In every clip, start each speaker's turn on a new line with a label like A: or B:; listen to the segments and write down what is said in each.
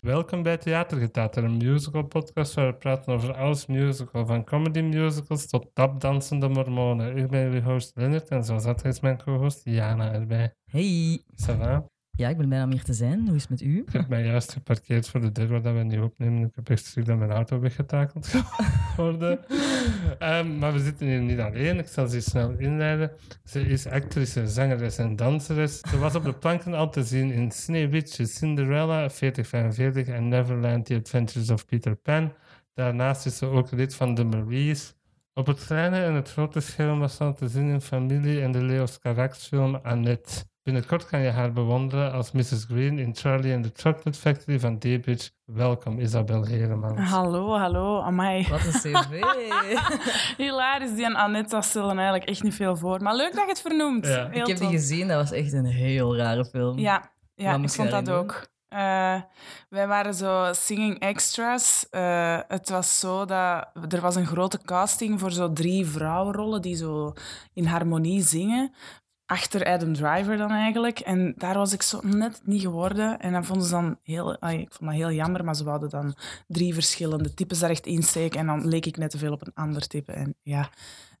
A: Welkom bij Theatergetater, een musical podcast waar we praten over alles musical, van comedy musicals tot tapdansende mormonen. Ik ben jullie host Leonard en zoals altijd is mijn co-host Jana erbij.
B: Hey,
A: Ça va?
B: ja, ik ben blij om hier te zijn. Hoe is het met u?
A: Ik heb mij juist geparkeerd voor de deur waar dat we nu opnemen. Ik heb echt schrik dat mijn auto weggetakeld worden. Ehm, maar we zitten hier niet alleen. Ik zal ze snel inleiden. Ze is actrice, zangeres en danseres. Ze was op de planken al te zien in Sneeuwwitje, Cinderella, 4045 en Neverland, The Adventures of Peter Pan. Daarnaast is ze ook lid van de Maries. Op het kleine en het grote scherm was ze al te zien in Familie en de Leos Carax-film Annette. Binnenkort kan je haar bewonderen als Mrs. Green in Charlie and the Chocolate Factory van Deepitch. Welkom, Isabel Heremans.
C: Hallo, hallo, amai.
B: Wat een cv.
C: Hilarisch, die en Annette, dat stellen eigenlijk echt niet veel voor. Maar leuk dat je het vernoemt.
A: Ja.
C: Heel
B: ik heb die
C: tof.
B: gezien, dat was echt een heel rare film.
C: Ja,
B: Wat
C: ja ik
B: moest je
C: vond dat
B: daarin doen?
C: ook. Eh, wij waren zo singing extras. Eh, het was zo dat er was een grote casting voor zo drie vrouwenrollen die zo in harmonie zingen. Achter Adam Driver dan eigenlijk. En daar was ik zo net niet geworden. En dan vonden ze dan heel... ai, ik vond dat heel jammer, maar ze wilden dan drie verschillende types daar echt insteken. En dan leek ik net te veel op een ander type. En ja,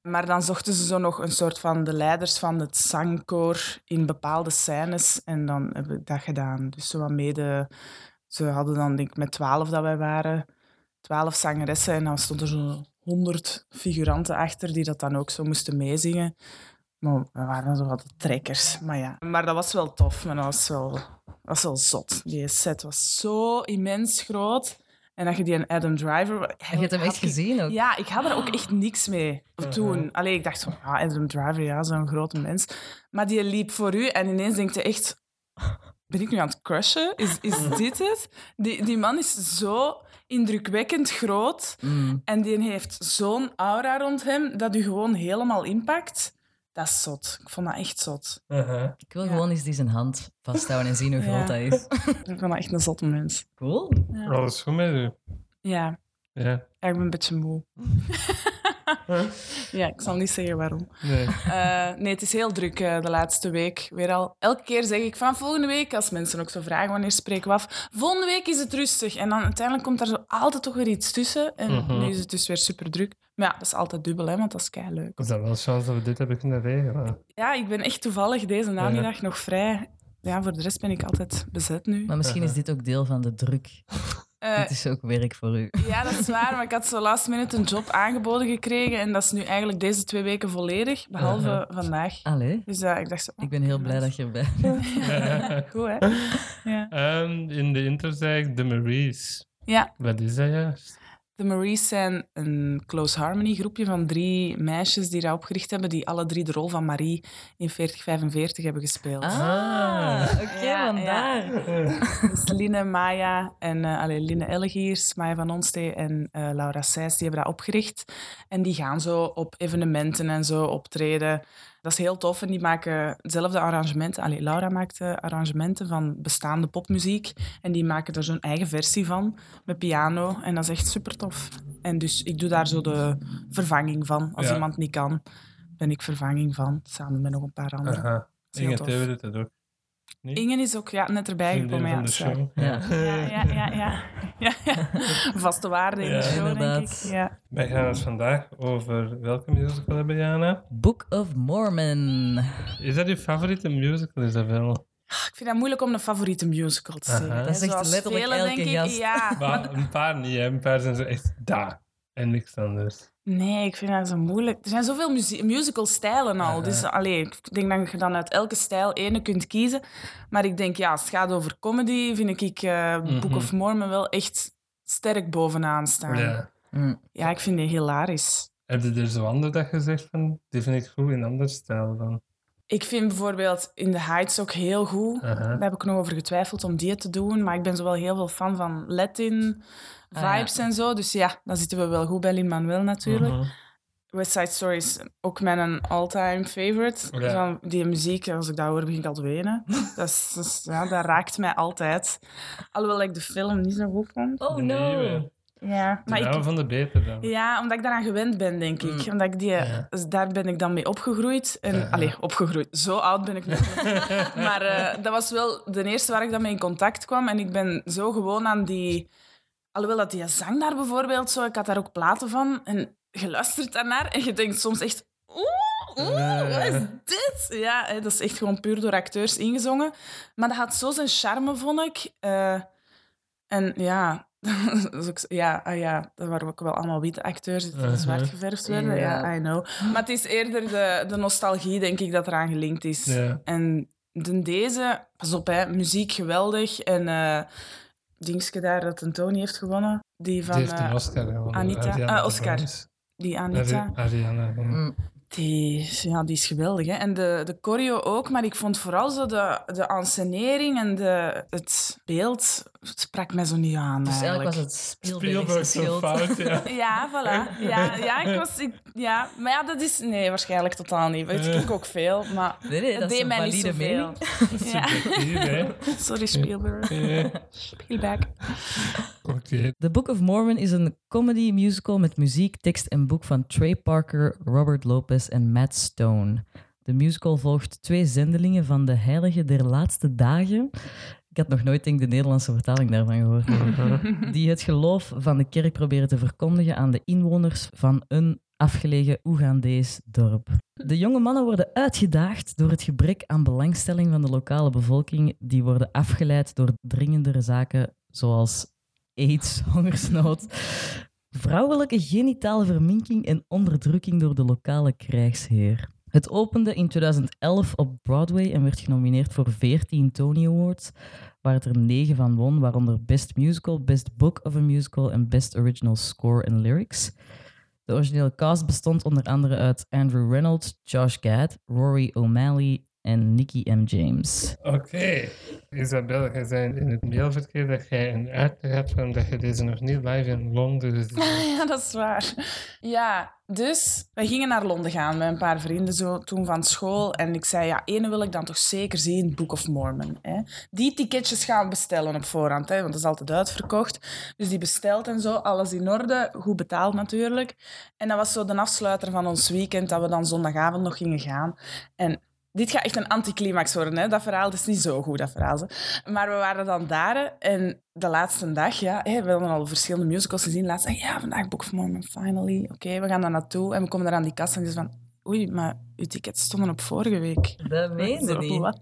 C: maar dan zochten ze zo nog een soort van de leiders van het zangkoor in bepaalde scènes. En dan heb ik dat gedaan. Dus zo wat mede... Ze hadden dan, denk ik, met twaalf dat wij waren, twaalf zangeressen. En dan stonden er zo'n honderd figuranten achter die dat dan ook zo moesten meezingen. Maar we waren zo wat de trekkers. Maar ja, maar dat was wel tof. Maar dat was wel, dat was wel zot. Die set was zo immens groot. En dat je die een Adam Driver...
B: Je hebt hem echt gezien ook.
C: Ja, ik had er ook echt niks mee
A: Mhm.
C: toen. Allee, ik dacht van, ja, Adam Driver, ja, zo'n grote mens. Maar die liep voor u en ineens denkt je echt... Ben ik nu aan het crushen? Is, is dit het? Die, die man is zo indrukwekkend groot
B: Mm.
C: en die heeft zo'n aura rond hem dat u gewoon helemaal impact. Dat is zot. Ik vond dat echt zot.
A: Aha.
B: Ik wil
C: Ja.
B: gewoon eens die zijn hand vasthouden en zien hoe groot
C: Ja.
B: dat is.
C: Ik vond dat echt een zotte mens.
B: Cool.
C: Ja,
A: Alles goed met u?
C: ja
A: Ja.
C: ja, ik ben een beetje moe.
A: Huh?
C: Ja, ik zal niet zeggen waarom.
A: Nee.
C: Eh, nee, het is heel druk eh, de laatste week. Weer al. Elke keer zeg ik van volgende week, als mensen ook zo vragen wanneer spreken we af. Volgende week is het rustig. En dan uiteindelijk komt daar zo altijd toch weer iets tussen. En
A: Mhm.
C: nu is het dus weer super druk. Maar ja, dat is altijd dubbel, hè, want dat is kei leuk.
A: Is dat wel chance dat we dit hebben kunnen regelen?
C: Ja, ik ben echt toevallig deze namiddag nog vrij. Ja, voor de rest ben ik altijd bezet nu.
B: Maar misschien is
A: Aha.
B: dit ook deel van de druk.
C: Eh,
B: dit is ook werk voor u.
C: ja, dat is waar. Maar ik had zo last minute een job aangeboden gekregen. En dat is nu eigenlijk deze twee weken volledig, behalve
A: Aha.
C: vandaag.
B: Allee,
C: Dus eh, ik dacht zo...
B: ik ben heel blij dat je erbij bent.
C: Goed, hè? Ja.
A: Ehm, in de intro zei ik de Maries.
C: Ja.
A: Wat is dat juist?
C: De Maries zijn een close harmony groepje van drie meisjes die dat opgericht hebben, die alle drie de rol van Marie in 4045 hebben gespeeld.
B: Ah, oké,
C: Ja,
B: vandaar.
C: Dus Line, Maya en eh, allee, Line Ellegiers, Maya van Onstee en eh, Laura Seys, die hebben dat opgericht. En die gaan zo op evenementen en zo optreden. Dat is heel tof en die maken zelf de arrangementen. Allee, Laura maakt de arrangementen van bestaande popmuziek. En die maken er zo'n eigen versie van met piano. En dat is echt super tof. En dus ik doe daar zo de vervanging van. Als
A: Ja.
C: iemand niet kan, ben ik vervanging van. Samen met nog een paar anderen.
A: Aha.
C: Ah, Dat is heel
A: Inge
C: tof.
A: Theuwe doet dat ook.
C: Ingen is ook ja, net erbij
A: Vriendin
C: gekomen. Ja,
A: van de
C: dat is waar.
A: show.
B: Ja.
C: Ja, ja, ja, ja. ja, ja. Vaste waarde in
A: Eh. Ja,
C: de show, denk
B: inderdaad.
C: ik. Ja.
A: Wij gaan het vandaag over welke musical hebben, Jana?
B: Book of Mormon.
A: Is dat je favoriete musical, Isabel?
C: Ah, Ik vind het moeilijk om een favoriete musical te
A: Aha.
C: zeggen. hè.
B: Dat zegt
C: Zoals
B: letterlijk
C: velen,
B: elke
C: denk ik,
B: gast.
C: Ja.
A: Maar een paar niet, hè. Een paar zijn zo echt daar. En niks anders.
C: Nee, ik vind dat zo moeilijk. Er zijn zoveel muzie- musical-stijlen al.
A: Aha.
C: Dus allee, ik denk dat je dan uit elke stijl ene kunt kiezen. Maar ik denk, ja, als het gaat over comedy, vind ik eh, Book
A: Mhm.
C: of Mormon wel echt sterk bovenaan staan. Ja,
A: Ja.
B: Mm.
C: ik vind die hilarisch.
A: Heb je er zo ander dat gezegd van? Die vind ik goed in ander stijl dan.
C: Ik vind bijvoorbeeld In the Heights ook heel goed.
A: Aha.
C: Daar heb ik nog over getwijfeld om die te doen. Maar ik ben zo wel heel veel fan van Latin
B: Ah, ja.
C: vibes en zo. Dus ja, dan zitten we wel goed bij Lin-Manuel natuurlijk.
A: Mhm.
C: West Side Story is ook mijn all-time favorite.
A: Ja.
C: Van die muziek, als ik dat hoor, begin ik al te wenen. dat, is, dat is- ja, dat raakt mij altijd. Alhoewel ik de film niet zo goed vond.
B: Oh
A: De
B: no.
A: nieuwe.
C: Ja, maar
A: Maar
C: ik,
A: van de beter dan.
C: ja, omdat ik daaraan gewend ben, denk ik.
B: Mm.
C: Omdat ik die,
A: Ja.
C: dus daar ben ik dan mee opgegroeid. En,
A: Ja.
C: Allee, opgegroeid. Zo oud ben ik nog niet. Maar eh, dat was wel de eerste waar ik dan mee in contact kwam. En ik ben zo gewoon aan die... Alhoewel dat die zang daar bijvoorbeeld zo... Ik had daar ook platen van. En je luistert daarnaar en je denkt soms echt... Oeh, oeh, wat is dit? Ja, hè, dat is echt gewoon puur door acteurs ingezongen. Maar dat had zo zijn charme, vond ik. Eh, en ja... dat is ook zo- ja, ah ja, dat waren ook wel allemaal witte acteurs die
A: Uh-huh.
C: zwart geverfd werden. Ja,
B: Ja.
C: I know. Maar het is eerder de, de nostalgie, denk ik, dat eraan gelinkt is.
A: Ja.
C: En dan deze, pas op, hè, muziek geweldig. En eh Dingske daar dat een Tony heeft gewonnen. Die van
A: Die heeft een
C: eh,
A: Oscar gewonnen.
C: Anita-
A: Ariana
C: eh, Oscar.
A: DeBose.
C: die Anita.
A: Ari- Ariana. ja.
B: Mm.
C: Die, is- ja, die is geweldig. Hè? En de, de choreo ook, maar ik vond vooral zo de, de ensenering en de, het beeld sprak mij zo niet aan.
B: Dus eigenlijk
C: eigenlijk.
B: was het Spielberg
A: Spielberg zo fout, ja.
C: Ja, voilà. Ja, ja, ik was, ik- ja, maar ja, dat is... Nee, waarschijnlijk totaal niet. Weet ik ook veel, maar...
B: Nee, nee,
C: het
B: dat is
C: deed
B: een
C: mij niet
B: valide
C: zoveel.
B: mening.
C: Ja.
A: Subjectief, hè.
C: Sorry, Spielberg.
A: Ja.
C: Spielberg.
A: Oké.
B: The Book of Mormon is een comedy musical met muziek, tekst en boek van Trey Parker, Robert Lopez en Matt Stone. De musical volgt twee zendelingen van de Heilige der Laatste Dagen. Ik had nog nooit denk, ik, de Nederlandse vertaling daarvan gehoord. Die het geloof van de kerk proberen te verkondigen aan de inwoners van een afgelegen Oegandees dorp. De jonge mannen worden uitgedaagd door het gebrek aan belangstelling van de lokale bevolking. Die worden afgeleid door dringendere zaken zoals aids, hongersnood, vrouwelijke genitale verminking en onderdrukking door de lokale krijgsheer. Het opende in 2011 op Broadway en werd genomineerd voor 14 Tony Awards, waar het er 9 van won, waaronder Best Musical, Best Book of a Musical en Best Original Score and Lyrics. De originele cast bestond onder andere uit Andrew Reynolds, Josh Gad, Rory O'Malley en Nicky M. James.
A: Oké. Isabel, je zei in het mailverkeer dat jij een uitleg hebt van dat je deze nog niet live in Londen
C: Oh,
A: gezien hebt.
C: Ja, dat is waar. Ja, dus wij gingen naar Londen gaan met een paar vrienden zo, toen van school. En ik zei, ja, ene wil ik dan toch zeker zien, Book of Mormon. Hè? Die ticketjes gaan bestellen op voorhand, hè, want dat is altijd uitverkocht. Dus die besteld en zo, alles in orde, goed betaald natuurlijk. En dat was zo de afsluiter van ons weekend, dat we dan zondagavond nog gingen gaan. En dit gaat echt een anticlimax worden, hè? dat verhaal. Het is niet zo goed, dat verhaal. Hè? Maar we waren dan daar hè, en de laatste dag, ja, hè, we hadden al verschillende musicals gezien. De laatste dag, ja, vandaag Book of Mormon, finally. Oké, we gaan daar naartoe en we komen daar aan die kassa en die is van... Oei, maar uw tickets stonden op vorige week.
B: Dat
C: Zo, Wat?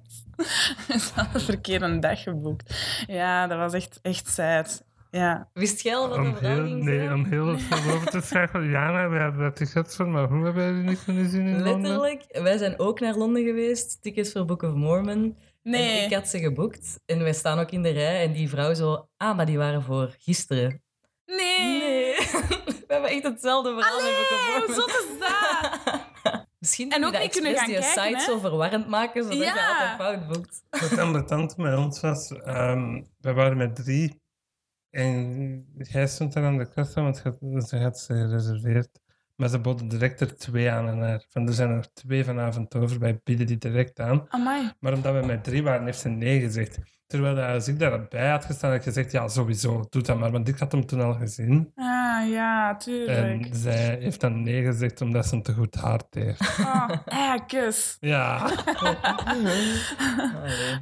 C: Ze hadden de verkeerde dag geboekt. Ja, dat was echt, echt sad. Ja,
B: Wist jij al
A: Om heel, nee, om heel veel over te schakelen. Jana, we hadden dat tickets voor, maar hoe hebben jullie niet kunnen zien in Londen?
B: Letterlijk, wij zijn ook naar Londen geweest, tickets voor Book of Mormon.
C: nee.
B: En ik had ze geboekt en wij staan ook in de rij en die vrouw zo, ah, maar die waren voor gisteren.
C: Nee.
B: we hebben echt hetzelfde verhaal met Book of
C: Hoe
B: Mormon.
C: zot is dat?
B: Misschien
C: En
B: moet
C: ook
B: je dat
C: niet kunnen
B: expres
C: gaan
B: die
C: kijken,
B: site
C: hè?
B: zo verwarrend maken, zodat je
C: Ja.
B: altijd fout boekt.
A: Wat ambetant met ons was, ehm, we waren met drie. En jij stond daar aan de kassa, want je- ze had ze gereserveerd. Maar ze boden direct er twee aan en haar. Van, er zijn er twee vanavond over, wij bieden die direct aan.
C: Amai.
A: Maar omdat we met drie waren, heeft ze nee gezegd. Terwijl dat als ik daarbij had gestaan, had ik gezegd, ja, sowieso, doe dat maar. Want ik had hem toen al gezien.
C: Ah, ja, tuurlijk.
A: En zij heeft dan nee gezegd, omdat ze een te goed hart heeft.
C: Oh, eh, kus.
A: Ja.
B: Allee.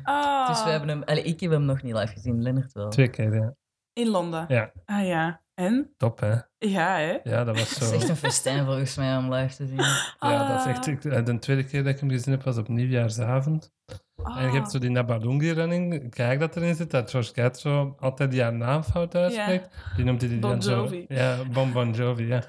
C: Oh.
B: Dus we hebben hem, allee, ik heb hem nog niet live gezien, Lennart wel.
A: Twee keer, ja.
C: In Londen.
A: Ja.
C: Ah ja. En?
A: Top, hè.
C: Ja, hè?
A: Ja, dat was
B: Het
A: zo.
B: is echt een festijn volgens mij om live te zien.
A: Ja,
C: Ah.
A: dat is echt... ik- eh, De tweede keer dat ik hem gezien heb, was op nieuwjaarsavond. En
C: Ah.
A: je hebt zo die Nabalungi-running. Kijk dat erin zit, dat George Cat zo altijd die haar naam fout uitspreekt. Die noemde die
C: Bon
A: dan
C: Jovi.
A: zo... Ja, Bon Bon Jovi, ja.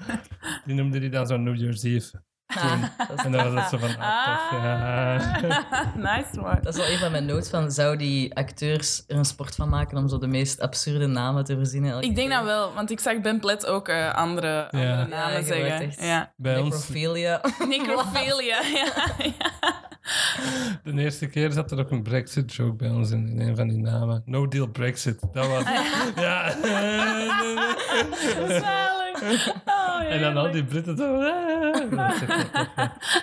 A: Die noemde die dan zo New Year's Eve.
B: Ah, dat is
A: En dan was dat zo van, ah, tof, ja.
C: Ah. nice one.
B: Dat is wel een van mijn notes van, zou die acteurs er een sport van maken om zo de meest absurde namen te verzinnen? elke
C: Ik denk
B: keer?
C: dat wel, want ik zag Ben Plet ook eh, andere, andere
A: Ja,
C: namen
B: je
C: zeggen.
B: wordt echt-
C: Ja.
A: Bij ons,
B: Necrophilia.
C: Necrophilia. ja, ja.
A: de eerste keer zat er ook een Brexit joke bij ons in, in een van die namen. No deal Brexit, dat was. ja.
C: Zalig. Oh,
A: en dan al die Britten zo. "Ah." Dat is echt wel tof,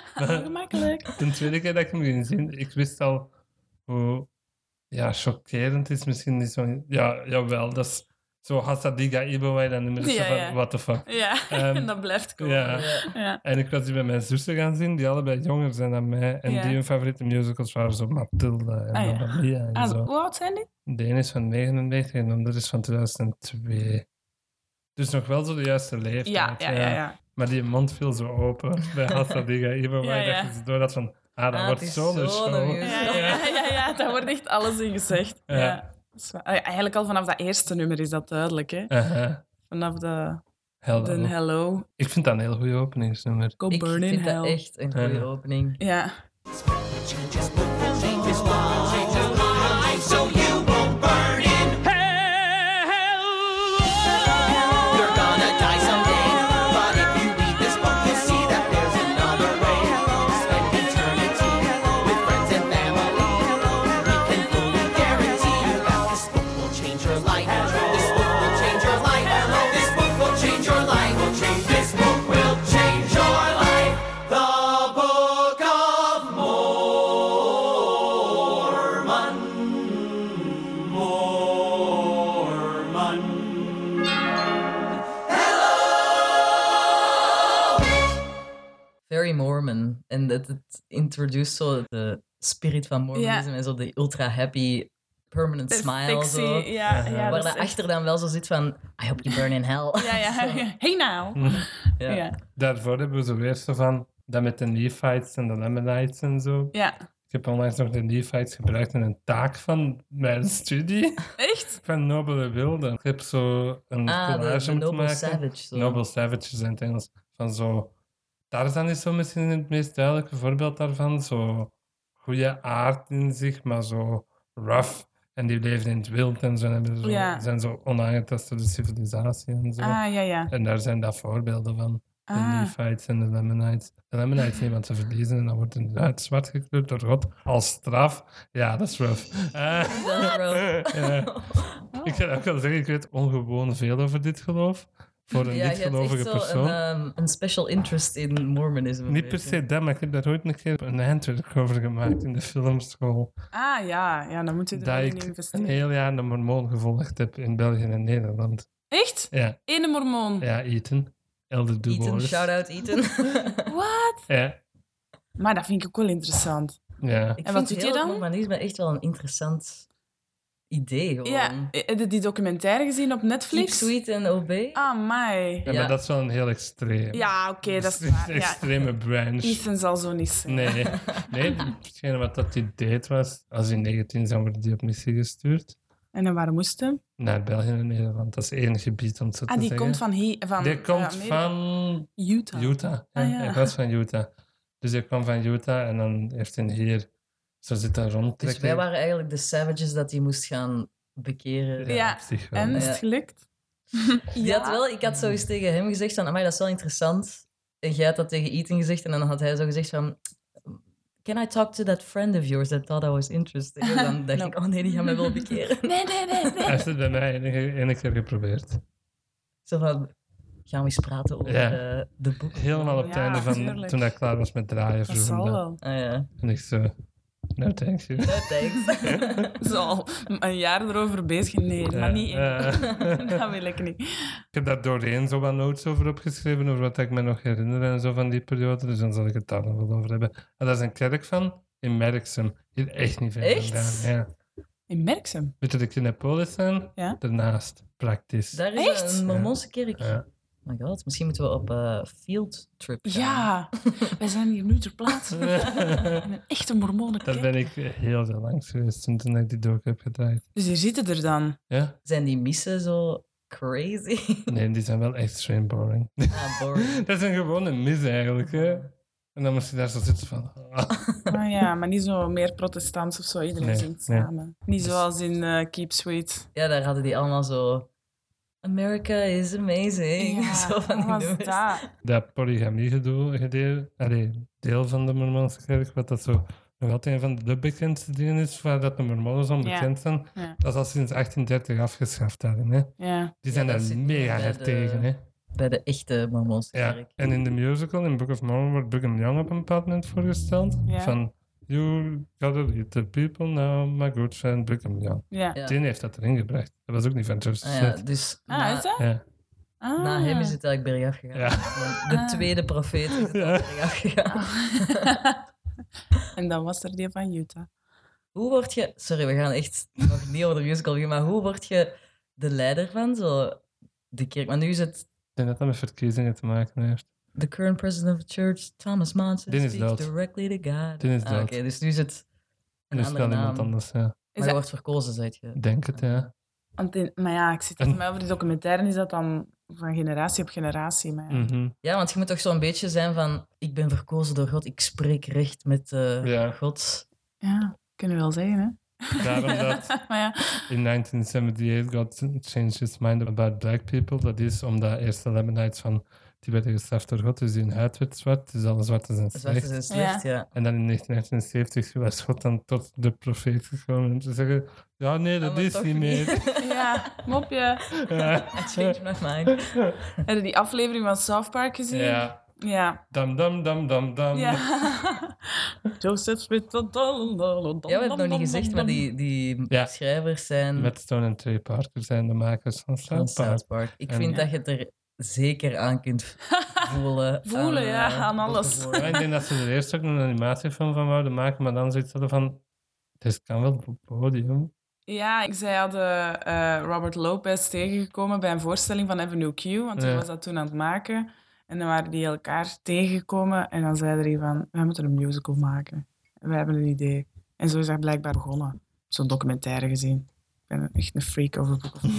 C: heerlijk. Gemakkelijk.
A: hè. De tweede keer dat ik hem ging zien, ik wist al hoe ja, chockerend is misschien niet zo. Ja, jawel, dat is Zo Hassadiga Ibowai, dan nummer
C: Ja,
A: zo van,
C: ja.
A: what the fuck.
C: Ja,
A: Ehm,
C: en dat blijft komen.
A: ja.
C: Ja.
A: En ik was die bij mijn zussen gaan zien, die allebei jonger zijn dan mij. En
C: Ja.
A: die hun favoriete musicals waren zo Matilda en
C: Ah, ja.
A: Mamma Mia en
C: Ah,
A: zo.
C: hoe oud zijn die?
A: De ene is van 99 en de andere is van 2002. Dus nog wel zo de juiste leeftijd.
C: Ja, ja, ja. ja.
A: Maar die mond viel zo open bij Hassadiga Ibowai.
C: Ja, ja.
A: Dat je zo door had van, ah, dat
B: Ah,
A: wordt
B: het is
A: zo'n
B: zo'n
A: show.
B: musical.
C: Ja, ja, ja, ja, daar wordt echt alles in gezegd.
A: Ja.
C: Ja. Dat is waar. Ah, ja, Eigenlijk al vanaf dat eerste nummer is dat duidelijk. Hè?
A: Aha,
C: Vanaf de,
A: hello.
C: de Hello,
A: Ik vind dat een heel goede openingsnummer.
C: Go
B: Ik
C: Burn in
B: vind dat
C: Hell.
B: echt een goede
A: Ja.
B: opening.
C: Ja.
D: You're gonna die someday. But if you read this book, you see that there's another way. Spend eternity with friends and family. We can fully guarantee you that this book will change your life. This book will change your life. This book will change your life. Will change. This book will change your life. The Book of Mormon. Mormon.
B: Very Mormon. En het, het introduceert zo de spirit van Mormonisme en zo de ultra happy permanent smile.
C: Perfectie,
B: Zo.
C: Ja,
A: Ja,
C: ja,
B: Waar
C: dat is echt-
B: daarachter dan wel zo zit van, I hope you burn in hell.
C: ja, ja, ja. Hey now.
B: Ja.
C: Ja.
A: Daarvoor hebben we zo weer zo van, dat met de Nephites en de Lamanites en zo.
C: ja.
A: Ik heb onlangs nog de Nephites gebruikt in een taak van mijn studie
C: Echt?
A: van nobele wilden. Ik heb zo een
B: Ah, de- de,
A: collage moeten
B: Noble
A: maken.
B: Savage. Zo.
A: Noble Savages in het Engels. Van zo, Tarzan is zo misschien het meest duidelijke voorbeeld daarvan. Zo goede aard in zich, maar zo rough. En die leven in het wild en zo, en hebben zo,
C: Ja.
A: zijn zo onaangetast door de civilisatie en zo.
C: Ah, ja, ja.
A: En daar zijn dat voorbeelden van. De
C: Ah.
A: Nephites en de Lamanites. De Lamanites niet, want ze verliezen en dan wordt inderdaad zwart gekleurd door God als straf. Ja, dat is rough. Eh,
B: Dat wel.
A: ja.
B: Oh.
A: Ik kan ook wel zeggen, ik weet ongewoon veel over dit geloof. Voor een
B: Ja, je hebt
A: niet-gelovige
B: echt zo
A: persoon.
B: een, ehm, een special interest in Mormonisme.
A: Niet per se dat, maar ik heb daar ooit een keer een handwerk over gemaakt in de filmschool.
C: Ah, ja. Ja, dan moet je er
A: Dat
C: wel in
A: ik een
C: investeren.
A: heel jaar de mormoon gevolgd heb in België en Nederland.
C: Echt?
A: Ja,
C: Ene mormoon.
A: ja Ethan. Elder
B: Ethan,
A: Dubois.
B: shout-out Ethan.
C: Wat?
A: Ja,
C: Maar dat vind ik ook wel interessant.
A: ja.
B: Ik
C: En
B: vind
C: wat doet
B: heel
C: hij dan?
B: Mormonisme echt wel een interessant idee. Gewoon.
C: Ja, eh, heb je die documentaire gezien op
B: Keep
C: Netflix?
B: sweet and obey.
C: Ah, my.
A: Ja,
B: Ja.
A: maar dat is wel een heel extreem.
C: Ja, oké, dat is
A: Dus het
C: waar.
A: een
C: Ja.
A: extreme branch.
C: Ethan zal zo niet zijn.
A: Nee, nee, hetgene wat dat hij deed was, als hij 19 is, dan wordt hij op missie gestuurd
C: En dan waar moest hem?
A: naar België en Nederland. Dat is één gebied om het zo
C: Ah,
A: te
C: die
A: zeggen.
C: komt van hier. Van,
A: die
C: eh,
A: komt
C: Amerika.
A: van
C: Utah.
A: Utah. Ja,
C: Ah, ja.
A: Hij was van Utah. Dus hij kwam van Utah en dan heeft hij hier zo zitten
B: dus
A: rondtrekken.
B: wij waren eigenlijk de savages dat hij moest gaan bekeren.
A: ja,
C: Ja,
A: op zich wel.
C: En is
B: Ja.
C: het gelukt?
B: Die had wel, ik had zo eens tegen hem gezegd van, amai, dat is wel interessant. En jij had dat tegen Ethan gezegd en dan had hij zo gezegd van... Can I talk to that friend of yours that thought I was interested? En dan dacht ik, oh nee, die gaan mij wel bekeren.
C: Nee, nee, nee. nee.
A: Hij heeft het bij mij enige- ene keer geprobeerd.
B: Zo van, gaan we eens praten over
A: Ja.
B: eh, de boeken.
A: Helemaal op het
C: Ja,
A: einde van
C: tuurlijk.
A: toen hij klaar was met draaien.
C: Dat
A: vroeg hem
C: zal
A: dat.
C: wel.
B: Ah ja,
A: En ik zo, no thanks you.
B: Oh, thanks.
C: Ze al een jaar erover bezig. Nee, dat
A: Ja, eh.
C: mag niet. in.
A: ja.
C: Dat wil ik niet.
A: Ik heb daar doorheen zo wat notes over opgeschreven, over wat ik me nog herinner en zo van die periode. Dus dan zal ik het daar nog wel over hebben. En daar is een kerk van in Merksem. Hier echt niet ver
B: Echt?
A: vandaan. Ja.
C: In Merksem.
A: Weet je dat ik in Neapolis zijn?
C: Ja.
A: Daarnaast, praktisch.
B: Daar is
C: Echt?
B: een Mormonse kerk.
A: Ja.
B: Oh my god, misschien moeten we op eh field trip gaan.
C: Ja, wij zijn hier nu ter plaatse. In een echte
A: Daar
C: mormonenkerk.
A: ben ik heel veel langs geweest toen toen ik die dook heb gedraaid.
C: Dus hier zitten er dan.
A: Ja?
B: Zijn die missen zo crazy?
A: Nee, die zijn wel extreem boring.
B: ah, boring.
A: dat is een gewone mis eigenlijk, hè. En dan moest je daar zo zitten van...
C: Ah ja, maar niet zo meer protestants of zo. Iedereen
A: Nee,
C: zingt
A: nee.
C: samen. Niet
B: Dus-
C: zoals in eh, Keep Sweet.
B: Ja, daar hadden die allemaal zo... America is amazing.
C: Ja,
B: zo van die
C: wat was
B: nummers.
C: dat?
A: dat polygamie-gedoe, gedeelte- allee, deel van de Mormonse kerk, wat dat zo nog altijd een van de bekendste dingen is, waar dat de Mormonen zo bekend zijn,
C: ja.
A: dat is al sinds 1830 afgeschaft daarin. Hè.
C: Ja.
A: Die zijn
B: dat
A: daar
B: zit
A: mega
B: bij
A: hard
B: de-
A: tegen. Hè.
B: Bij de echte Mormonse
A: Ja.
B: kerk.
A: En in de musical, in Book of Mormon, wordt Brigham Young op een bepaald moment voorgesteld.
C: Ja.
A: Van, You gotta lead the people now, my good friend Brigham Young.
C: Ja.
B: Ja.
A: Tini heeft dat erin gebracht. Dat was ook niet van George
B: Ah, ja,
A: Smith.
B: dus
C: Ah,
B: na,
C: is dat?
A: Ja.
C: Ah.
B: na hem is het eigenlijk bergaf gegaan.
A: Ja.
B: Want De
C: Ah.
B: tweede profeet is het
A: Ja.
B: al bergaf gegaan.
C: en dan was er die van Utah.
B: Hoe word je... Sorry, we gaan echt nog niet over de musical gaan, maar hoe word je de leider van zo de kerk? Maar nu is het
A: Ik denk dat dat met verkiezingen te maken heeft.
B: the current president of the church, Thomas Monson,
A: Die is
B: speaks
A: dood.
B: directly to God.
A: Die is
B: Ah,
A: dood.
B: Oké, dus nu is het een
A: Nu is Dus het
B: andere
A: wel
B: naam.
A: iemand anders, ja.
B: Maar
C: dat-
B: je wordt verkozen, zei je.
A: Ik Denk het, ja.
C: Want in- maar ja, ik zit
A: En-
C: voor mij over die documentaire is dat dan van generatie op generatie. Maar ja.
B: Mm.
A: Mhm.
B: Ja, want je moet toch zo'n beetje zijn van... Ik ben verkozen door God, ik spreek recht met eh,
A: Ja.
B: God.
C: Ja, kunnen we wel zeggen, hè?
A: Daarom dat
C: maar ja.
A: in 1978 God changed his mind about black people. Dat is omdat eerst de Lamanites van die werden gestraft door God, dus hun huid werd zwart, dus alle zwarten zijn
B: Zwart is
A: slecht.
B: een slecht, ja.
A: En dan in 1970 was God dan tot de profeet gekomen om te zeggen, ja nee, dat
B: Ah, maar
A: is
B: toch
A: niet meer.
C: ja, mopje.
A: Ja.
B: I changed my mind.
C: Heb je die aflevering van South Park gezien?
A: ja.
C: Ja.
A: Dam, dam, dam, dam, dam.
C: ja. Joseph Smith. Ja, we
B: Ja, we hebben het nog niet gezegd, maar die, die
A: Ja.
B: schrijvers zijn
A: Met Stone en Trey Parker zijn de makers van
B: van
A: South Park.
B: South Park. Ik
A: En-
B: vind dat je het er zeker aan kunt voelen.
C: Voelen, ja,
B: eh,
C: aan
B: dat
C: alles.
B: gevoel.
A: Ja, ik denk dat ze er eerst ook een animatiefilm van wouden maken, maar dan zoiets hadden van, dit kan wel op het podium.
C: Ja, ik- zij hadden eh, Robert Lopez tegengekomen bij een voorstelling van Avenue Q, want hij
A: Ja.
C: was dat toen aan het maken. En dan waren die elkaar tegengekomen en dan zei er van, wij moeten een musical maken. We hebben een idee. En zo is dat blijkbaar begonnen. Zo'n documentaire gezien. Ik ben echt een freak over boeken.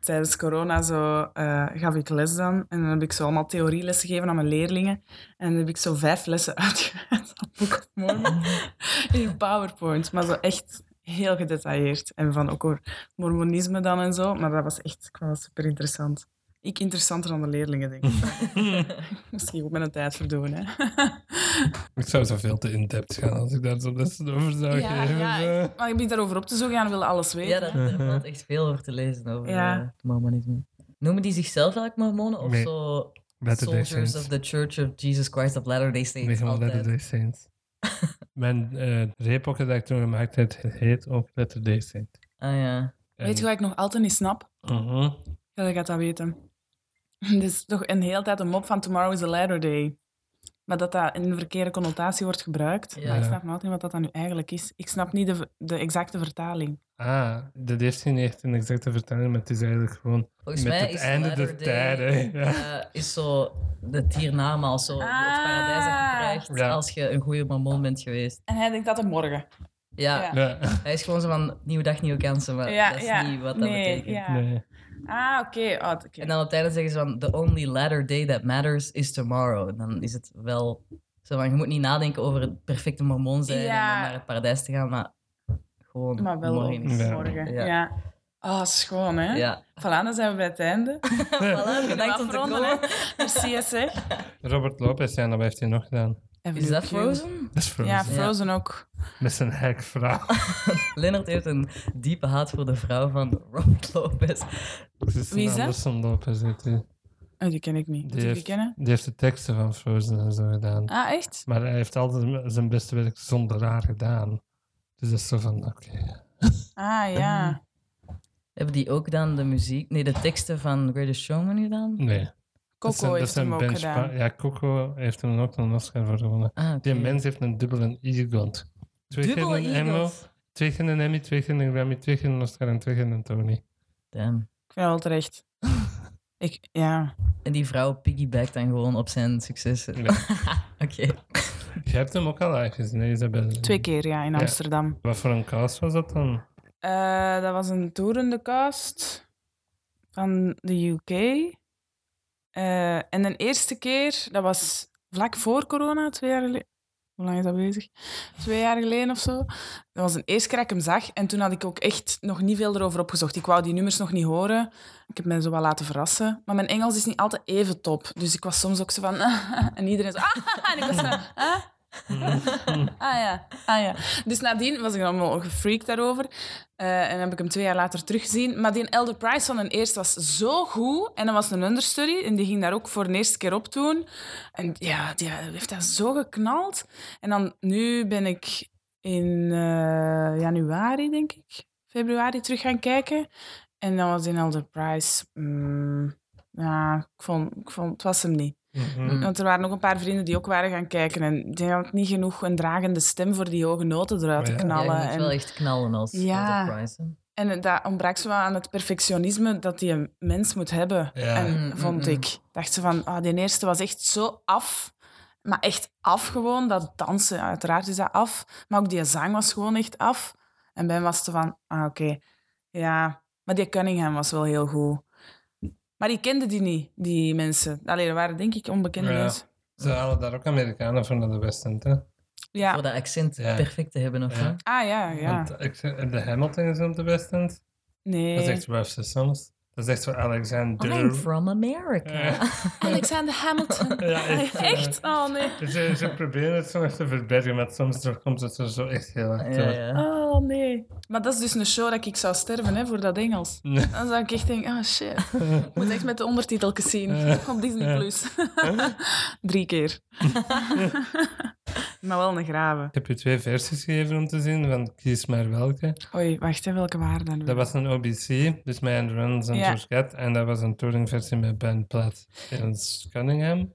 C: Tijdens corona zo, eh, gaf ik les dan. En dan heb ik zo allemaal theorielessen gegeven aan mijn leerlingen. En dan heb ik zo vijf lessen uitgewerkt van Book of Mormon. In PowerPoint. Maar zo echt heel gedetailleerd. En van ook over mormonisme dan en zo. Maar dat was echt ik vond dat super interessant. Ik interessanter dan de leerlingen, denk ik. Misschien ook met een tijd verdoen, hè.
A: Ik zou zoveel te in-depth gaan als ik daar zo'n lessen over zou geven.
C: ik-
A: eh.
C: maar ik ben daarover op te zoeken en we willen alles weten.
B: Ja, daar daar valt echt veel over te lezen over
C: Ja.
B: eh, het mormonisme. Noemen die zichzelf eigenlijk mormonen of
A: Nee.
B: zo
A: Latter Day
B: soldiers
A: Saints.
B: of the Church of Jesus Christ of Latter-day
A: Ik ben
B: Saints?
A: gewoon Latter
B: Altijd.
A: Day Saints. Mijn eh reepokken dat ik toen gemaakt heb, heet ook Latter Day Saint.
B: Ah ja.
C: Weet je wat ik nog altijd niet snap?
A: Mhm.
C: Ja, dat gaat dat weten. Het is toch een hele tijd een mop van Tomorrow is a Latter Day. Maar dat dat in een verkeerde connotatie wordt gebruikt.
B: Ja.
C: Maar ik snap nooit niet wat dat dan nu eigenlijk is. Ik snap niet de, de exacte vertaling.
A: Ah, dat heeft geen echt een exacte vertaling, maar het is eigenlijk gewoon
B: Volgens
A: met
B: mij
A: het
B: is
A: einde der
B: Latter-day,
A: tijden. Ja.
B: eh, is zo het hiernamaals, zo het paradijs dat je
C: Ah.
B: krijgt
A: Ja.
B: als je een goede mormon bent geweest.
C: En hij denkt dat het morgen.
B: Ja,
C: Ja.
A: Ja.
B: hij is gewoon zo van nieuwe dag, nieuwe kansen, maar
C: Ja,
B: dat is
C: ja.
B: niet wat dat
C: Nee,
B: betekent.
C: ja.
A: Nee.
C: Ah, oké. Oh, oké.
B: En dan op het einde zeggen ze van, the only latter day that matters is tomorrow. En dan is het wel zo van, je moet niet nadenken over het perfecte mormoon zijn en
C: Ja.
B: dan naar het paradijs te gaan, maar gewoon
C: maar wel
B: morgen
C: morgen.
B: is-
A: Ja.
C: morgen.
B: Ja.
C: Ja. Ah, schoon, hè?
B: Ja.
C: Voilà, dan zijn we bij het einde.
B: voilà, bedankt om te
C: Afronden, hè.
B: komen.
C: Merci, hè, zeg.
A: Robert Lopez, ja, dat heeft hij nog gedaan.
B: Is dat Frozen?
A: Dat is Frozen.
C: Ja, Frozen ook.
A: Met zijn hekvrouw.
B: Lennart heeft een diepe haat voor de vrouw van Robert Lopez.
A: Christian
C: Wie is dat?
A: Anderson Lopez heet die.
C: Oh, die ken ik niet. Moet
A: Die
C: ik die
A: heeft,
C: kennen?
A: die heeft de teksten van Frozen en zo gedaan.
C: Ah, echt?
A: Maar hij heeft altijd zijn beste werk zonder haar gedaan. Dus dat is zo van, oké.
C: Ah, ja.
B: Hebben die ook dan de muziek, nee, de teksten van Greatest Showman gedaan?
A: Nee. dat zijn-
C: Coco
A: dat
C: heeft
A: zijn
C: hem ook
A: benchpa-
C: gedaan.
A: Ja, Coco heeft hem ook een Oscar voor gewonnen.
B: Ah, oké.
A: Die mens heeft een dubbele Eagles. Twee keer
B: Dubbel
A: een Emmy,
B: Eagles.
A: twee keer een Emmy, twee keer een Grammy, twee keer een Oscar en twee keer een Tony.
B: Damn.
C: Ik vind dat wel terecht. ik, ja.
B: En die vrouw piggybackt dan gewoon op zijn successen.
A: Ja.
B: Oké.
A: Je hebt hem ook al live gezien, hè, Isabel?
C: Twee keer, ja, in
A: Ja.
C: Amsterdam.
A: Wat voor een cast was dat dan?
C: Eh, dat was een toerende cast van de UK. Eh, en de eerste keer, dat was vlak voor corona, twee jaar geleden. Hoe lang is dat bezig? Twee jaar geleden of zo. Dat was de eerste keer dat ik hem zag. En toen had ik ook echt nog niet veel erover opgezocht. Ik wou die nummers nog niet horen. Ik heb mij zo wel laten verrassen. Maar mijn Engels is niet altijd even top. Dus ik was soms ook zo van... en iedereen zo... Ah, en ik was zo... Ah, Ah ja, ah ja. Dus nadien was ik allemaal gefreakt daarover. Eh, en heb ik hem twee jaar later teruggezien. Maar die Elder Price van een eerst was zo goed. En dat was een understudy. En die ging daar ook voor de eerste keer op doen. En ja, die heeft dat zo geknald. En dan nu ben ik in eh, januari, denk ik, februari terug gaan kijken. En dan was die Elder Price... mm, ja, ik vond, ik vond, het was hem niet.
A: Mhm.
C: Want er waren nog een paar vrienden die ook waren gaan kijken. En die hadden niet genoeg een dragende stem voor die hoge noten eruit te
A: Ja.
B: Ja, je
C: knallen.
B: moet
C: en,
B: wel echt knallen als
C: Ja.
B: Elder Price, hè.
C: en dat ontbrak ze wel aan het perfectionisme dat die een mens moet hebben.
A: Ja.
B: Mm,
C: En
B: mm,
C: vond
B: mm.
C: ik, dacht ze van, ah, die eerste was echt zo af. Maar echt af gewoon, dat dansen, uiteraard is dat af. Maar ook die zang was gewoon echt af. En bij hem was het van, ah, oké, ja. Maar die Cunningham was wel heel goed. Maar die kende die niet, die mensen. Allee, er waren denk ik onbekende
A: Ja.
C: mensen.
A: Ze halen daar ook Amerikanen van naar de West End, hè?
C: Ja.
B: Voor dat accent
A: Ja.
B: perfect te hebben, of
A: Ja. Oh,
B: wat?
C: Ah ja, ja.
A: Want ik, zeg- de Hamilton is op de West End.
C: Nee. Oh,
A: Dat is echt Rough Systems. Dat is echt voor
B: I'm
A: Alexander.
B: Oh, from America.
A: Ja.
C: Alexander Hamilton.
A: Ja, echt, ja.
C: Echt? Oh nee.
A: Dus Ze, ze proberen het soms te verbergen, maar soms toch komt het er zo echt heel erg
B: Ja,
A: door.
B: ja.
C: Oh nee. Maar dat is dus een show dat ik zou sterven hè, voor dat Engels.
A: Nee.
C: Dan zou ik echt denken, oh shit. Ik moet echt met de ondertiteltjes zien
A: Eh,
C: op Disney+.
A: ja.
C: Plus. Drie keer. maar wel een grave.
A: Ik heb je twee versies gegeven om te zien, van kies maar welke.
C: Oei, wacht, hè, welke waren dat nu?
A: Dat was een OBC, dus met Andrew Runs en
C: Ja.
A: George Cat. En dat was een touringversie met Ben Platt en Cunningham.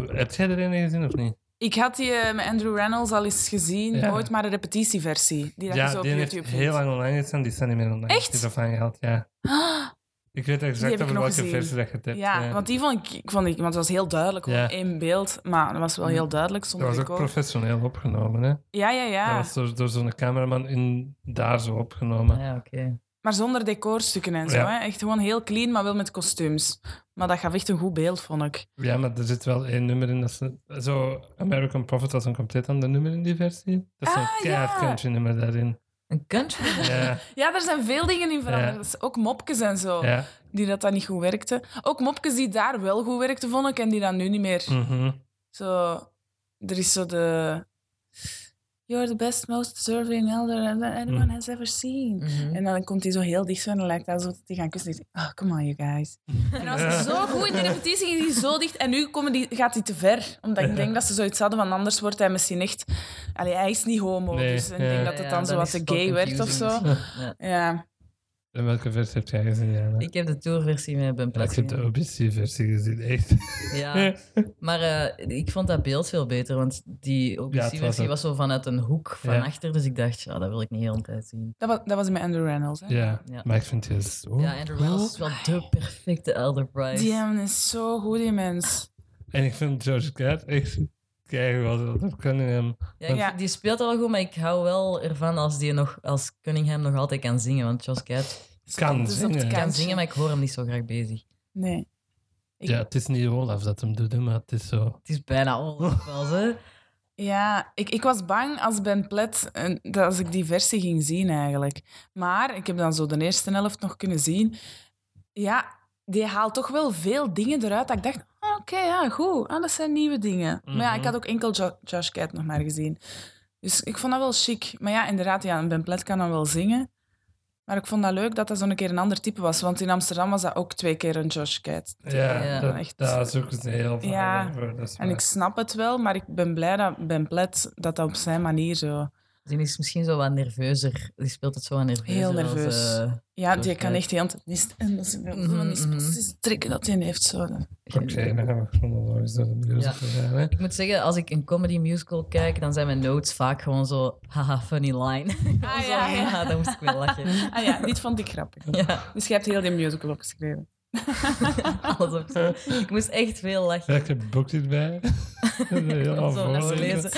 A: Heb jij er een gezien of niet?
C: Ik had die eh, met Andrew Reynolds al eens gezien,
A: Ja.
C: ooit maar de repetitieversie. Die dat je zo
A: ja,
C: op
A: die heeft
C: YouTube
A: heel
C: vindt.
A: lang online gestaan, die staat niet meer online.
C: Echt?
A: Die is offline gehaald, ja.
C: Ah,
A: Ik weet
C: Die
A: exact
C: heb ik
A: over
C: nog
A: welke
C: gezien.
A: versie dat je het hebt.
C: Ja, want die vond ik, ik vond ik, want het was heel duidelijk,
A: Ja. Mm.
C: op één beeld. Maar dat was wel heel duidelijk,
A: dat
C: zonder
A: was ook
C: decor.
A: professioneel opgenomen, hè.
C: Ja, ja, ja.
A: Dat was door, door zo'n cameraman in, daar zo opgenomen.
B: Ja, oké.
C: Maar zonder decorstukken en zo.
A: Ja.
C: Hè? Echt gewoon heel clean, maar wel met kostuums. Maar dat gaf echt een goed beeld, vond ik.
A: Ja, maar er zit wel één nummer in. Dat ze, zo, American Prophet was een compleet ander nummer in die versie. Dat is een
C: Ah,
A: keihard
C: ja.
A: country nummer daarin.
B: Een country.
A: Ja,
C: Ja, er zijn veel dingen in veranderd.
A: Ja.
C: Dat is Ook mopjes en zo,
B: Oh.
A: ja.
C: die dat dan niet goed werkten. Ook mopjes die daar wel goed werkten, vond ik, en die dan nu niet meer.
A: mhm.
C: Zo, er is zo de... You're the best, most deserving elder that anyone
A: Mm.
C: has ever seen.
B: Mhm.
C: En dan komt hij zo heel dicht zo en dan lijkt hij alsof hij gaan kussen. Ik denk, oh, come on, you guys. En dan was hij zo goed in de repetitie, ging hij zo dicht. En nu komen die, gaat hij te ver. Omdat ik denk dat ze zoiets hadden van anders wordt hij misschien echt... Allee, hij is niet homo,
A: Nee,
C: dus ik
A: ja.
C: denk dat het
B: Ja,
C: dan
B: dan
C: zo wat
B: is
C: te
B: het wel
C: gay werd of zo.
B: confusing dus. Ja.
C: Ja.
A: En welke versie heb jij gezien, Jana?
B: Ik heb de tourversie met Ben
A: ik
B: Platt
A: heb de
B: gezien.
A: OBC-versie gezien, echt.
B: Ja, maar eh, ik vond dat beeld veel beter, want die
A: Ja, het was
B: OBC-versie
A: ook-
B: was zo vanuit een hoek van
A: Ja.
B: achter, dus ik dacht, ja, dat wil ik niet heel de tijd zien.
C: Dat was, dat was met Andrew Reynolds. Hè?
A: ja.
B: Ja.
A: maar ik vind het zo...
B: Ja, Andrew Wells is wel de perfecte Elder Price.
C: Die eh, man is zo goed, die mens.
A: En ik vind George Cat echt... Kijk, wat dat kan in hem.
B: Ja, ik
C: Ja.
B: vind- die speelt al goed, maar ik hou wel ervan als, die nog, als Cunningham nog altijd kan zingen. Want Jos Cat
A: Kan
C: Dus op het
A: zingen.
C: kan-
B: kan
C: Kansje.
B: zingen, maar ik hoor hem niet zo graag bezig.
C: Nee. Ik-
A: Ja, het is niet Olaf dat hem doet, hè, maar het is zo...
B: Het is bijna ongeval, hè?
C: Ja, ik, ik was bang als Ben Plet, en dat als ik die versie ging zien eigenlijk. Maar ik heb dan zo de eerste helft nog kunnen zien. Ja, die haalt toch wel veel dingen eruit dat ik dacht, ah, oké, ja, goed. Ah, dat zijn nieuwe dingen. Maar ja, ik
A: Mhm.
C: had ook enkel Jo- Josh Cat nog maar gezien. Dus ik vond dat wel chic. Maar ja, inderdaad, ja, een Ben Plet kan dan wel zingen. Maar ik vond dat leuk dat dat zo'n keer een ander type was. Want in Amsterdam was dat ook twee keer een Josh Cat.
A: Ja,
B: Ja,
A: dat,
C: echt.
A: daar zoeken ze heel veel
C: Ja.
A: voor. Dat is
C: En
A: waar.
C: ik snap het wel, maar ik ben blij dat Ben Plet dat, dat op zijn manier zo...
B: Dus Die is misschien zo wat nerveuzer. Die speelt het zo wat nerveuzer.
C: Heel
B: als,
C: nerveus.
B: eh,
C: Ja, die
B: Perfect.
C: kan echt heel antagonist. En dat is
B: Mhm,
C: gewoon niet
B: mhm.
C: precies trekken dat hij heeft. Zo.
A: Oké, dan gaan we chronologisch door de musical gaan, hè.
B: Ik moet zeggen, als ik een comedy musical kijk, dan zijn mijn notes vaak gewoon zo, haha, funny line.
C: Ah,
B: Zo,
C: ja, ja.
B: dan moest ik wel lachen.
C: Ah ja, dit vond ik grappig.
B: Ja,
C: Dus je hebt heel die musical opgeschreven.
B: alles op zo. Ik moest echt veel lachen.
A: Ja, ik heb een boek hierbij.
B: Om
A: Oh,
B: zo naar te
A: Het
B: lezen.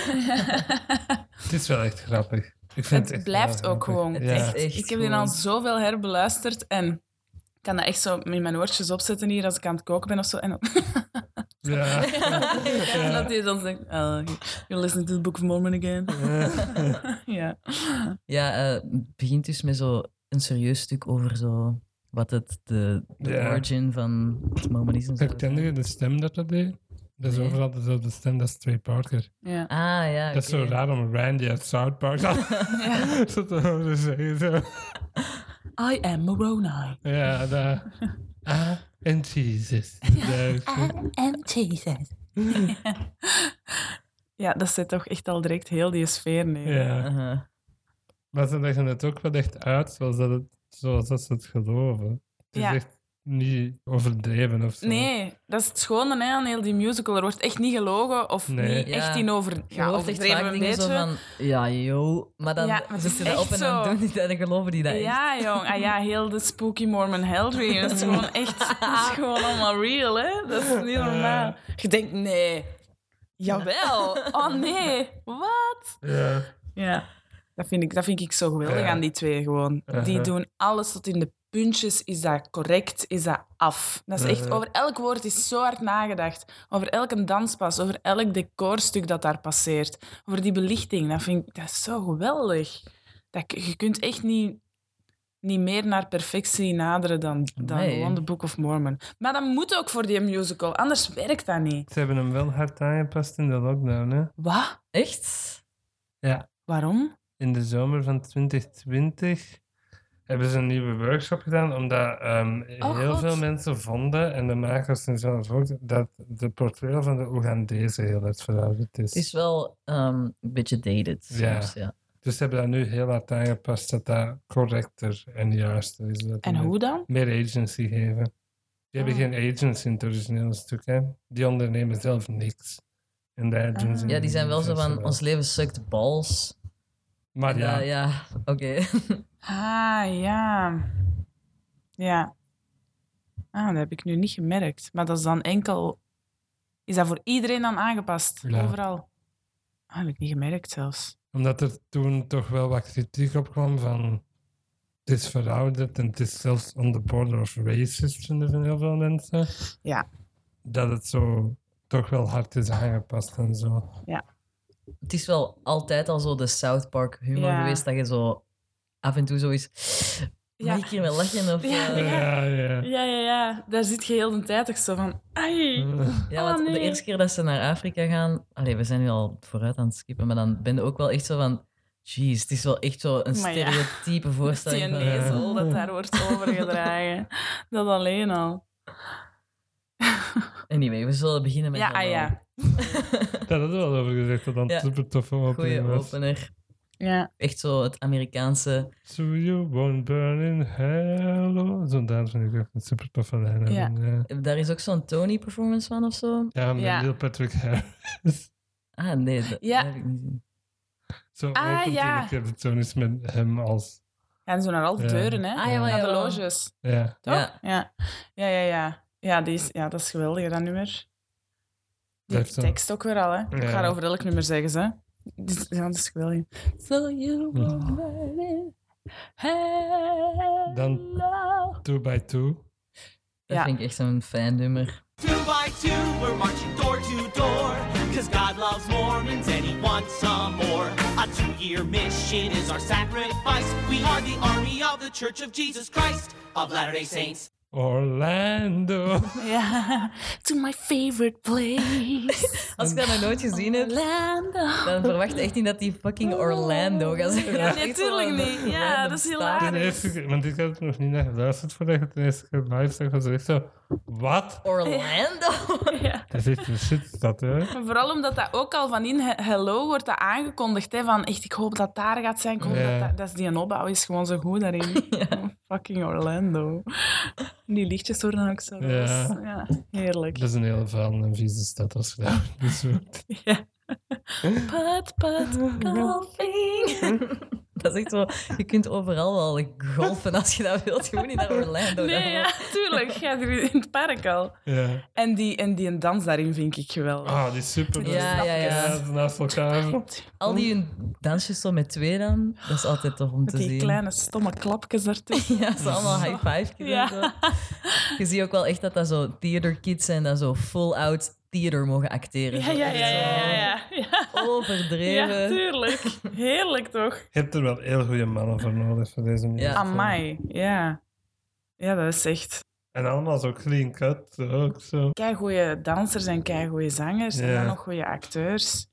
A: is wel echt grappig. Ik vind
C: Het
A: echt
C: blijft
A: wel
C: ook
A: grappig.
C: gewoon.
A: Ja.
B: echt, echt
C: Ik heb die
B: gewoon.
C: al zoveel herbeluisterd en ik kan dat echt zo in mijn oortjes opzetten hier als ik aan het koken ben of zo. En dan,
A: Ja.
C: en dat hij dan zegt, oh, you're listening to the Book of Mormon again. ja.
B: Ja, eh, het begint dus met zo een serieus stuk over zo wat het, de, de
A: Ja.
B: origin van het Mormonisme
A: Herkende je de stem dat dat deed? Dat is
B: Nee.
A: overal dezelfde stem, dat is Trey Parker.
C: Ja.
B: Ah, ja.
A: Dat is zo
B: oké.
A: raar om Randy uit South Park zo te horen zeggen. Zo.
C: I am Moroni.
A: Ja, dat... Ah, en Jesus. Ja,
C: Ja, dat zit toch echt al direct heel die sfeer neer.
A: ja.
B: Aha.
A: Maar ze leggen het ook wel echt uit zoals, dat het, zoals dat ze het geloven. Het is
C: Ja.
A: echt niet overdreven of zo.
C: Nee, dat is het schone hè, aan heel die musical. Er wordt echt niet gelogen of
A: Nee.
C: niet echt
B: Ja.
C: in over,
B: Je
C: ja,
B: hoort echt
C: overdreven
B: vaak
C: een
B: dingen
C: beetje.
B: zo van... Ja, joh. Maar dan
C: Ja, maar het
B: zitten
C: is
B: ze op en
C: echt
B: dan
C: zo.
B: doen die dat en geloven die dat echt.
C: Ja, jong. Ah ja, heel de spooky Mormon Hellry. Dat is gewoon echt... Dat is gewoon allemaal real, hè. Dat is niet normaal. Je denkt, nee. Jawel. Oh, nee. Wat?
A: Ja.
C: Ja. Dat vind ik, dat vind ik zo geweldig
A: Ja.
C: aan die twee gewoon. Die
A: Uh-huh.
C: doen alles tot in de puntjes. Is dat correct? Is dat af? Dat is echt...
A: Uh-huh.
C: Over elk woord is zo hard nagedacht. Over elke danspas. Over elk decorstuk dat daar passeert. Over die belichting. Dat vind ik... Dat is zo geweldig. Dat, k- je kunt echt niet, niet meer naar perfectie naderen dan, dan
B: Nee.
C: gewoon de Book of Mormon. Maar dat moet ook voor die musical. Anders werkt dat niet.
A: Ze hebben hem wel hard aangepast in de lockdown, hè.
C: Wat?
B: Echt?
C: Waarom?
A: in de zomer van 2020 hebben ze een nieuwe workshop gedaan, omdat ehm,
C: Oh,
A: heel
C: God.
A: veel mensen vonden, en de makers en zelf ook, dat de portrayal van de Oegandese heel hard verouderd is.
B: Het is wel ehm, een beetje dated.
A: Ja.
B: soms, ja.
A: Dus ze hebben dat nu heel hard aangepast, dat dat correcter en juister is. Dat
C: En
A: die
C: hoe dan?
A: Meer agency geven. Die hebben
C: Ah.
A: geen agents in het originele stuk, hè. Die ondernemen zelf niks. En de agents...
C: Ah.
A: en
B: Ja, die zijn wel zo
A: mensen
B: van... Ons leven sukt balls.
A: Maar ja,
B: Ja, ja. Oké.
C: Ah, ja. Ja. Ah, dat heb ik nu niet gemerkt. Maar dat is dan enkel... Is dat voor iedereen dan aangepast?
A: Ja.
C: Overal? Ah, heb ik niet gemerkt zelfs.
A: Omdat er toen toch wel wat kritiek op kwam van het is verouderd en het is zelfs on the border of racist, vinden van heel veel mensen.
C: Ja.
A: Dat het zo toch wel hard is aangepast en
B: Oh,
A: zo.
B: het is wel altijd al zo de South Park humor
C: Ja.
B: geweest dat je zo af en toe zoiets.
C: Ja.
B: Mag ik hier wel lachen? Of,
C: Ja.
B: eh,
A: Ja,
B: ja.
A: ja.
C: Ja, ja, ja. Daar zit je heel de tijd toch zo van... Ai. Oh,
B: want de
C: nee.
B: eerste keer dat ze naar Afrika gaan. Allee, we zijn nu al vooruit aan het skippen, maar dan ben je ook wel echt zo van. Jeez, het is wel echt zo een
C: Maar ja.
B: stereotype
C: Die
B: voorstelling. van- eh,
C: nezel dat daar wordt overgedragen. Dat alleen al.
B: Anyway, we zullen beginnen met. eh,
C: Ja,
B: de
C: ah, ja.
A: Daar hadden we al over gezegd dat dat
B: Ja.
A: super tof om op
B: Goeie
A: was.
B: opener.
C: Ja.
B: Echt zo het Amerikaanse.
A: So you won't burn in hell. oh. Zo'n dans vind ik ook een super toffe lijn.
C: Ja.
A: hebben, Ja.
B: Daar is ook zo'n Tony-performance van of zo.
A: Ja, met
C: Ja.
A: Neil Patrick Harris.
B: Ah, nee, dat,
C: Ja.
B: dat heb ik niet gezien.
A: Zo
C: Ah,
A: opent en
C: ja.
A: ik heb het zo eens met hem als...
C: En zo naar al de
A: Ja.
C: deuren, hè.
B: Ah, jawel,
C: naar de
B: jawel.
C: loges.
A: Ja.
C: Toch?
B: Ja.
C: Ja. Ja, ja, ja. Ja, die is, ja dat is geweldig, dat nummer. Die
A: heeft een-
C: tekst ook weer al, hè. Ik
A: Ja.
C: ga dat over elk nummer zeggen, ze. Dus, ja, dat is geweldig. So you won't burn in hell.
A: Dan- Two by two.
B: Dat
C: Ja.
B: vind ik echt zo'n fijn nummer.
D: Two by two, we're marching door to door. Cause God loves Mormons and He wants some more. A two year mission is our sacrifice. We are the army of the Church of Jesus Christ of Latter day Saints.
A: Orlando.
C: Ja. To my favorite place.
B: Als ik dat nog nooit gezien heb, dan verwacht ik echt niet dat die fucking Orlando gaat zijn.
C: Ja,
B: Echt
C: natuurlijk
B: zo'n
C: niet. Ja,
B: random
C: dat
B: staat.
C: is
A: De
C: hilarisch.
A: eerste keer, want ik had het nog niet naar geluisterd voordat ik het de eerste keer live zag, was ik echt zo, wat?
B: Orlando?
C: ja.
A: Dat is echt een shitstad, hè?
C: Maar Vooral omdat dat ook al van in He- Hello wordt dat aangekondigd. Hè, van echt, ik hoop dat daar gaat zijn. Ik hoop
A: Ja.
C: dat, daar- dat is die een opbouw is gewoon zo goed daarin. Oh, fucking Orlando. Die lichtjes worden ook zo.
A: Ja.
C: roze. ja heerlijk.
A: Dat is een hele vuil en vieze stad als je daar dus wordt.
C: Put, put, golfing.
B: Dat is echt zo... Je kunt overal wel golfen als je dat wilt. Je moet niet naar Orlando gaan.
C: Nee, ja, tuurlijk. Gaat hier in het park al.
A: Ja.
C: En die, en die een dans daarin vind ik geweldig.
A: Ah, die is super.
B: Ja, ja, ja.
A: Naast elkaar.
B: Al die hun dansjes zo met twee dan, dat is altijd tof om te
C: Met die
B: zien.
C: kleine stomme klapjes ertussen.
B: Ja, ze allemaal high five
C: Ja.
B: Je ziet ook wel echt dat dat zo theater kids zijn, dat zo full-out theater mogen acteren.
C: Ja, ja,
B: Zo
C: ja, ja, ja, ja.
B: Overdreven.
C: Ja, tuurlijk. Heerlijk toch?
A: Je hebt er wel heel goede mannen voor nodig voor deze muziek.
B: Ja.
C: Amai, ja. Ja, dat is echt.
A: En allemaal zo clean cut, ook zo.
C: Keigoeie dansers en keigoeie zangers. En
A: Ja.
C: dan nog goede acteurs.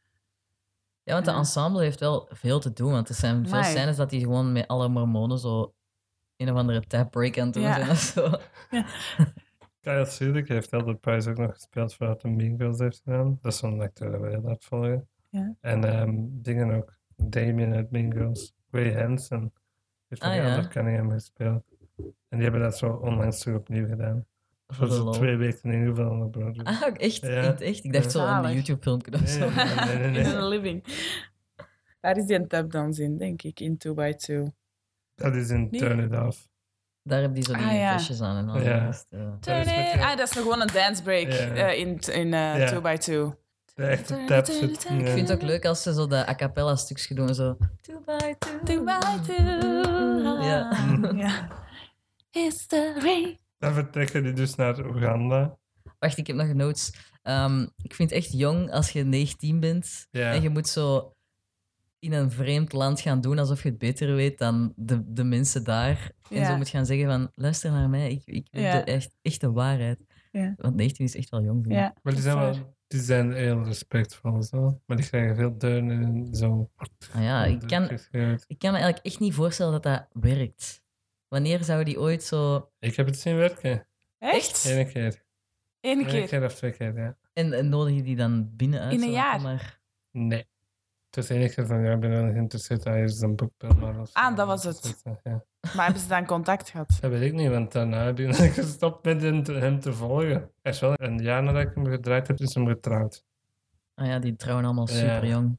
B: Ja, want de
C: Ja.
B: ensemble heeft wel veel te doen. Want er zijn veel
C: Amai.
B: scènes dat die gewoon met alle mormonen zo een of andere tap break aan het doen
C: Ja.
B: zijn of zo.
A: Kyle Sidik heeft Elder Price ook nog gespeeld voordat hij Mean Girls heeft gedaan. Dat is zo'n acteur dat wij laat volgen.
C: Ja.
A: En ehm, dingen ook. Damien uit Mean Girls. Ray Hansen. Heeft ook
B: Ah,
A: ah,
B: ja.
A: Elder Cunningham gespeeld. En die hebben dat zo onlangs terug opnieuw gedaan.
B: Voor
A: Dat
B: de
A: is
B: lol.
A: twee weken in ieder geval onder Broadway.
B: Ah, ook echt?
A: Ja.
B: in het echt? Ik dacht
A: Ja.
B: zo aan een
C: Zalig.
B: YouTube-filmpje of zo.
A: Nee, nee, nee, nee,
C: In
A: nee.
C: een living. Daar is die tapdance in, denk ik. In 2 by 2
A: Dat is in
C: Nee.
A: Turn It Off.
B: Daar heb die zo die
C: Ah, ja.
B: vestjes aan en al.
A: Ja.
B: de rest, eh.
A: Dat is met die-
C: Ah, dat is nog gewoon een dance break
A: Ja.
C: eh, in, in eh,
A: Ja.
C: 2 by 2
A: De echte
C: Turn
A: tap
C: it,
A: zit.
C: turn it,
A: ja.
B: Ik vind het ook leuk als ze zo de a cappella stukjes doen. Zo. Two by two.
C: 2 by 2
B: Ja.
C: ja.
E: History.
A: Mm. Dan vertrekken die dus naar Oeganda.
B: Wacht, ik heb nog notes. Ehm, ik vind het echt jong als je 19 bent.
A: Ja.
B: En je moet zo in een vreemd land gaan doen alsof je het beter weet dan de, de mensen daar. En
C: Ja.
B: zo moet gaan zeggen van, luister naar mij, ik, ik weet
C: Ja.
B: de, echt, echt de waarheid.
C: Ja.
B: Want 19 is echt wel jong. vind ik.
C: ja.
A: Maar die zijn,
C: Dat is
A: wel, die zijn heel respectvol. Zo. Maar die krijgen veel deuren en zo.
B: Ah ja, ik kan,
A: Geschreeuwd.
B: ik kan me eigenlijk echt niet voorstellen dat dat werkt. Wanneer zou die ooit zo...
A: Ik heb het zien werken.
C: Echt?
A: Eén keer.
C: Eén
A: Eén
C: keer.
A: keer of twee keer, ja.
B: En, en nodig je die dan binnen uit?
C: In een
B: zo?
C: jaar.
B: Maar...
A: Nee. Het is één keer van, ja, ik ben wel geïnteresseerd. Ah, hier is een boekbeeld. maar of zo.
C: Ah, dat was het.
A: Ja.
C: Maar hebben ze dan contact gehad?
A: Dat weet ik niet, want daarna ben ik gestopt met hem te, hem te volgen. Hij is wel een jaar nadat ik hem gedraaid heb, is hem getrouwd.
B: Ah ja, die trouwen allemaal
A: Ja.
B: super jong.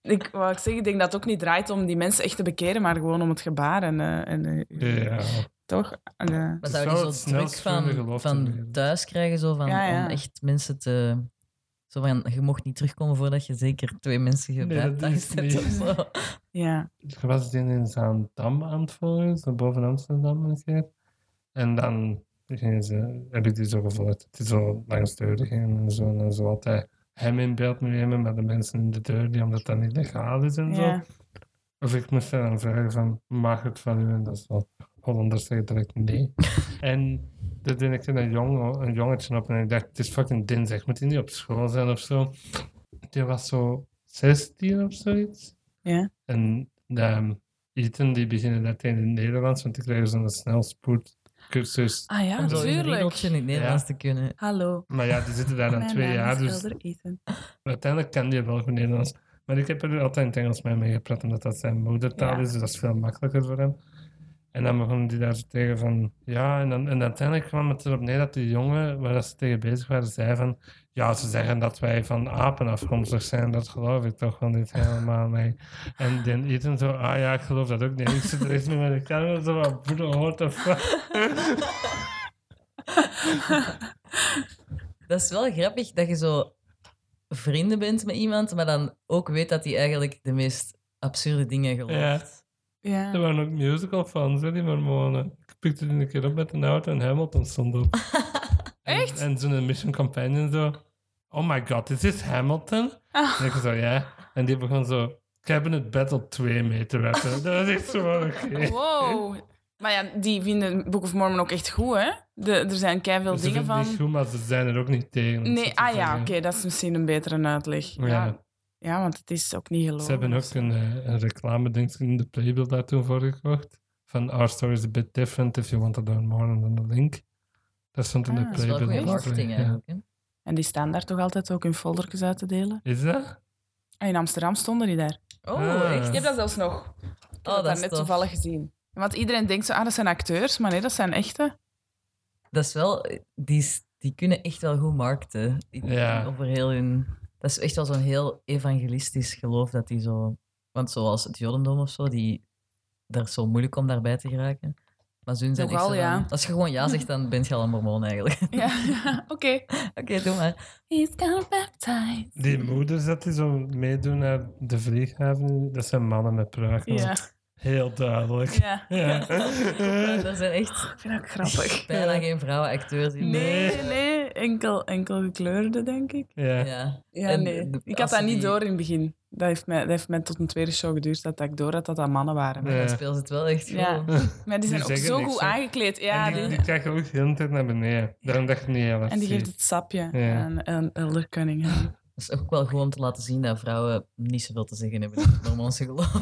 C: Ik, wou ik, zeggen, ik denk dat het ook niet draait om die mensen echt te bekeren, maar gewoon om het gebaar. En, eh, en, eh,
A: Ja.
C: Toch? En, eh,
B: Maar
A: Het
B: zou
A: zou
B: die
A: het
B: zo druk
A: snelst groeiende
B: van,
A: geloof
B: van
A: zijn.
B: thuis krijgen, zo van,
C: Ja, ja.
B: om echt mensen te... Zo van, je mocht niet terugkomen voordat je zeker twee mensen
A: dat
B: gebijtangst
A: is
B: hebt of
A: niet.
B: zo.
C: ja.
A: Ik Dus was die in Zaandam aan het volgen, zo boven Amsterdam een keer. En dan gingen ze, heb ik die zo gevolgd. Het is zo langs de deur ging en zo. En zo altijd hem in beeld nemen met de mensen in de deur, die omdat dat niet legaal is en zo.
C: ja.
A: Of ik moest dan vragen van, mag het van u? En dat is wel, Hollanders zeggen direct nee. en dat deed ik in een, jongen, een jongetje op en ik dacht, het is fucking dinsdag, moet hij niet op school zijn of zo? Die was zo 16 of zoiets.
C: Ja.
A: En de Eten, die beginnen dat in het Nederlands, want die krijgen zo'n snelspoedcursus.
C: Ah ja,
B: Om zo in een
C: natuurlijk.
B: ringeltje in het Nederlands te kunnen.
C: Hallo.
A: Maar ja, die zitten daar dan
C: Mijn
A: twee
C: naam
A: jaar,
C: is
A: dus
C: Elder Ethan.
A: uiteindelijk kan die wel goed Nederlands. Maar ik heb er altijd in het Engels mee, mee gepraat, omdat dat zijn moedertaal
C: Ja.
A: is, dus dat is veel makkelijker voor hem. En dan begon die daar zo tegen van, ja, en, dan, en uiteindelijk kwam het erop neer dat die jongen, waar dat ze tegen bezig waren, zei van, ja, ze zeggen dat wij van apen afkomstig zijn, dat geloof ik toch wel niet helemaal, nee. En dan Ethan zo, ah ja, ik geloof dat ook niet. Ik zit er echt nu met de camera zo, wat broeder, hoort of
B: Dat is wel grappig dat je zo vrienden bent met iemand, maar dan ook weet dat hij eigenlijk de meest absurde dingen gelooft.
A: Er
C: Ja.
A: waren ook musical fans, hè, die Mormonen. Ik pikte die een keer op met een auto en Hamilton stond op. En-
C: Echt?
A: En, zo'n Mission Companion zo... Oh my god, is this Hamilton?
C: Ah.
A: En ik zo, ja. En die begon zo... Cabinet Battle 2 mee te rappen. Dat was echt zo van, oké.
C: Wow. Maar ja, die vinden Book of Mormon ook echt goed, hè? De, er zijn keiveel
A: Dus Ze vinden
C: dingen
A: het niet
C: van...
A: goed, maar ze zijn er ook niet tegen. om zo
C: Nee,
A: te
C: ah ja,
A: zeggen.
C: oké, dat is misschien een betere uitleg.
A: Ja.
C: Ja, ja. want het is ook niet gelogen.
A: Ze hebben ook een, eh, een reclame, denk ik, in de Playbill daar toen voor gekocht. Van Our Story is a bit different if you want to learn more than the link. Dat stond in de
C: Ah,
B: Dat
A: Playbill.
B: is wel goede
A: dat was-
B: marketing
A: ja.
B: eigenlijk. hè.
C: En die staan daar toch altijd ook in foldertjes uit te delen?
A: Is dat?
C: En in Amsterdam stonden die daar.
B: Oh,
A: Ah.
B: echt?
A: Ik heb
C: zelfs nog. Ik
B: Oh,
C: heb
B: dat
C: dat
B: is
C: net
B: tof.
C: toevallig gezien. Want iedereen denkt zo, ah, dat zijn acteurs, maar nee, dat zijn echte.
B: Dat is wel... Die, is- die kunnen echt wel goed markten. Die-
A: Ja.
B: Over heel hun... Dat is echt wel zo'n heel evangelistisch geloof dat die zo... Want zoals het Jodendom of zo, die... Daar is zo moeilijk om daarbij te geraken. Maar zo'n zijn echt
C: Nogal,
B: zo van,
C: ja.
B: Als je gewoon ja zegt, dan ben je al een mormoon eigenlijk.
C: Ja, ja, oké.
B: Oké, doe maar.
E: He's got baptized.
A: Die moeders dat die zo meedoen naar de vlieghaven, dat zijn mannen met pruiken.
C: Ja.
A: Heel duidelijk.
C: ja.
A: Ja. Eh.
B: Ja, Er zijn echt
C: Ik vind dat ook grappig.
B: bijna geen vrouwenacteurs in.
C: Nee, nee, Enkel, enkel gekleurde, denk ik.
A: ja.
B: Ja.
C: Ja,
B: En
C: nee.
B: de-
C: ik
B: als
C: had dat
B: ze
C: niet
B: die-
C: door in het begin. Dat heeft, mij, dat heeft mij tot een tweede show geduurd dat ik door had dat dat mannen waren.
A: Ja.
B: Dan speelt het wel echt
C: Ja.
B: goed.
C: Maar die
A: Die
C: zijn ook
A: zeggen
C: zo
A: niks,
C: goed
A: hè.
C: aangekleed. Ja,
A: en die,
C: die-
A: die krijgen ook de hele tijd naar beneden. Daarom dacht ik niet, ja, wat
C: en die
A: zie
C: geeft het sapje
A: Ja.
C: aan, aan Elder Cunningham.
B: Dat is ook wel gewoon om te laten zien dat vrouwen niet zoveel te zeggen hebben over het Mormoonse geloof.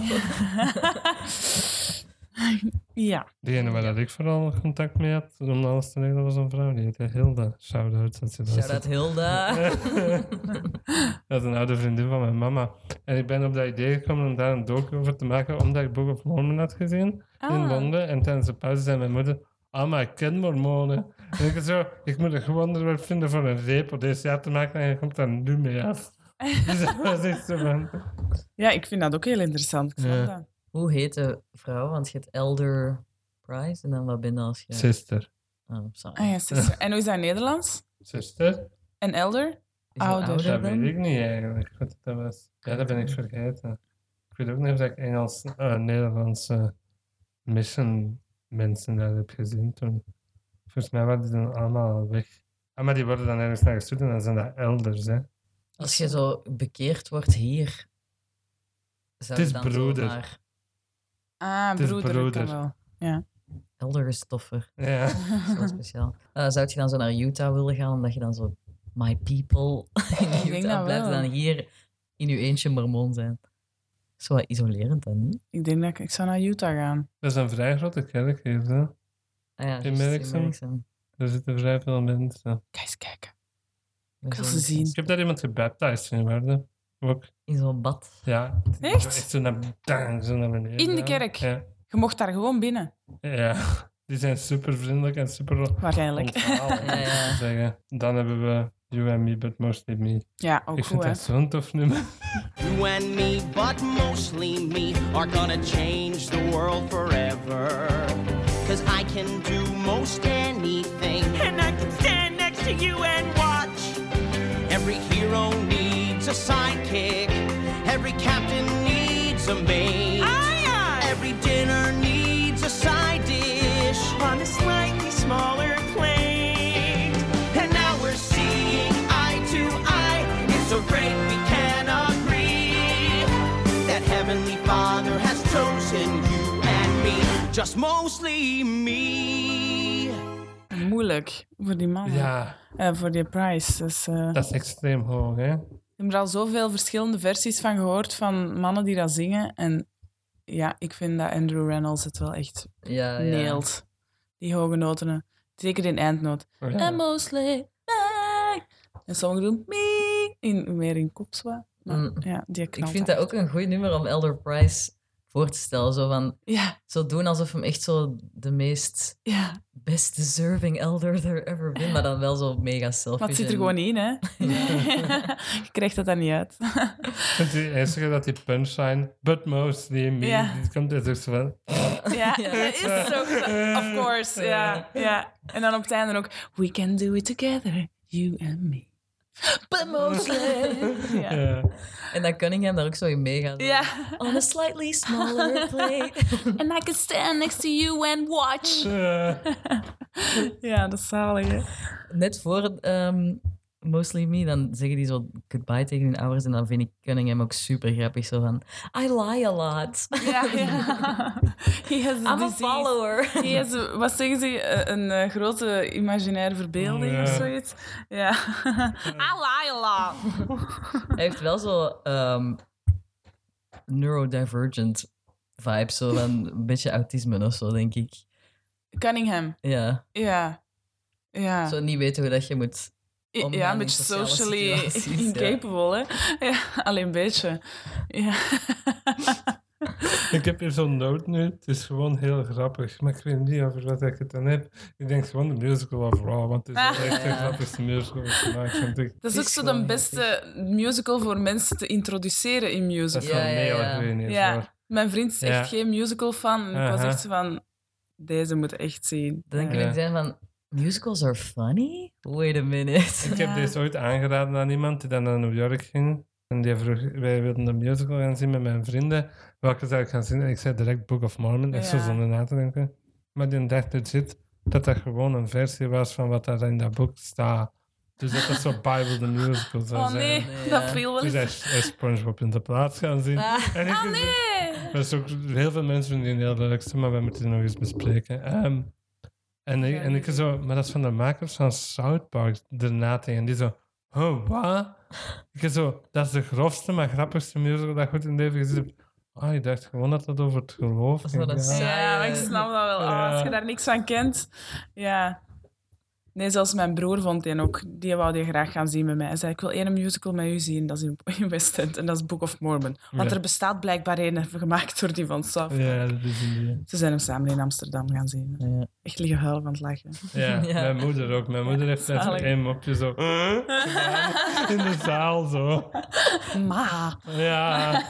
C: ja.
A: De ene waar dat ik vooral contact mee had, om alles te leggen, dat was een vrouw. Die heette Hilda. Shout-out. Dat ze
B: Shout-out
A: luistert.
B: Hilda.
A: dat is een oude vriendin van mijn mama. En ik ben op dat idee gekomen om daar een docu over te maken, omdat ik Book of Mormon had gezien
C: Ah.
A: in Londen. En tijdens de pauze zei mijn moeder, ah, maar ik ken Mormonen. En ik zo, ik moet een goed onderwerp vinden voor een reep op deze jaar te maken en je komt daar nu mee af. Dus dat was echt zo van...
C: ja, ik vind dat ook heel interessant. Ik snap
A: Ja.
C: dat.
B: Hoe heet de vrouw? Want je hebt Elder Price en dan wat ben je als je...
A: Sister.
B: Oh, sorry.
C: Ah, ja, sister. En hoe is dat in Nederlands?
A: Sister?
C: En Elder?
B: Is Oh, dat
C: ouder.
A: Dat
B: dan?
A: weet ik niet eigenlijk, wat dat was. Ja, dat ben ik vergeten. Ik weet ook niet of ik Engels, eh, Nederlandse mission mensen daar heb gezien toen. Volgens mij waren die dan allemaal al weg. Ah, maar die worden dan ergens naar gestuurd en dan zijn dat elders, hè.
B: Als je zo bekeerd wordt hier... Zou
A: Het
B: je
A: is
B: dan
A: broeder.
B: zomaar-
C: Ah,
A: Het is
C: broeder. dat kan
A: broeder.
C: wel.
B: Elder is toffer.
A: Ja.
B: Dat is wel speciaal. Eh, zou je dan zo naar Utah willen gaan, omdat je dan zo my people in
C: denk dat
B: Utah blijft en
C: wel.
B: dan hier in je eentje mormon zijn? Zo wat isolerend dan, niet?
C: Ik denk dat ik, ik zou naar Utah gaan.
A: Dat is een vrij grote kerk hier, hè.
B: Ah ja,
A: In
B: juist, in
A: Merksem.
B: Merksem.
A: Daar zitten vrij veel mensen.
C: Kijk eens kijken.
B: Met
C: Ik wil
B: zo'n-
C: ze zien.
A: Ik heb daar iemand gebaptized in worden. Ook.
B: In zo'n bad.
A: Ja.
C: Echt?
A: Echt zo naar, bang, zo naar beneden.
C: In de
A: gaan.
C: kerk?
A: Ja.
C: Je mocht daar gewoon binnen,
A: ja. Die zijn super vriendelijk en super
C: waarschijnlijk.
A: onthalen,
B: Ja,
A: om zo
B: ja.
A: te zeggen. Dan hebben we You and Me, But Mostly Me.
C: Ja, ook
A: ik
C: goed,
A: vind
C: Oh, hè.
A: dat zo'n tof nummer.
D: You and me, but mostly me, are gonna change the world forever. Cause I can do most anything. And I can stand next to you and watch. Every hero needs a sidekick. Every captain needs a mate. Every dinner needs a side dish. On a slightly smaller plate. And now we're seeing eye to eye. It's so great we can agree that Heavenly Father has chosen you and me, just mostly me.
C: Moeilijk voor die mannen.
A: Ja,
C: Eh, voor die prijs. Dus, eh,
A: dat is extreem hoog, hè?
C: Ik heb er al zoveel verschillende versies van gehoord van mannen die dat zingen. En ja, ik vind dat Andrew Reynolds het wel echt
B: Ja, ja.
C: neelt. Die hoge noten. Zeker in eindnoot.
A: Oh,
E: And
A: ja.
E: mostly back.
C: En sommigen doen mee, in, meer in kopswa. Maar
B: Mm.
C: ja, die
B: Ik
C: knalt
B: vind dat
C: echt.
B: ook een goed nummer om Elder Price voor te stellen. Zo, van,
C: Ja,
B: zo doen alsof hem echt zo de meest
C: ja.
B: best deserving elder there ever been, maar dan wel zo mega selfish.
C: Maar het zit er
B: en-
C: gewoon niet in, hè. Je krijgt dat dan niet uit.
A: Het is eerst dat die punchline, But Mostly Me,
C: Ja.
A: die komt uit ook zo van...
C: Ja,
B: Ja.
C: dat is zo. Of course, ja. ja. En dan op het einde ook... We can do it together, you and me. But mostly... Ja.
A: Ja.
B: En dan Cunningham daar ook zo in meegaan. zo,
C: Ja.
B: On a slightly smaller plate.
E: And I can stand next to you and watch.
A: Ja.
C: ja, dat is zalig, hè.
B: Net voor ehm, Mostly Me, dan zeggen die zo goodbye tegen hun ouders. En dan vind ik Cunningham ook super grappig. Zo van, I lie a lot.
C: Ja, ja. He has
B: I'm
C: a
B: a
C: disease.
B: follower.
C: He has a- wat zeggen ze? Eh, Een eh, grote imaginaire verbeelding of
A: Ja.
C: zoiets. Ja. I lie a lot.
B: Hij heeft wel zo ehm, neurodivergent vibes. Zo van een beetje autisme of zo, denk ik.
C: Cunningham.
B: Ja,
C: Ja. Ja.
B: zo niet weten hoe dat je moet...
C: I-
B: omgaan
C: ja, een
B: in
C: beetje
B: sociale
C: socially
B: situaties, ja.
C: incapable, hè? Ja, alleen een beetje. Ja.
A: Ik heb hier zo'n noot nu, het is gewoon heel grappig, maar ik weet niet over wat ik het dan heb. Ik denk gewoon de musical overal, want het is wel echt de
B: Ja.
C: Ah.
A: grappigste musical wat gemaakt, vind ik.
C: Dat is
B: Het
C: ook
B: is
C: zo
B: gewoon
C: de
B: heel
C: beste musical voor mensen te introduceren in
A: Dat is
C: musical.
B: Ja,
A: wel
B: ja,
A: heel
B: ja.
A: erg niet
C: Ja.
A: hoor.
C: Mijn vriend is echt
A: Ja.
C: geen musical fan. Ik was
A: Aha.
C: echt zo van, deze moet je echt zien.
B: Dan kan
A: Ja.
B: ik zijn van, musicals are funny? Wait a minute.
A: Ik heb
C: Ja.
A: deze ooit aangeraden aan iemand die dan naar New York ging. En die vroeg, wij wilden een musical gaan zien met mijn vrienden. Welke zou ik gaan zien? En ik zei direct Book of Mormon, echt zo
C: Ja.
A: zonder na te denken. Maar die dacht legit dat dat gewoon een versie was van wat daar in dat boek staat. Dus dat dat zo Bible the Musical zou
C: Oh
A: zijn.
C: nee,
B: Nee,
C: dat
B: ja.
C: viel wel
A: Dus hij
C: eens.
A: is hij is Spongebob in de plaats gaan zien.
B: Ah.
A: En ik,
E: Ah, nee!
A: Er is ook heel veel mensen vinden die heel leuk zijn, maar we moeten die nog eens bespreken. Ehm, en, ik, en ik zo, maar dat is van de makers van South Park, daarna tegen die zo, oh, wat? Ik zo, dat is de grofste, maar grappigste musical dat ik goed in het leven gezien heb. Ah, ik dacht gewoon dat dat over het geloof
B: Dat is wel
A: ging,
B: een
A: ja.
B: saaie-
C: Ja, maar ik snap dat wel. Ah, als je
A: Ja.
C: daar niks van kent. Ja. Nee, zelfs mijn broer vond die ook. Die wou die graag gaan zien met mij. Hij zei, ik wil één musical met u zien. Dat is in, in West End en dat is Book of Mormon. Want
A: Ja.
C: er bestaat blijkbaar één gemaakt door die van Saf.
A: Ja, dat is een idee.
C: Ze zijn hem samen in Amsterdam gaan zien.
B: Ja.
C: Echt liggen huilen van het lachen.
A: Ja,
B: Ja.
A: mijn moeder ook. Mijn moeder heeft net
C: zalig.
A: één mopje zo in de zaal zo.
C: Ma.
A: Ja,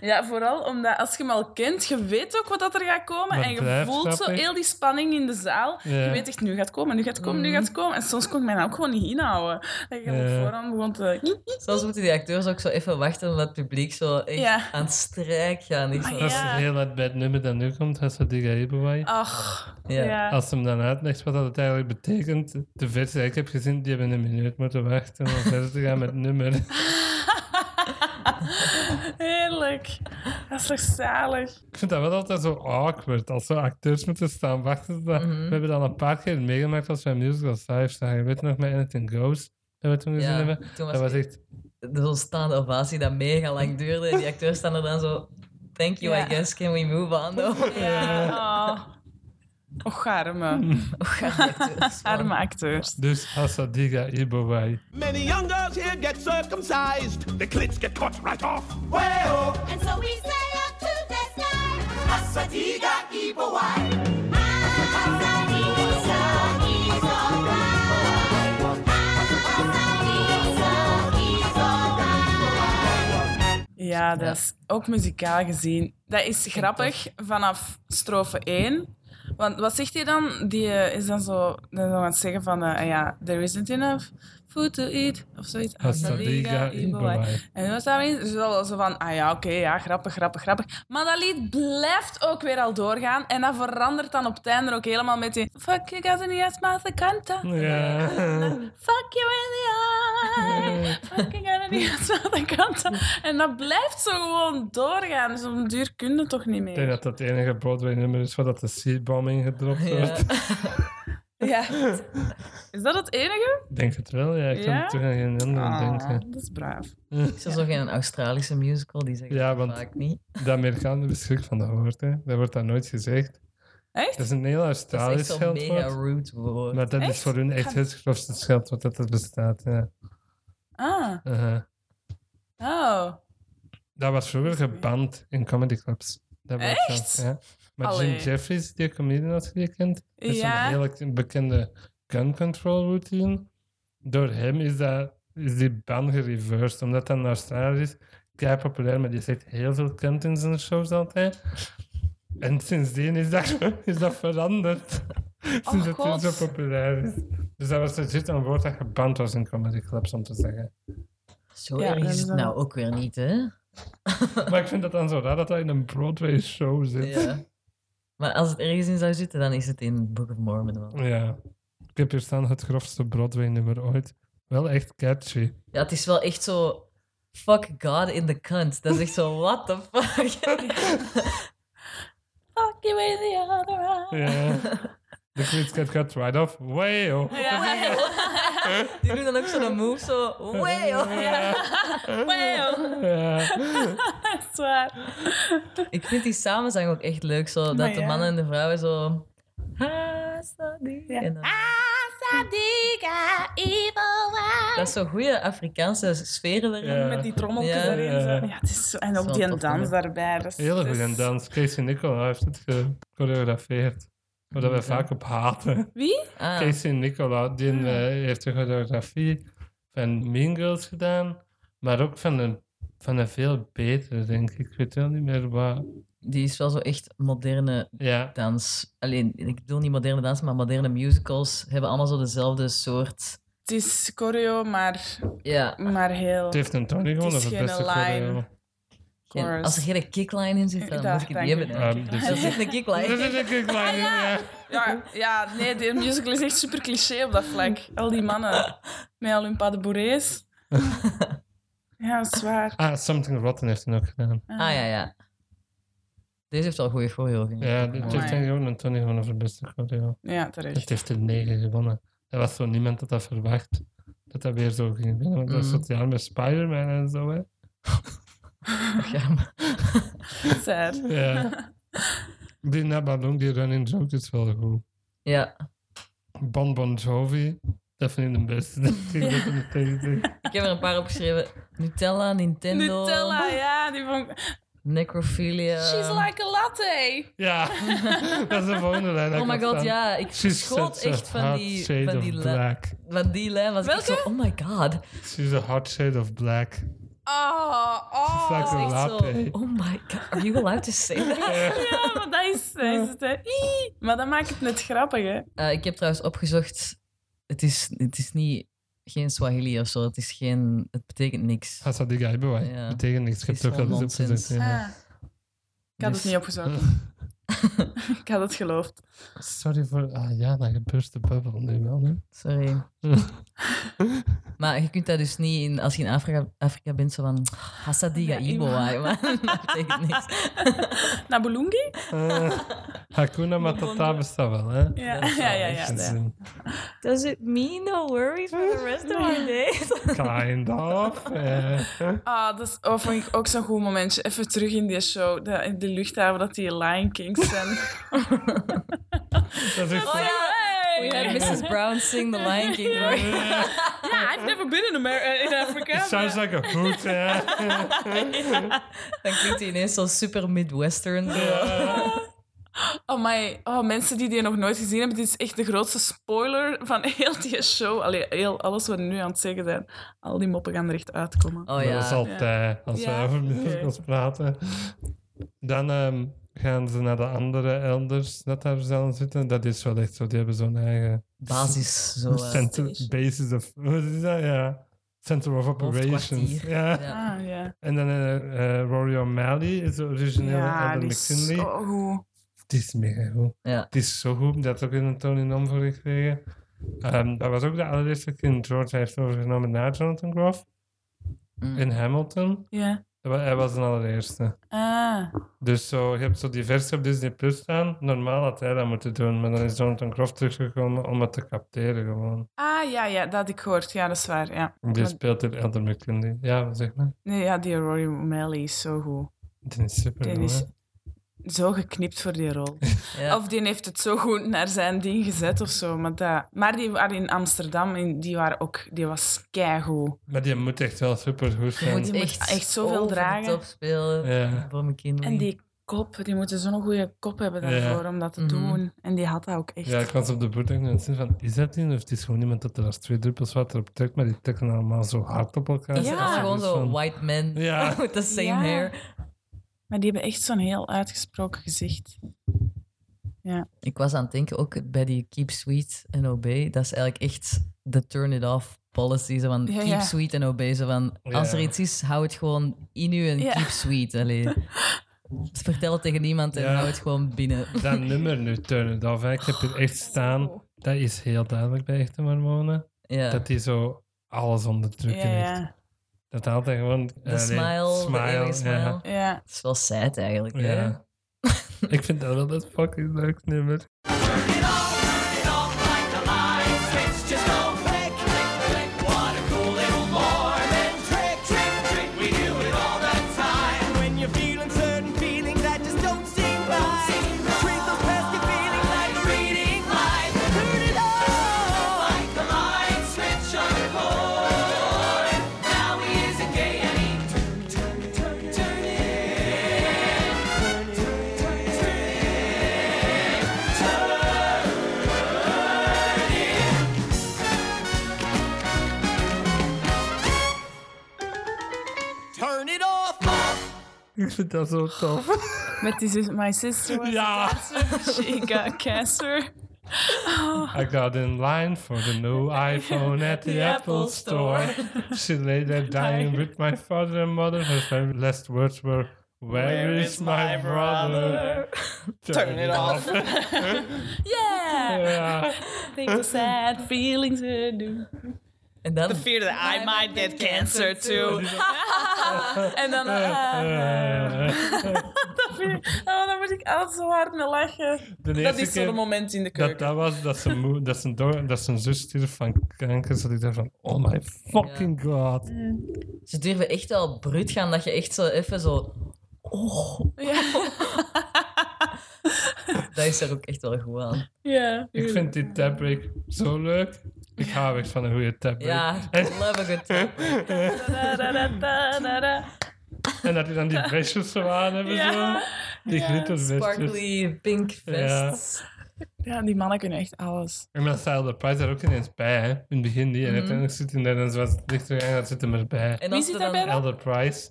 C: Ja, vooral omdat als je hem al kent, je weet ook wat dat er gaat komen.
A: Maar
C: en je
A: blijft
C: voelt zo
A: grappig.
C: heel die spanning in de zaal.
A: Ja. Mhm.
C: Je weet echt, nu gaat het komen, nu gaat het komen, nu gaat het komen. En soms kon ik mij nou ook gewoon niet inhouden. Dat je op
A: Ja.
C: voorhand begon te...
B: Soms moeten die acteurs ook zo even wachten omdat het publiek zo echt
C: Ja.
B: aan het strijk gaan is.
C: Ah,
A: dat is
C: Ja.
A: heel hard bij het nummer dat nu komt, als ze die Gaiboai.
C: Ach,
B: Ja.
C: ja.
A: Als ze hem dan uitlegt wat dat het eigenlijk betekent, de versie die ik heb gezien, die hebben een minuut moeten wachten om verder te gaan met het nummer. Ah.
C: Heerlijk. Dat is toch zalig.
A: Ik vind dat wel altijd zo awkward, als zo acteurs moeten staan wachten. tot dat-
B: Mhm.
A: We hebben dat al een paar keer meegemaakt als wij musicals live zagen. Weet je nog met Anything Goes, dat we toen gezien
B: Ja,
A: hebben?
B: toen
A: Dat was
B: was
A: echt...
B: zo'n staande ovatie dat mega lang duurde. En die acteurs staan er dan zo... Thank you,
C: Ja.
B: I guess. Can we move on? though?"
C: Ja. Oh. Och, arme.
B: Och, arme acteurs, man.
C: Arme acteurs.
A: Dus Asadiga Ibowai.
D: Many young girls here get circumcised. The clits get cut right off. Well,
F: And so we sail up to the sky.
D: Asadiga Ibawai.
C: Ja, dat is ook muzikaal gezien. Dat is grappig vanaf strofe 1. Want wat zegt hij dan? Die eh, is dan zo dan is dan aan het zeggen van... eh, ah ja, there isn't enough food to eat. Of zoiets.
A: Asadiga Ibowai.
C: En wat daarin is wel zo van, ah ja, oké, ja, grappig, grappig, grappig. Maar dat lied blijft ook weer al doorgaan. En dat verandert dan op het einde ook helemaal met die... Fuck you guys in the ass, mouth, kanta.
A: Ja.
C: Fuck you in the eye. Fuck you guys in the ass, mouth, kanta. En dat blijft zo gewoon doorgaan. Dus op een duur kun je toch niet
A: Ik denk
C: meer.
A: dat dat het enige Broadway-nummer is waar dat de C-bomb ingedropt
B: Ja.
A: wordt.
C: Ja. Is dat het enige?
A: Ik denk het wel, ja. Ik kan
C: Ja?
A: toch aan geen andere
C: Ah,
A: denken.
C: dat is braaf.
B: Is er zo geen Australische musical? Die zeggen
A: Ja,
B: dat
A: want-
B: vaak niet.
A: De Amerikanen beschik van de hoort, hè. Dat wordt daar nooit gezegd.
C: Echt?
A: Het is een heel
B: Dat is echt
A: Australisch
B: zo'n mega
A: scheldwoord.
B: rude woord.
A: Maar dat is
C: Echt?
A: voor hun echt het grofste scheldwoord dat er bestaat, ja.
C: Ah,
A: Uh-huh.
C: oh.
A: Dat was vroeger geband in comedyclubs. Dat was dat,
C: Echt?
A: ja. Maar
C: Allee.
A: Jim Jeffries, die comedian als je die kent, is
C: Ja.
A: een hele bekende gun control routine. Door hem is, dat, is die ban gereversed, omdat dat in Australië is. Kei populair, maar die zegt heel veel kant in zijn shows altijd. En sindsdien is dat, is dat veranderd. Sinds het
C: Oh God.
A: weer zo populair is. Dus dat was legit een woord dat geband was in comedy clubs, om te zeggen.
B: Zo
C: Ja,
B: erg
C: dat
B: is
C: is
B: het
C: dan-
B: nou ook weer niet, hè?
A: Maar ik vind dat dan zo raar dat dat in een Broadway-show zit.
B: Ja. Maar als het ergens in zou zitten, dan is het in Book of Mormon wel.
A: Ja. Ik heb hier staan het grofste Broadway-nummer ooit. Wel echt catchy.
B: Ja, het is wel echt zo... Fuck God in the cunt. Dat is echt zo, what the fuck?
E: Fuck you in the other eye.
A: Ja. De Queen's Cat gaat right off. Way, oh.
B: Die doen dan ook zo'n move, zo... Wail.
C: Wow,
A: Ja.
C: dat is waar.
B: Ik vind die samenzang ook echt leuk, zo, dat
C: Maar
B: de
C: ja.
B: mannen en de vrouwen zo... "Ah, sorry." En dan-
C: Ah!
B: Dat is zo'n goede Afrikaanse sfeer erin.
A: Ja.
C: Met die trommeltjes
B: Ja.
C: erin. Zo.
A: eh, Ja.
C: Ja, het is zo- En
B: is
C: ook
B: wel
C: die
B: tof,
C: dans
B: hè?
C: daarbij. Dat is-
A: Heel
C: dat
A: goed
C: is-
A: en dans. Casey Nicola heeft het gechoreografeerd. Waar dat wij vaak op haten.
C: Wie?
B: Ah,
A: Casey Nicola, die eh, heeft de choreografie van Mean Girls gedaan. Maar ook van een, van een veel betere, denk ik. Ik weet wel niet meer waar.
B: die is wel zo echt moderne
A: Ja.
B: dans. Alleen, ik bedoel niet moderne dans, maar moderne musicals hebben allemaal zo dezelfde soort.
C: Het is choreo, maar,
B: Ja.
C: maar heel...
A: Het heeft een Tony gewonnen
C: is
A: voor
C: geen
A: beste
C: line.
A: choreo.
B: En
C: chorus.
B: als er geen kickline in zit, dan
C: Ja,
B: moet ik
C: dank
B: die hebben.
C: u.
B: denk ik.
A: Ehm, dus
B: Er
A: dat-
B: zit een
A: Dat
B: kickline.
A: is een kickline, ja.
C: Ja, ja, nee, de musical is echt super cliché op dat vlak. Al die mannen met al hun pas de bourrées. Ja, dat is waar.
A: Ah, Something Rotten heeft hij nog gedaan.
B: Ah ja, ja. Deze heeft wel goede choreo. vind ik. Oh,
A: Ja, dit heeft
C: Amai.
A: hij gewoon een Tony gewonnen voor beste choreo.
C: Ja,
A: Het
C: terecht.
A: heeft er negen gewonnen. Er was zo niemand dat dat verwacht. Dat dat weer zo ging winnen. Want dat is
B: Mm.
A: het jaar met Spider-Man en zo, hè.
B: Ja, maar-
C: Sad.
A: Ja. Die Nabalong, die Running Joke, is wel goed.
B: ja.
A: Bon Bon Jovi, dat vind ik de beste. denk ik, dat ik het tegen zeg.
B: Ik heb er een paar opgeschreven. Nutella, Nintendo,
C: Nutella, ja, die vond ik-
B: Necrophilia.
C: She's like a latte.
A: Ja, dat is de volgende lijn. dat
B: Oh
A: ik
B: my
A: had
B: god,
A: staan.
B: ja. Ik
A: She's
B: schoot
A: such a
B: echt van
A: hot
B: die,
A: shade
B: van
A: of
B: die, la-
A: black.
B: van die lijn. Was ik echt zo,
C: Welke?
B: oh my god.
A: She's a hot shade of black.
C: Oh,
A: She's like
C: oh.
A: a
B: Echt zo,
A: latte.
B: oh my god. Are you allowed to say that?
C: Ja, maar dat is, dat is het, hè. Ii. Maar dat maakt het net grappig, hè.
B: Eh, ik heb trouwens opgezocht. Het is, het is niet, geen Swahili of zo. Het, is geen, het betekent niks.
A: Als dat die guy bewaait,
B: Ja.
A: betekent niks. Ik heb
B: Is
A: toch
B: wel
A: al eens opgezet.
B: nonsens. Ah.
A: ja.
C: Ik
B: Dus-
C: had het niet opgezocht. ik had het geloofd.
A: Sorry voor... Ah ja, dan gebeurt de bubbel nu wel, hè.
B: Sorry. maar je kunt dat dus niet in, als je in Afrika, Afrika bent, zo van Hassadiga
C: Ja,
B: Ibo.
C: Ibo.
B: Maar dat betekent niks.
C: Nabulungi?
A: Eh, Hakuna Matata bestaat wel, hè.
C: Ja, ja, ja. ja,
A: Dus,
C: ja.
A: eh,
B: Does it mean no worries for the rest of my days?
A: Kind of. eh.
C: Ah, dat is, oh, vond ik ook zo'n goed momentje. Even terug in die show, de, in de luchthaven, dat die Lion Kings zijn.
A: Dat is echt
B: Oh ja, we had
C: Hey!
B: Mrs. Brown sing The Lion King. hoor.
C: Ja, I've never been in, America, in Africa.
A: It sounds like a hoot, hè.
B: Dan klinkt hij ineens zo super Midwestern. zo.
A: Eh,
C: Oh my, oh, mensen die die nog nooit gezien hebben, dit is echt de grootste spoiler van heel die show. Allee, heel alles wat we nu aan het zeggen zijn. Al die moppen gaan er echt uitkomen.
B: Oh
A: Dat is
B: ja.
A: altijd, als we
C: Ja,
A: over
C: oké.
A: musicals praten. Dan ehm, gaan ze naar de andere elders dat daar zelf zitten. Dat is wel echt zo. Die hebben zo'n eigen...
B: Basis. Zo, eh,
A: center, basis of... Wat is dat? Ja. Center of Operations.
B: hoofdkwartier.
A: Ja.
B: Ja.
C: Ah, ja.
A: En dan eh eh, Rory O'Malley is de originele
C: Ja,
A: Adam
C: die is
A: McKinley.
C: zo goed.
A: Het is mega goed.
B: Ja.
A: Het is zo goed. Dat ook in een Tony Nom voor gekregen. Ehm, dat was ook de allereerste keer George heeft overgenomen na Jonathan Groff.
B: Mm.
A: In Hamilton.
C: Ja.
A: Dat wa- Hij was de allereerste.
C: Ah.
A: Dus zo, je hebt zo die versie op Disney Plus staan. Normaal had hij dat moeten doen. Maar dan is Jonathan Groff teruggekomen om het te capteren gewoon.
C: ah, ja, ja, dat had ik gehoord. Ja, dat is waar, ja.
A: Die
C: Maar-
A: speelt in Elder McKinley. Ja, wat zeg maar.
C: Nee, ja, die Rory O'Malley is zo goed.
A: Die is super
C: Die
A: goed,
C: is
A: hè.
C: zo geknipt voor die rol.
B: Ja.
C: Of die heeft het zo goed naar zijn ding gezet of zo. Maar, dat, maar die waren in Amsterdam en die, waren ook, die was keigoed.
A: Maar die moet echt wel super goed
B: Je
A: zijn.
B: moet
C: moet
B: echt,
C: echt zoveel
B: over de
C: dragen.
B: top spelen
A: Ja.
B: voor mijn kinderen.
C: En die kop, die moeten zo'n goede kop hebben
A: Ja.
C: daarvoor om dat te
B: Mhm.
C: doen. En die had dat ook echt.
A: Ja, ik was op de boot en ik zei van, is dat die? Of het is gewoon iemand dat er als twee druppels water op trekt, maar die trekken allemaal zo hard op elkaar.
B: Dat is-
C: Ja.
B: dat is gewoon
A: Dus
B: zo
A: van-
B: white men
A: Ja.
B: with the same
C: Ja.
B: hair.
C: Maar die hebben echt zo'n heel uitgesproken gezicht.
B: Ik was aan het denken ook bij die keep sweet en obey. Dat is eigenlijk echt de turn it off policy. Zo van
C: Ja,
B: keep
C: ja.
B: sweet en obey. Zo van,
A: Ja.
B: als er iets is, hou het gewoon in u en
C: Ja.
B: keep sweet. Allee. Vertel het tegen niemand en
A: Ja.
B: hou het gewoon binnen.
A: Dat nummer nu, Turn It Off, hè. ik heb hier echt staan. Dat is heel duidelijk bij echte mormonen.
B: Ja.
A: Dat die zo alles onderdrukken
C: Ja,
A: heeft.
C: ja.
A: Dat haalt hij gewoon...
B: De
A: eh, nee,
B: smile, de eeuwige smile.
A: Ja.
C: ja.
B: Het is wel sad eigenlijk. hè?
A: Ja. ik vind dat wel een fucking leuk nummer.
D: Turn it off!
A: Ik vind dat zo tof.
C: Met die zus- My Sister Was
A: Ja.
C: a Dancer, She Got Cancer.
A: I got in line for the new iPhone at the, Apple Store. She lay there dying with my father and mother. Her very last words were, Where is my brother?
D: Turn it off.
C: Yeah!
A: Ja.
E: Things sad feelings we do.
B: En dan...
D: The fear that I might get cancer too.
E: en dan...
C: ah, Oh, daar moet ik altijd zo hard mee lachen.
A: De
C: Dat
A: eerste
C: is
A: keer
C: zo'n moment in de
A: Dat,
C: keuken.
A: dat was dat zijn, moe, dat, zijn do- dat zijn zus stierf van kanker. Dat ik dacht van, oh my fucking god.
B: Ze durven echt wel bruut gaan dat je echt zo even zo... oh.
C: Ja,
B: Dat is er ook echt wel goed aan.
C: ja.
A: Ik vind die tabbreak zo leuk. Ik hou echt van een goede tabbreak.
B: Ja,
A: En,
B: love a good time.
C: Da, da, da, da, da, da.
A: en dat die dan die vestjes zo aan hebben.
C: Ja.
A: Zo. Die glittervestjes.
B: Sparkly pink vests.
C: Ja, die mannen kunnen echt alles.
A: En dan staat de Price er ook ineens bij, hè. In het begin niet. En uiteindelijk zit hij daar en zo wat dichter en dat zit hem erbij.
B: En
C: Wie
B: als
C: zit
B: er dan-
C: daarbij dan?
A: Elder Price.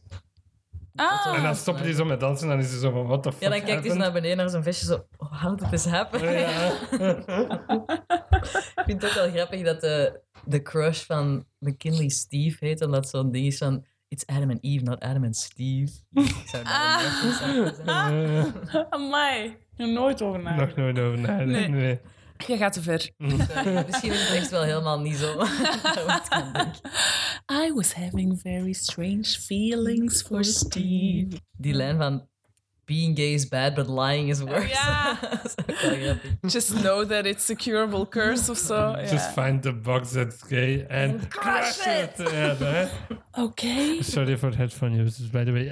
A: En
C: Ah,
A: dan stoppen die zo met dansen en dan is hij zo van, what the fuck
B: Ja, dan kijkt hij zo naar beneden naar zo'n vestje zo... Oh, how did this happen?
A: happened? Ja.
B: Ik vind het ook wel grappig dat de, de crush van McKinley Steve heet, omdat zo'n ding is van... It's Adam and Eve, not Adam and Steve. Ik zou daar een beetje zachter zijn.
A: Eh,
C: amai. Ik heb er nooit over nagedacht.
A: nog nooit over nagedacht.
C: Nee.
A: nee.
C: Je gaat te ver.
B: Sorry, Dus, eh, Misschien is het echt wel helemaal niet zo.
C: I was having very strange feelings for Steve.
B: Die lijn van... Being gay is bad, but lying is worse.
C: Ja.
B: dat is ook wel grappig.
C: Just know that it's a curable curse of zo. Ja.
A: Just find the box that's gay and crush it! Ja, dat, hè.
C: Oké.
A: Sorry for headphone users, by the way.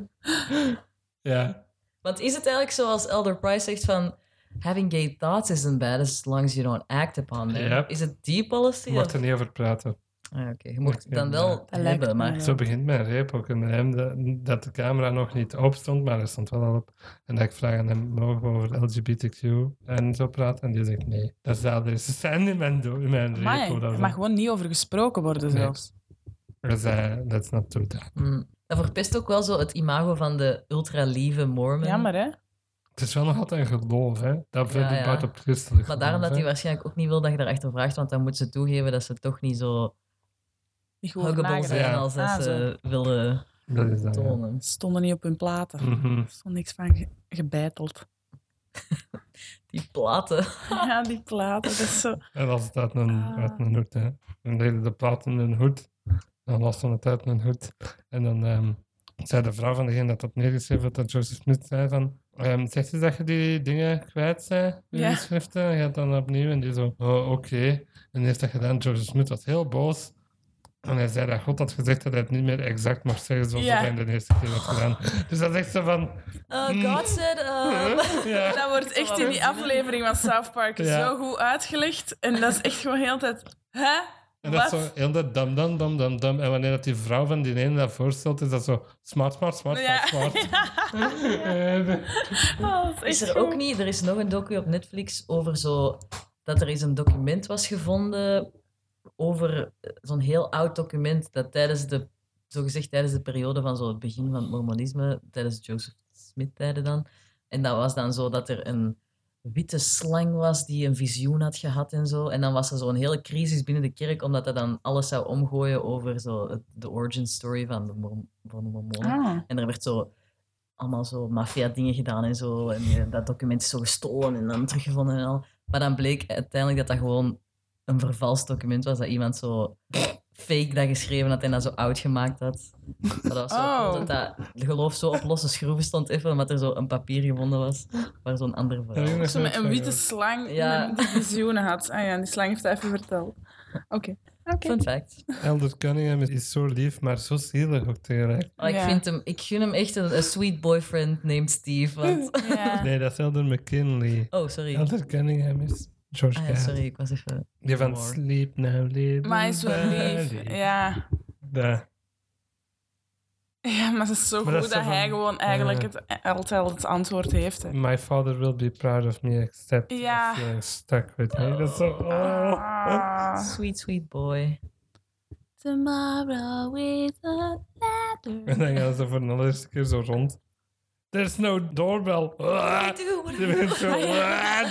A: ja.
B: Want is het eigenlijk zoals Elder Price zegt van... Having gay thoughts isn't bad as long as you don't act upon them.
A: Yep.
B: Is het die policy?
A: Je mag
B: of-
A: er niet over praten.
B: Ah, Oké, je moet het dan
A: Ja.
B: wel
C: lijkt
B: hebben,
C: me
B: maar...
C: wel.
A: Zo begint mijn reep ook met hem, dat, dat de camera nog niet op stond, maar er stond wel al op. En dat ik vraag aan hem, mogen we over LGBTQ en zo praten? En die zegt nee. Dat is de allereerste scène in mijn, do- in mijn reep.
C: Amai,
A: hoe dat
C: er
A: zo-
C: mag gewoon niet over gesproken worden
A: Nee.
C: zelfs.
A: Dat is, eh, That's not true.
B: Mm. Dat verpest ook wel zo het imago van de ultra-lieve Mormon.
C: Jammer, hè?
A: Het is wel nog altijd een geloof, hè? Dat vindt
B: Ja,
A: ik
B: ja.
A: buiten op het christelijk
B: Maar daarom dat
A: geloof,
B: hij
A: hè.
B: waarschijnlijk ook niet wil dat je daarachter vraagt, want dan moet ze toegeven dat ze toch niet zo
C: Die gewoon
B: huggable
C: nagedacht.
B: zijn
A: Ja.
B: als dat
C: Ah,
B: ze willen
A: Dat is dat, ja.
B: tonen.
C: Stonden niet op hun platen.
A: Mhm.
C: Er stond niks van ge- gebeiteld.
B: Die platen.
C: Ja, die platen. Dat is zo...
A: En als het uit een,
C: Ah.
A: uit een hoed, hè. Dan deden de platen een hoed. Dan was het uit een hoed. En dan ehm, zei de vrouw van degene dat dat neergeschreven had, dat Joseph Smith zei van... ehm zegt ze dat je die dingen kwijt zijn, die
C: Ja.
A: schriften? En je had dan opnieuw en die zo, oh, oké. En die heeft dat gedaan. Joseph Smith was heel boos. En hij zei dat God had gezegd dat hij het niet meer exact mag zeggen zoals
C: Ja.
A: hij de eerste keer had gedaan. Dus dat is echt zo van...
B: Uh, God said... um.
A: Ja.
C: Dat wordt echt in die aflevering van South Park
A: Ja.
C: zo goed uitgelegd. En dat is echt gewoon heel de tijd... Hè?
A: En dat is zo
C: Wat?
A: heel dat dam, dam, dam, dam, dam. En wanneer dat die vrouw van die ene dat voorstelt, is dat zo smart, smart, smart,
C: Ja.
A: smart, smart. Eh,
C: Oh, dat
B: Is
C: echt
B: er ook
C: goed.
B: niet... Er is nog een docu op Netflix over zo... Dat er eens een document was gevonden over eh, zo'n heel oud document dat tijdens de... Zogezegd tijdens de periode van zo het begin van het mormonisme, tijdens Joseph Smith-tijden dan. En dat was dan zo dat er een witte slang was die een visioen had gehad en zo. En dan was er zo'n hele crisis binnen de kerk, omdat dat dan alles zou omgooien over zo het- de origin story van de, Morm- van de mormonen.
C: Ah.
B: En er werd zo allemaal zo maffia-dingen gedaan en zo. En eh, dat document is zo gestolen en dan teruggevonden en al. Maar dan bleek uiteindelijk dat dat gewoon een vervals document was. Dat iemand zo fake dat geschreven had en dat zo oud gemaakt had. Maar dat was zo
C: Oh.
B: cool dat dat het geloof zo op losse schroeven stond even, omdat er zo een papier gevonden was waar zo'n ander
A: heb ik
B: verhaal.
A: nog
C: Zo met
A: nooit
C: een
A: van
C: witte
A: gehoord.
C: slang
B: Ja.
C: die visioenen had. Ah ja, die slang heeft dat even verteld. Oké. Oké.
B: Fun fact.
A: Elder Cunningham is zo lief, maar zo zielig ook tegelijk.
B: Maar ik,
C: Ja.
B: vind hem, ik gun hem echt een, een sweet boyfriend named Steve. Want...
C: Ja.
A: Nee, dat is Elder McKinley.
B: Oh, sorry.
A: Elder Cunningham is George
B: Ah, ja,
A: Gadd.
B: sorry, ik was even...
A: Die van
B: Moore.
A: Sleep Now, Sleep
C: Maar hij is wel lief. Ja. Ja, maar het is zo
A: Maar dat
C: goed
A: is
C: dat
A: zo
C: hij
A: van-
C: gewoon eigenlijk
A: ja.
C: het, altijd het antwoord heeft. hè.
A: My father will be proud of me, except
C: Ja.
A: I'm feeling stuck with me. Dat is zo... Oh.
C: Ah.
B: Sweet, sweet boy.
E: Tomorrow is a ladder.
A: En dan gaan ze voor de allereerste keer zo rond. There's no doorbell. Ah. Die mensen zo... ah.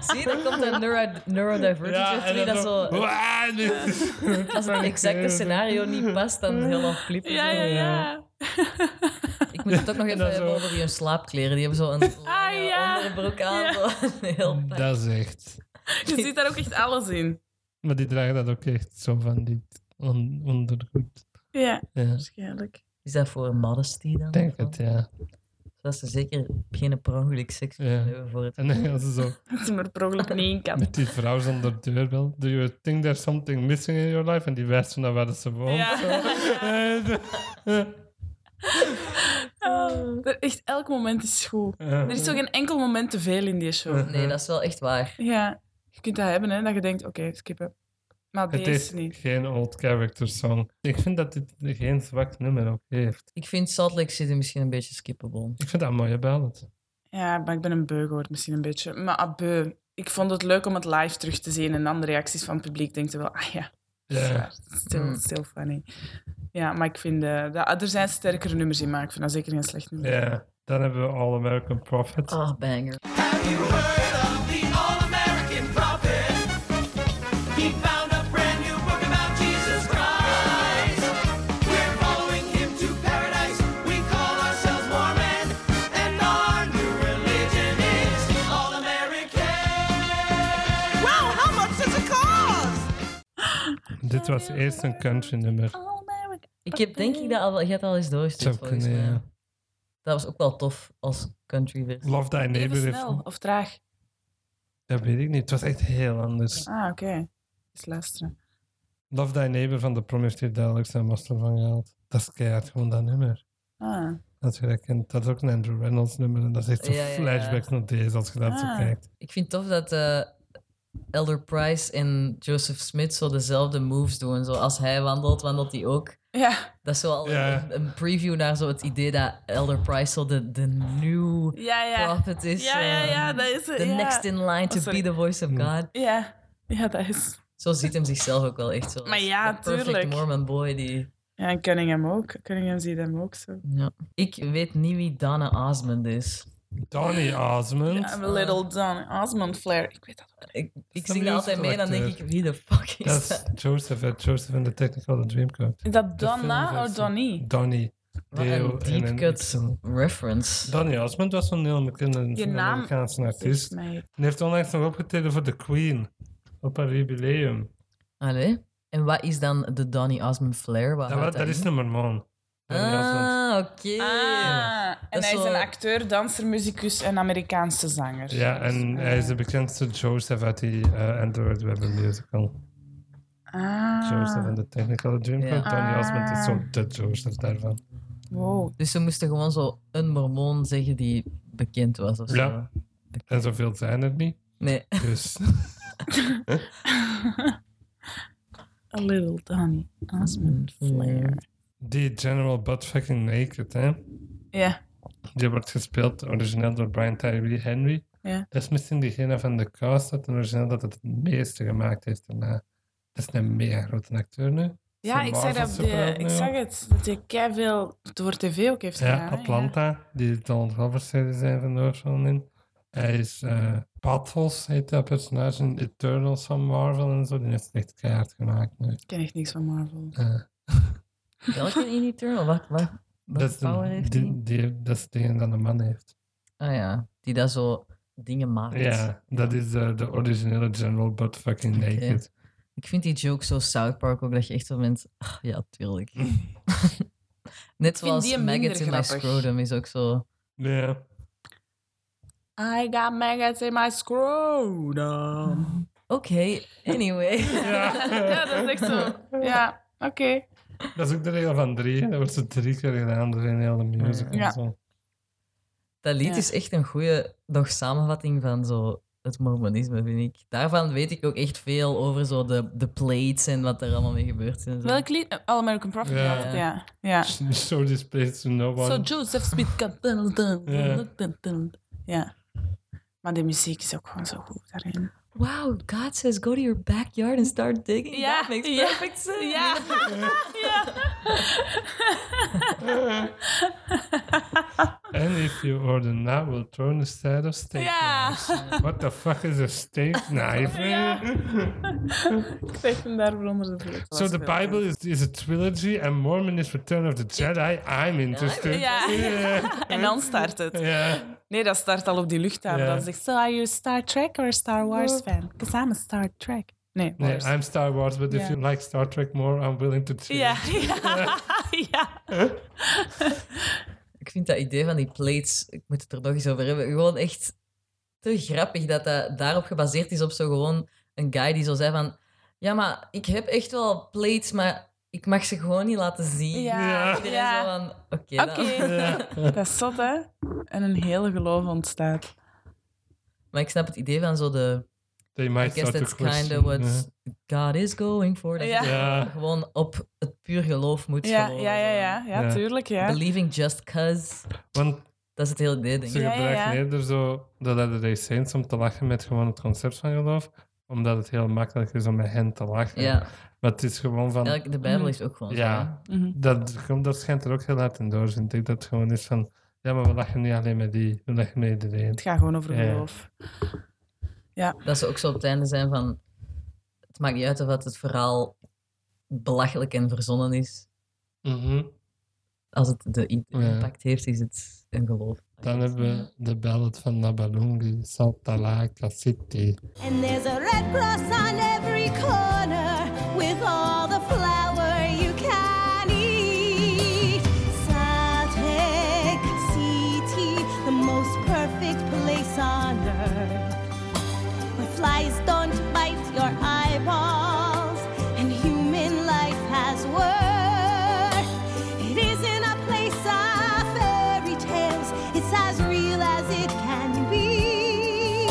B: Zie, dan komt een neuro neurodivergent weer terug, dat zo...
A: Wauw, dit is-
B: Als het exacte scenario niet past, dan heel afklippen.
C: Ja, ja, ja.
B: Ik Ik moet het ook nog even
A: dat is
B: hebben
A: wel-
B: over je slaapkleren. Die hebben zo een lange
C: ja.
B: onderbroek aan.
C: Ja.
B: Zo een heel pak.
A: Mm, Dat is echt.
C: Je ziet daar ook echt alles in.
A: Maar die dragen dat ook echt zo van die on- ondergoed.
C: Ja,
A: Ja, ik
C: waarschijnlijk.
B: Is dat voor modesty dan?
A: denk het, ja.
B: Dat ze zeker geen per ongeluk seks
A: Ja.
B: kunnen hebben voor het...
A: En dan gaan ze zo
C: Dat ze maar per ongeluk niet in kan.
A: met die vrouw zonder deurbel. Do you think there's something missing in your life? En die wijst naar waar dat ze woont.
C: Ja.
A: zo.
C: Ah, er- echt elk moment is goed. Er is zo geen enkel moment te veel in die show.
B: Nee, dat is wel echt waar.
C: Ja, je kunt dat hebben, hè, dat je denkt, oké, skippen. Maar
A: Het
C: deze
A: is
C: niet.
A: geen old character song. Ik vind dat dit geen zwak nummer ook heeft.
B: Ik vind Salt Lake City misschien een beetje skippable.
A: Ik vind dat een mooie ballad.
C: Ja, maar ik ben een beu geworden misschien een beetje. Maar abeu. Ik vond het leuk om het live terug te zien en dan de reacties van het publiek. Denk je wel, ah ja,
A: Ja.
C: still,
A: Hmm.
B: Mm.
C: still funny. Ja, maar ik vind, eh, dat, er zijn sterkere nummers in, maar ik vind dat zeker geen slecht nummer.
A: ja. Dan hebben we All American
C: Oh,
A: Prophet.
B: Ah, banger.
D: Have you heard of the all-American prophet? He found a brand new book about Jesus Christ. We're following him to paradise. We call ourselves Mormon, and our new religion is all-American. Wow, how much does it cost?
A: Dit was eerst een country nummer.
B: Ik heb denk ik dat al... Je hebt al eens
A: Zou
B: doorgestuurd, volgens
A: kunnen,
B: mij.
A: ja.
B: Dat was ook wel tof als country versie.
A: Love Thy
C: Even
A: Neighbor.
C: snel
A: Heeft,
C: of traag.
A: dat weet ik niet. Het was echt heel anders.
C: Ah, oké. Eens luisteren.
A: Love Thy Neighbor van de Prom heeft hier duidelijk zijn master van gehaald. Dat is keihard gewoon dat nummer.
C: Ah.
A: Dat je dat kent. Dat is ook een Andrew Reynolds nummer. En dat is echt zo
B: Ja, ja, ja.
A: flashbacks naar deze als je dat zo
C: Ah.
A: kijkt.
B: Ik vind tof dat eh, Elder Price en Joseph Smith zo dezelfde moves doen. Zo als hij wandelt, wandelt hij ook.
C: Ja,
B: Dat is zo al
A: Ja.
B: een, een preview naar zo het idee dat Elder Price zo de, de new
C: ja, ja.
B: prophet is.
C: Ja, ja, ja,
A: ehm,
B: eh,
C: dat is het.
B: The
C: ja.
B: next in line to
C: Oh, sorry.
B: be the voice of God.
C: Ja. ja, dat is.
B: Zo ziet hem zichzelf ook wel echt zo. als
C: Maar ja,
B: the perfect
C: tuurlijk.
B: Mormon boy die...
C: Ja, en Cunningham ook. Cunningham ziet hem ook zo.
B: Ja. Ik weet niet wie Donna Osmond is.
A: Donny Osmond.
C: Ja, I'm a little Don Osmond flair. Ik weet dat ook.
B: Ik, ik
A: een
B: zing dat altijd mee en dan denk ik,
A: musicalacteur.
B: wie de fuck
A: dat
B: is dat?
A: is Joseph uit Joseph and the Technicolor Dreamcoat.
C: Is dat
A: De
C: Donna of
A: filmversie.
C: Donnie?
A: Donny.
B: Wat
A: Deo
B: een
A: en
B: deep
A: een
B: cut
A: Y.
B: reference.
A: Donny Osmond was zo'n heel bekende
C: Je naam-
A: Amerikaanse artiest.
C: Volgens
A: En
C: mij.
A: die heeft onlangs nog opgetreden voor The Queen. Op haar jubileum.
B: Allee. En wat is dan de Donny Osmond flair? Wat
A: Dat, wa-
B: houdt
A: dat is een Mormon. Donny Osmond.
B: Ah, oké.
C: Ah, en
B: Dat is
C: hij is
B: zo-
C: een acteur, danser, muzikus en Amerikaanse zanger.
A: Ja, en hij is de bekendste Joseph uit die eh, Android Webber musical.
C: Ah.
A: Joseph en de Technical Dreamcoat.
B: Ja.
A: Donny Osmond is
C: Ah.
A: zo de Joseph daarvan.
C: Wow.
B: Dus ze moesten gewoon zo een mormoon zeggen die bekend was of zo.
A: Ja. En zoveel zijn er niet.
B: Nee.
A: Dus
C: A little Donny Osmond
A: Mm,
C: flair.
A: die General Butt Fucking Naked, hè.
C: Ja.
A: Die wordt gespeeld origineel door Brian Tyree Henry.
C: Ja.
A: Dat is misschien diegene van de cast dat een origineel dat het het meeste gemaakt heeft daarna. Dat is een mega grote acteur nu.
C: Ja,
A: Zo'n
C: ik zag,
A: Marvel
C: dat op de,
A: superheld nu
C: ik zag
A: ook.
C: het. Dat hij keiveel door tv ook heeft
A: Ja,
C: gedaan. hè?
A: Atlanta, die Donald Glover serie zijn van de oorsprong in. Hij is eh Pathos, heet dat personage in Eternals van Marvel en zo. Die heeft het echt keihard gemaakt nu.
C: Ik ken echt niks van Marvel.
A: Eh,
B: Welke in Eternal? Wat, wat, wat
A: dat, is de-
B: power heeft die?
A: die, die, dat is degene dat een man heeft.
B: Ah ja, die dat zo dingen
C: Oh,
B: maakt.
A: Ja, dat is eh, de originele General Butt Fucking
B: Oké.
A: Naked.
B: Ik vind die joke zo South Park ook, dat je echt zo bent... "Ah, ja, tuurlijk. Net zoals
C: die een minder
B: Maggots in My
C: grappig.
B: Scrotum is ook zo...
A: Ja.
C: I got maggots in my scrotum.
B: Oké, anyway.
C: ja, dat is echt zo. Ja, oké.
A: Dat is ook de regel van drie. hè. Dat wordt zo drie keer gedaan door een hele musical.
C: Ja.
A: Zo.
B: Dat lied
C: Ja.
B: is echt een goede nog samenvatting van zo het mormonisme, vind ik. Daarvan weet ik ook echt veel over zo de, de plates en wat er allemaal mee gebeurd is. en zo.
C: Welk lied? All American Prophet.
A: Ja.
C: Ja. ja. ja.
A: Show this place to no one.
C: So Joseph Smith kan...
A: Ja.
C: Ja. Maar de muziek is ook gewoon zo goed daarin.
B: Wow, God says go to your backyard and start digging.
C: Ja,
B: That makes
C: ja,
B: perfect sense.
C: ja.
A: And if you order now, we'll throw in a set of steak
C: Ja.
A: knives. What the fuck is a steak knife?
C: Ik kreeg hem daarvoor onder de vloer.
A: So the Bible is, is a trilogy and Mormon is Return of the Jedi. I'm interested.
C: Ja.
A: Yeah.
C: En dan start het.
A: Yeah.
C: Nee, dat start al op die luchthaven.
A: Ja.
C: Dan zegt ze, are you a Star Trek or a Star Wars fan? Because I'm a Star Trek. Nee,
A: Nee,
C: Wars.
A: I'm Star Wars, but if
C: Ja.
A: you like Star Trek more, I'm willing to change.
C: Ja, ja, ja.
B: Ik vind dat idee van die plates, ik moet het er nog eens over hebben, gewoon echt te grappig dat dat daarop gebaseerd is op zo gewoon een guy die zo zei van ja, maar ik heb echt wel plates, maar ik mag ze gewoon niet laten zien.
C: Ja,
B: Iedereen
C: ja.
B: zo van, oké dan.
C: Oké. Dat is zot, hè? En een hele geloof ontstaat.
B: Maar ik snap het idee van zo de...
A: They
B: I
A: might
B: guess
A: start
B: that's
A: to question.
B: kind of what God is going for. Dat je
C: Ja.
A: Ja.
B: gewoon op het puur geloof moet
C: Ja,
B: geloven.
C: ja, ja, ja, ja,
A: Ja.
C: tuurlijk, ja.
B: Believing just cause.
A: Want
B: Dat is het hele idee, denk
A: Ze
B: ik.
C: Ja, ja,
A: gebruiken
C: ja.
A: eerder zo de Latter Day Saints om te lachen met gewoon het concept van geloof, omdat het heel makkelijk is om met hen te lachen.
B: Ja,
A: Maar het is gewoon van...
B: eigenlijk de
C: Mm.
B: Bijbel is ook gewoon
A: Ja.
B: zo, hè.
C: Mhm.
A: Dat, komt- dat schijnt er ook heel hard in door, vind ik. Dat het gewoon is van... Ja, maar we lachen niet alleen met die, we lachen met iedereen.
C: Het gaat gewoon over
A: Ja.
C: geloof.
B: Dat ze ook zo op het einde zijn van... Het maakt niet uit of dat het verhaal belachelijk en verzonnen is.
A: Mhm.
B: Als het de i-
A: Ja.
B: impact heeft, is het een geloof.
A: Dan hebben we de ballad van Nabalungi, Saltalaka City.
F: And there's a red cross on every corner with all the flour you can eat. Salt Lake City, the most perfect place on earth. Where flies don't bite your eyeballs and human life has worth. It isn't a place of fairy tales, it's as real as it can be.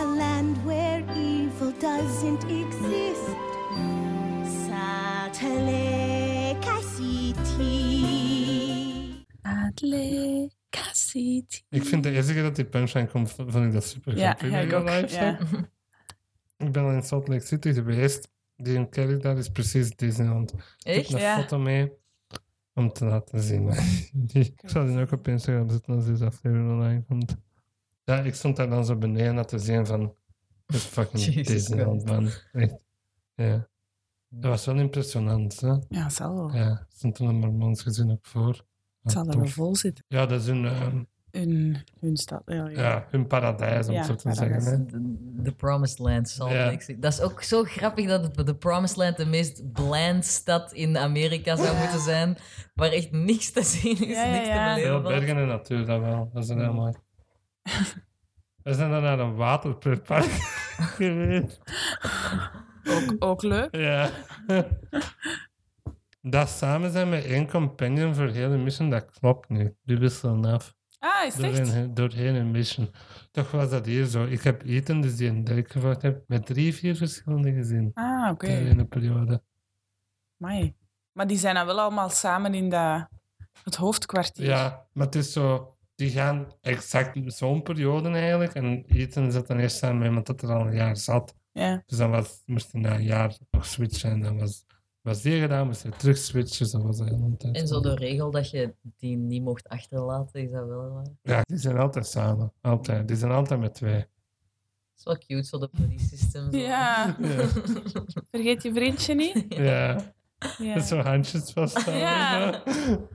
F: A land where evil doesn't exist. Satellite City.
E: Adelaide Cassidy.
A: Ik vind de eerste keer dat die punchline komt, vond ik dat super
C: Ja,
A: grappig.
C: ja,
A: in
C: ik
A: real
C: ook,
A: life,
C: ja.
A: zo. Ik ben al in Salt Lake City geweest. Die in Kerry, daar is precies Disneyland. Ik
B: Echt?
A: heb een
C: Ja.
A: foto mee om te laten zien. Die- ik zal die ook op Instagram zetten als deze aflevering online komt. Ja, ik stond daar dan zo beneden dat te zien van... Dit is fucking
B: Jezus
A: Disneyland, man. Echt. Ja. Dat was wel impressionant, hè?
C: Ja, het zal wel.
A: Ja, stond er een Mormons gezin ook voor. Ja,
C: Het zal er wel
A: Ah, tof.
C: vol zitten
A: Ja, dat is hun, ehm,
C: in hun stad. Ja, ja.
A: ja, hun paradijs, om
C: Ja,
A: het zo te
C: paradijs.
A: zeggen. Hè?
B: De- The Promised Land, Salt
A: Ja.
B: Lake City. Dat is ook zo grappig dat het- de Promised Land de meest bland stad in Amerika zou moeten zijn. Waar echt niks te zien is,
C: Ja, ja,
B: niks
C: ja.
B: te
A: Veel
B: beleven valt.
A: bergen en natuur, dat wel. Dat is
C: Hmm.
A: heel mooi. We zijn dan naar een waterpark geweest.
C: Ook, ook leuk.
A: Ja. Dat samen zijn met één companion voor hele mission, dat klopt niet. Die wisselen af.
C: Ah, is het echt?
A: Doorheen, doorheen een mission. Toch was dat hier zo. Ik heb eten, dus die een duik gevraagd heb, met drie, vier verschillende gezien.
C: Ah, oké.
A: in een periode.
C: Amai. Maar die zijn dan wel allemaal samen in dat, het hoofdkwartier.
A: Ja, maar het is zo... Die gaan exact zo'n periode eigenlijk. En eten zat dan eerst samen met iemand dat er al een jaar zat.
C: Ja.
A: Dus dan was, moest hij na een jaar nog switchen. En dan was, was die gedaan, moest hij terug switchen. Zo was dat heel een tijd.
B: En zo de regel dat je die niet mocht achterlaten, is dat wel waar.
A: Ja, die zijn altijd samen. Altijd. Die zijn altijd met twee.
B: Dat is wel cute, zo de buddy system. zo.
C: Ja.
A: Ja.
C: Vergeet je vriendje niet.
A: ja.
C: Ja.
A: Met zo'n handjes vasthouden.
C: Ja.
A: zo.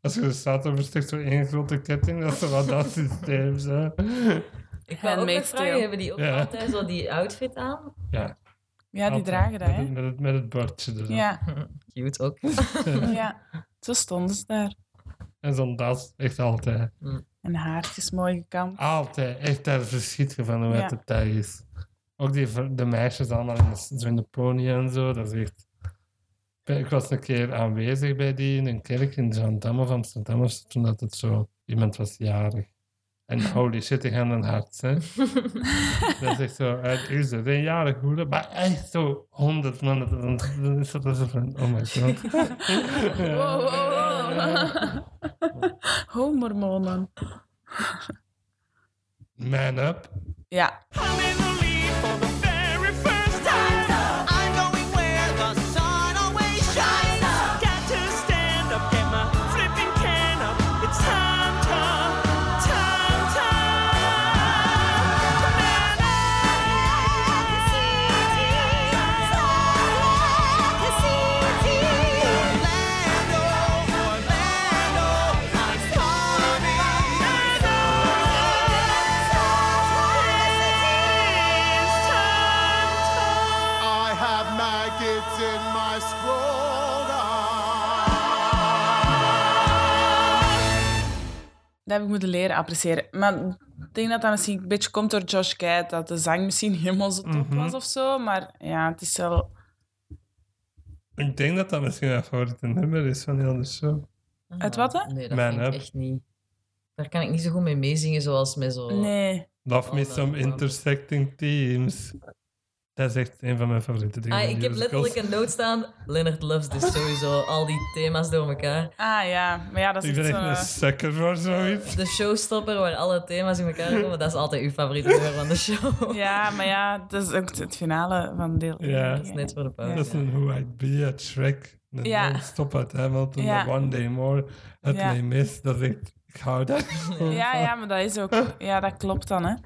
A: Als je er staat, dan verstikt zo één grote ketting. Dat is zo wat dat systeem. Zo.
B: Ik wou ook
C: Handmade
B: nog vragen,
C: steel.
B: hebben die ook
A: Ja.
B: altijd zo die outfit aan?
C: ja, die
A: Altijd.
C: dragen dat,
A: met,
C: hè?
A: het- met, het, met het bordje dus erop.
C: Ja,
B: Cute ook.
C: ja. Zo stonden ze daar.
A: En zo'n das, echt altijd.
C: En haartjes mooi gekamd.
A: Altijd. Echt daar verschiet je van hoe
C: Ja.
A: het het daar is. Ook die, ver- de meisjes allemaal in de, zo in de pony en zo. Dat is echt... Ik was een keer aanwezig bij die in een kerk in Zandam of Amsterdam. of zo, Toen dat het zo... Iemand was jarig. En holy shit, die gaan een hart, hè. dat is echt zo, het is het, een jarig hoede, maar echt zo honderd man. dat- Dan dan is dat zo van, oh my god. Ah,
C: Wow, wow, wow. Homermonen.
A: Man up.
C: Ja,
D: I'm in the lead for the very first time. I'm going where the sun always shines. Down
C: Dat heb ik moeten leren appreciëren. Maar ik denk dat dat misschien een beetje komt door Josh Gad, dat de zang misschien helemaal zo top
A: Mhm.
C: was of zo. Maar ja, het is wel...
A: Ik denk dat dat misschien mijn favoriete nummer is van heel de show.
C: Uit wat, hè?
B: Nee, dat
A: Man
B: vind ik
A: Up.
B: echt niet. Daar kan ik niet zo goed mee meezingen zoals met zo...
C: Nee.
A: Love Me
B: Oh, dat
A: Some
B: is wel-
A: Intersecting Teams. Dat is echt een van mijn favoriete dingen.
B: Ah,
A: van
B: ik heb
A: musicals.
B: letterlijk een noot staan. Leonard loves this sowieso. Al die thema's door elkaar.
C: Ah ja, maar ja, dat
A: Ik
C: is
A: ben
C: echt
A: echt
C: zo...
A: een sucker voor zoiets.
B: De showstopper waar alle thema's in elkaar komen. Dat is altijd uw favoriete nummer van de show.
C: eh, Ja, maar ja, dat is ook het finale van deel één,
A: Ja.
C: denk
B: Dat is
C: ik.
B: net voor de pauze.
A: Dat is een Who I'd Be at Shrek. Een
C: Ja.
A: non-stop uit Hamilton.
C: Ja.
A: de One Day More. Het
C: Ja.
A: May Miss. Dat is echt... Ik hou daar gewoon
C: Ja,
A: van.
C: ja, maar dat is ook... Ja, dat klopt dan, hè.
B: Ik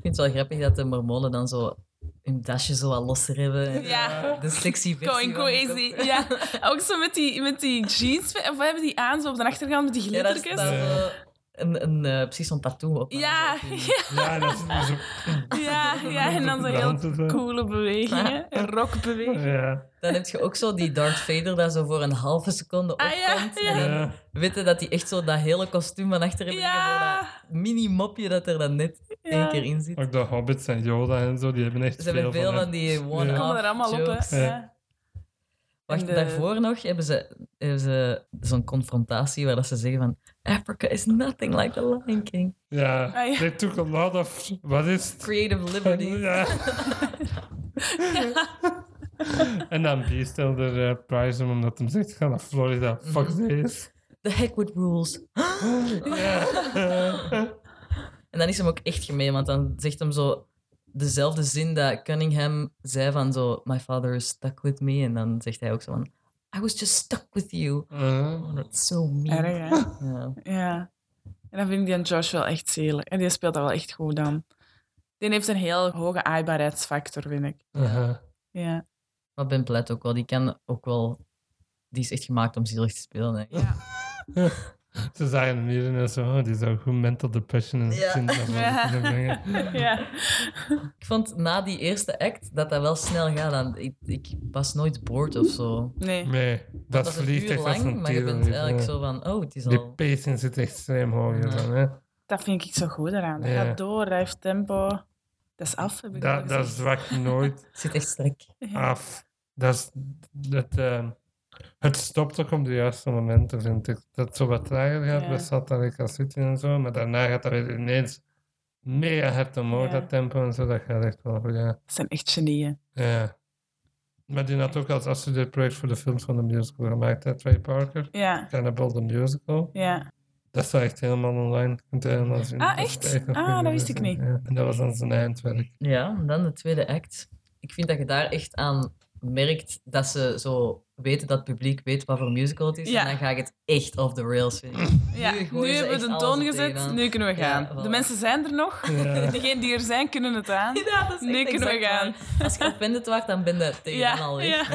B: vind het wel grappig dat de mormonen dan zo hun dasje zo wat losser hebben. En
C: Ja.
B: De sexy versie.
C: Going
B: van de kop.
C: crazy. Ja, ook zo met die, met die jeans. Of we hebben die aan zo op de achterkant met die
B: Ja, daar
C: glittertjes.
B: staat zo een, een, eh, precies zo'n tattoo op.
C: Ja, ja,
A: Ja, dat is dus ook-
C: ja, ja. En dan zo
A: Dansen zo.
C: heel coole bewegingen. En rockbewegingen.
A: Ja.
B: Dan heb je ook zo die Darth Vader dat zo voor een halve seconde
C: Ah,
B: opkomt.
C: ja, ja.
B: En dan
A: Ja.
B: weten dat hij echt zo dat hele kostuum van achter heeft.
C: Ja.
B: en zo Dat mini mopje dat er dan net één
C: Ja.
B: keer in zit.
A: Ook de Hobbits en Yoda en zo, die hebben echt
B: Ze hebben veel van
A: hem.
B: die
C: Die
B: one-off
C: komen er allemaal op,
B: jokes.
C: hè.
A: Ja.
C: Ja.
B: Wacht,
C: En de-
B: daarvoor nog hebben ze, hebben ze zo'n confrontatie waar dat ze zeggen van Africa is nothing like the Lion King.
A: Ja,
C: Ah, ja.
A: they took a lot of... Wat is het?
B: Creative liberty.
A: Ja. en dan B stelde er eh, prijs om, omdat hij zegt, ga naar Florida, fuck this.
B: The heck with rules.
A: Ja.
B: En dan is hem ook echt gemeen, want dan zegt hem zo dezelfde zin dat Cunningham zei van zo My father is stuck with me. En dan zegt hij ook zo van I was just stuck with you.
A: Eh,
B: Oh, that's so mean.
C: Erg, hè?
B: Ja.
C: Ja. En dan vind ik die aan Josh wel echt zelig. En die speelt dat wel echt goed dan. Die heeft een heel hoge aaibaarheidsfactor, vind ik.
A: aha.
C: Ja.
B: Maar Ben Platt ook wel, die kan ook wel... Die is echt gemaakt om zielig te spelen. Hè.
C: Ja.
A: Ze zagen hem hier en zo, oh, die zou goed mental depression en
B: Ja.
A: zin daarvan kunnen brengen.
C: ja.
B: Ik vond na die eerste act dat dat wel snel gaat. Dan, ik, ik was nooit boord of zo.
C: Nee.
A: Nee, dat,
B: Dat is
A: vliegt
B: uur
A: echt als
B: lang,
A: een
B: maar je bent
A: tierenlier,
B: eigenlijk
A: ja.
B: zo van... Oh, het is
A: Die
B: al...
A: pacing zit extreem hoog
B: Ja.
A: hier dan, hè.
C: Dat vind ik zo goed eraan. Dat
A: Ja.
C: gaat door, dat heeft tempo. Dat is af, heb ik al
A: Dat, dat
C: gezegd.
A: zwakt nooit
B: Het zit echt strak.
C: Ja.
A: af. Dat is, dat, ehm, het stopt ook op de juiste momenten, vind ik. Dat het zo wat trager gaat
C: Ja.
A: bij Satarica City en zo, maar daarna gaat dat weer ineens mega hard omhoog,
C: Ja.
A: dat tempo en zo. Dat gaat echt wel goed, ja.
C: Dat zijn echt genieën.
A: ja. Maar die had ook als afstudeerproject voor de films van de musical gemaakt, hè, Trey Parker.
C: Ja.
A: Cannibal the Musical.
C: Ja.
A: Dat staat echt helemaal online. Je kunt het helemaal zien.
C: Ah,
A: is
C: echt?
A: nog
C: Ah,
A: goed
C: dat wist
A: gezien,
C: ik niet.
A: ja. En dat was dan zijn eindwerk.
B: Ja, en dan de tweede act. Ik vind dat je daar echt aan merkt dat ze zo weten dat het publiek weet wat voor musical het is.
C: Ja.
B: En dan ga ik het echt off the rails vinden.
C: Ja,
B: Nu
C: nu,
B: gooien ze
C: hebben we
B: echt
C: de
B: alles
C: toon
B: er
C: gezet,
B: tegenaan.
C: nu kunnen we
B: Ja,
C: gaan.
B: voilà.
C: de mensen zijn er nog.
A: Ja.
C: Degenen die er zijn, kunnen het aan.
B: Ja, dat
C: is echt exact
B: Als je offended wordt, dan ben je tegenaan al weg.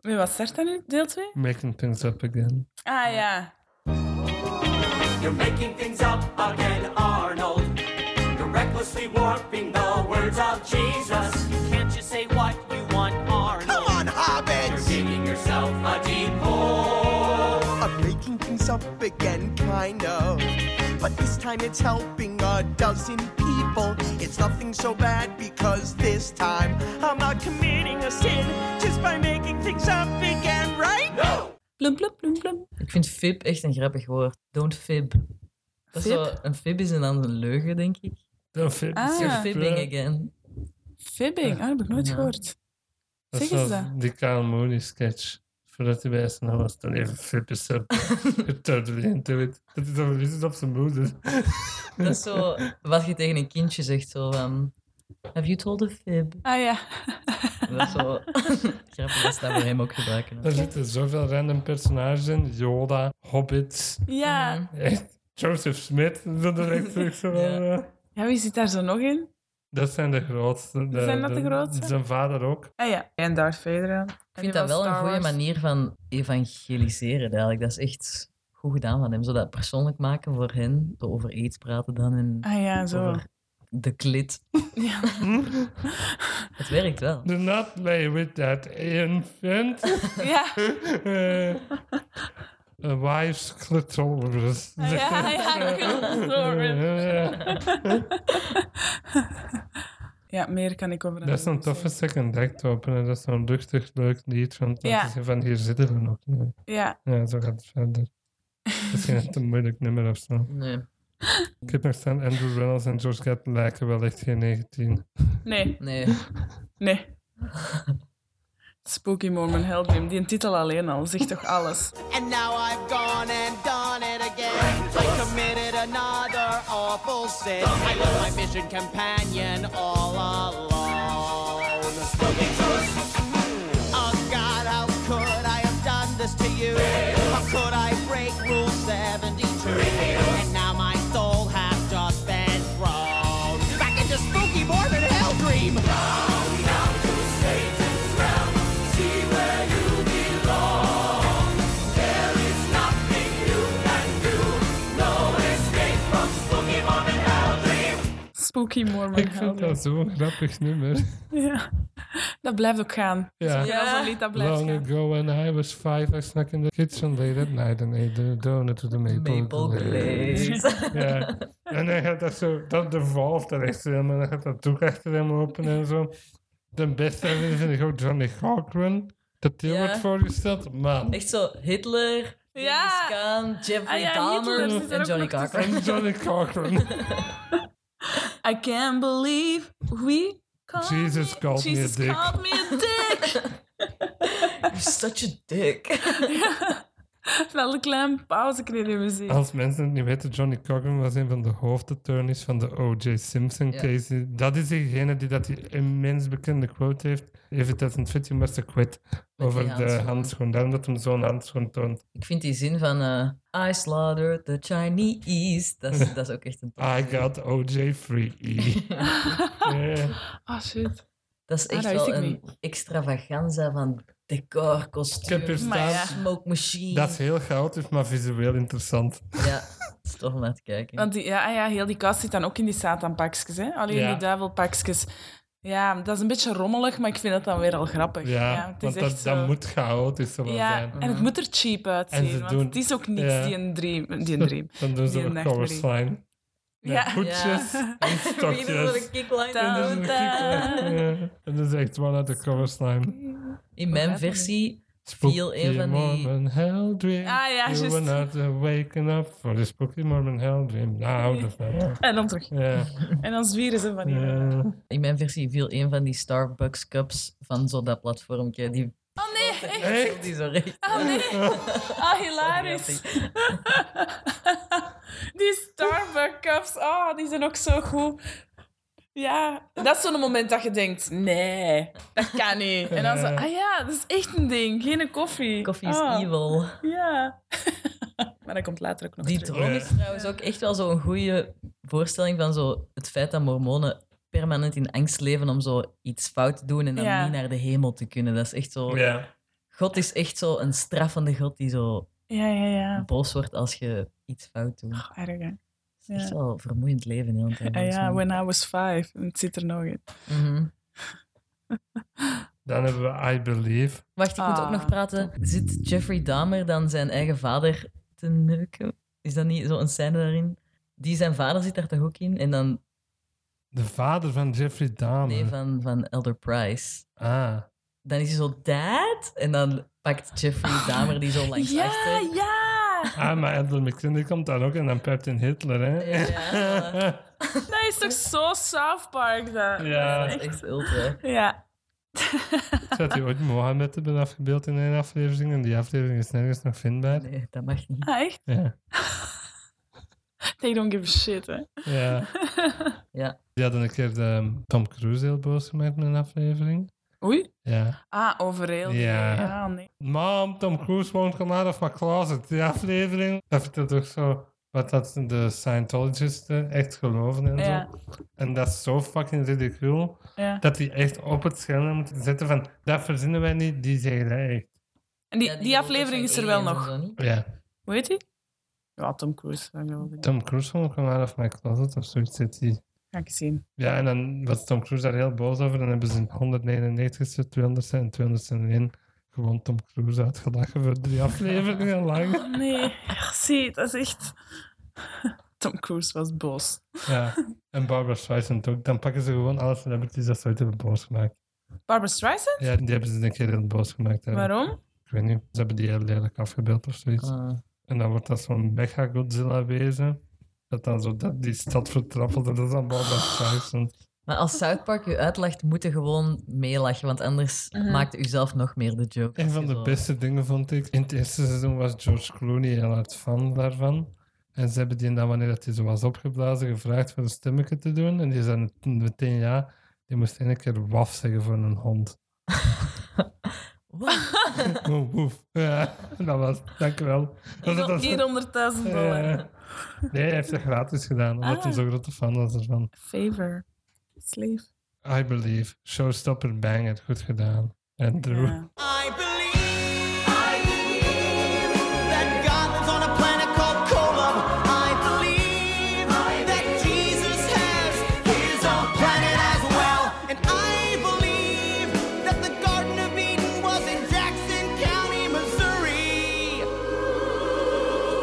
C: Maar wat start dan nu, deel 2?
A: Making things up again.
C: Ah ja.
D: You're making things up again, Arnold. You're recklessly warping the words of Jesus. Can't you say what you want, Arnold?
G: Come on,
D: You're
G: hobbits!
D: digging yourself a deep hole.
G: I'm making things up again, kind of. But this time it's helping a dozen people. It's nothing so bad because this time I'm not committing a sin just by making things up again, right? No!
C: Plum, plum, plum, plum.
B: Ik vind fib echt een grappig woord. Don't fib. Dat is
C: Fib?
B: zo- een fib is een dan een leugen, denk ik.
A: Dat vind ik
C: Ah.
A: super.
B: You're fibbing again.
C: Fibbing, ah, dat heb ik nooit
B: Ja.
C: gehoord.
A: Dat is
C: Zeg
A: zoals
C: eens dat.
A: Die Kyle Mooney sketch. Voordat hij bij SNL was, dan even flip yourself. You're totally into it. Dat is een verlies op zijn moeder.
B: Dat is zo wat je tegen een kindje zegt. Zo van, have you told a fib?
C: Ah ja.
B: Dat is zo grappig dat ze dat voor hem ook gebruiken.
A: Daar zitten zoveel random personages in. Yoda, Hobbits,
C: Ja.
A: echt. Joseph Smith. Dat, is echt terug zo van,
B: Ja.
A: eh.
C: Ja, wie zit daar zo nog in?
A: dat zijn de grootste.
C: Zijn dat de grootste?
A: Zijn vader ook.
C: Ah ja. En Darth Vader. ja.
B: Ik vind dat wel een goede manier van evangeliseren eigenlijk. Dat is echt goed gedaan van hem. Zo dat persoonlijk maken voor hen. Zo over aids praten dan en
C: Ah ja, zo.
B: over de klit.
C: Ja.
B: Het werkt wel.
A: Do not play with that infant.
C: ja.
A: Eh, eh, wives clitoris.
C: Ah, Ja, ja,
A: Ja,
C: Ja, meer kan ik over
A: Dat is een toffe
C: zeggen.
A: second act openen. Dat is zo'n luchtig, leuk lied. Van,
C: Ja.
A: van hier zitten we nog. Nee.
C: Ja,
A: Ja, zo gaat het verder. Misschien is het een moeilijk nummer of zo.
B: Nee.
A: Ik heb nog staan Andrew Reynolds en George Gat lijken wel echt geen 19.
C: nee,
B: Nee.
C: nee. Spooky Mormon help him. Die titel alleen al zegt toch alles.
D: And now I've gone and done it again. I committed another awful sin. I left my mission companion all alone. Oh God, how could I have done this to you? How could I break Rule 72? And now my soul has just been thrown back into spooky morbid hell dream.
C: Spooky Mormon
A: Ik vind
C: help
A: dat zo'n grappig nummer.
C: Ja. Dat blijft ook gaan.
A: Ja.
C: Ja, zo'n lied, dat blijft
A: Long
C: gaan.
A: ago when I was five, I snuck in the kitchen late at night and ate a donut to the maple,
B: Maple
A: glade.
B: Glades.
A: Ja. En hij gaat dat zo, dat devolve dat echt helemaal, en hij gaat dat doek achter hem open en zo. De beste vind ik ook Johnny Cochran, dat die
B: Ja.
A: wordt voorgesteld. Man.
B: Echt zo Hitler,
C: Ja.
B: Genghis Khan, Jeffrey
C: Ah ja,
B: Dahmer
C: Hitler zit er
B: en
C: ook
B: Johnny
C: nog tussen.
B: Cochran.
A: En Johnny Cochran.
C: I can't believe we called
A: Jesus
C: me.
A: called me a
C: Jesus
A: dick.
C: called me a dick.
B: You're such a dick.
C: Wel een klein pauze kreeg in de muziek.
A: Als mensen het niet weten, Johnny Cochran was een van de hoofdattorneys van de O.J. Simpson
B: Ja.
A: case. Dat is degene die dat die immens bekende quote heeft. If it doesn't fit, you must acquit. Over de
B: handschoen.
A: handschoen. Daarom dat hem zo'n handschoen toont.
B: Ik vind die zin van eh, I slaughtered the Chinese. Dat is, dat is ook echt een tof
A: I
B: nummer.
A: got O.J. free. Ja.
C: Ah, shit.
B: Dat is echt
C: dat Ah, wist
B: wel
C: ik
B: een extravaganza van decor, kostuum,
A: Ik heb er
C: Maar
A: staan.
C: ja.
B: smoke machine.
A: Dat is heel chaotisch, maar visueel interessant.
B: Ja, dat is toch om naar te kijken.
C: Want die, ja, ah ja, heel die kast zit dan ook in die satanpakjes, hè? Alleen
A: Ja.
C: die duivelpakjes. Ja, dat is een beetje rommelig, maar ik vind het dan weer al grappig.
A: Ja,
C: het is
A: want dat,
C: echt zo.
A: dat moet chaotisch zullen
C: ja,
A: zijn.
C: en het moet er cheap
A: En ze
C: uitzien, want
A: doen-
C: het is ook niks,
A: ja.
C: die een dream. Die een dream.
A: Dan doen ze
C: Die
A: een
C: nachtmerrie.
A: chorus line. Met
C: Ja.
A: hoedjes
C: Ja.
A: en
B: Wie doet er
A: stokjes.
B: een kickline
C: Dat-
A: En
B: aan?
A: dat is een kick- ja. En dat is echt one uit de chorus line.
B: In mijn versie
A: Spooky
B: viel een van die-
A: Mormon Hell Dream.
C: Ah, ja,
A: you
C: juist.
A: were not waking up for the Spooky Mormon Hell Dream. Nou, dat is wel waar.
C: En dan terug.
A: Ja.
C: En dan zwieren ze van hier.
A: eh,
B: In mijn versie viel een van die Starbucks cups van zo dat platformje. Die
C: Oh nee, echt?
A: Echt?
B: die zo recht.
C: Oh nee. Ah, hilarisch. Die Starbucks cups, oh, die zijn ook zo goed. Ja, dat is zo'n moment dat je denkt, nee, dat kan niet. En dan zo, ah ja, dat is echt een ding, geen koffie.
B: Koffie is
C: Ah,
B: evil.
C: Ja. Maar dat komt later ook nog
B: Die
C: terug.
B: droom is trouwens ook echt wel zo'n goede voorstelling van zo het feit dat mormonen permanent in angst leven om zo iets fout te doen en dan
C: Ja.
B: niet naar de hemel te kunnen. Dat is echt
C: Oh,
B: zo...
A: ja.
B: God is echt zo een straffende God die zo
C: Ja, ja, ja.
B: boos wordt als je iets fout doet.
C: Oh, erg, hè.
B: Het is echt
C: Ja.
B: wel een vermoeiend leven heel de hele
C: Ah
B: tijd.
C: ja, when I was five. En het zit er nog in.
B: Mhm.
A: Dan hebben we I Believe.
B: Wacht, ik moet ook
C: Ah.
B: nog praten. Zit Jeffrey Dahmer dan zijn eigen vader te neuken? Is dat niet zo'n scène daarin? Die zijn vader zit daar toch ook in? En dan
A: De vader van Jeffrey Dahmer.
B: nee, van, van Elder Price.
A: Ah.
B: Dan is hij zo dad. En dan pakt Jeffrey Dahmer die zo langs
C: Ah, Ja,
B: achter.
C: ja.
A: Ah, maar Andrew McClendon die komt daar ook en dan pijpt in Hitler, hè?
B: Ja,
C: Dat Nou, is toch zo South Park, dat.
A: Ja.
B: Dat is echt ultra.
C: Ja.
A: Zat hij ooit Mohammed hebben afgebeeld in een aflevering en die aflevering is nergens nog vindbaar.
B: Nee, dat mag niet.
C: Ah, echt?
A: Ja.
C: They don't give a shit, hè.
A: ja.
B: Ja.
A: Die hadden een keer de um, Tom Cruise heel boos gemaakt in een aflevering.
C: Oei.
A: Ja.
C: Ah, overal.
A: Ja.
C: Ah, nee.
A: Mom, Tom Cruise won't come out of my closet. Die aflevering. Dat vertelt ook zo wat dat de Scientologisten echt geloven en
C: Ja.
A: zo. En dat is zo fucking ridicule
C: Ja.
A: dat die echt op het scherm moeten zetten van dat verzinnen wij niet, die zeggen dat echt.
C: En
B: Ja,
C: die, die,
B: gelooft dat
C: aflevering is
B: zijn
C: er wel
B: aliens en
C: nog.
B: zo niet.
A: Ja.
C: Hoe heet die? Ja, Tom Cruise. dat geloof ik.
A: Tom Cruise won't come out of my closet of zoiets zit die.
C: Ga ik zien.
A: Ja, en dan was Tom Cruise daar heel boos over. Dan hebben ze in 199ste, 200ste en 201 gewoon Tom Cruise uitgelachen voor drie afleveringen lang.
C: Oh nee, Ja, zie, dat is echt... Tom Cruise was boos.
A: Ja. En Barbara Streisand ook. Dan pakken ze gewoon alle celebrities dat ze ooit hebben boos gemaakt.
C: Barbara Streisand?
A: Ja, die hebben ze een keer heel boos gemaakt. hebben.
C: Waarom?
A: Ik weet niet. Ze hebben die heel lelijk afgebeeld of zoiets.
B: Ah.
A: En dan wordt dat zo'n mega-Godzilla-wezen. Dat dan zo dat die stad vertrappelt. En dat is dan Barbara Streisand.
B: Maar als South Park u uitlacht, moet je gewoon meelachen, want anders
C: Uh-huh.
B: maakt u zelf nog meer de joke.
A: Een van de
B: Zo.
A: beste dingen vond ik. In het eerste seizoen was George Clooney heel hard fan daarvan. En ze hebben die dan, wanneer dat hij zo was opgeblazen, gevraagd voor een stemmetje te doen. En die zei met- meteen ja. Die moest één keer waf zeggen voor een hond.
B: Wat?
A: Woef, woef. Ja, dat was Dankjewel. Dat, dat, dat,
C: 400.000 dollar.
A: Ja. nee, hij heeft dat gratis gedaan, omdat hij
C: Ah.
A: zo'n grote fan was ervan.
C: Favor. Slave.
A: I Believe, Showstopper Banger, goed gedaan. En Drew.
C: Ja.
D: I believe, I believe that God lives on a planet called Kolob. I believe that Jesus has his own planet as well. And I believe that the Garden of Eden was in Jackson County, Missouri.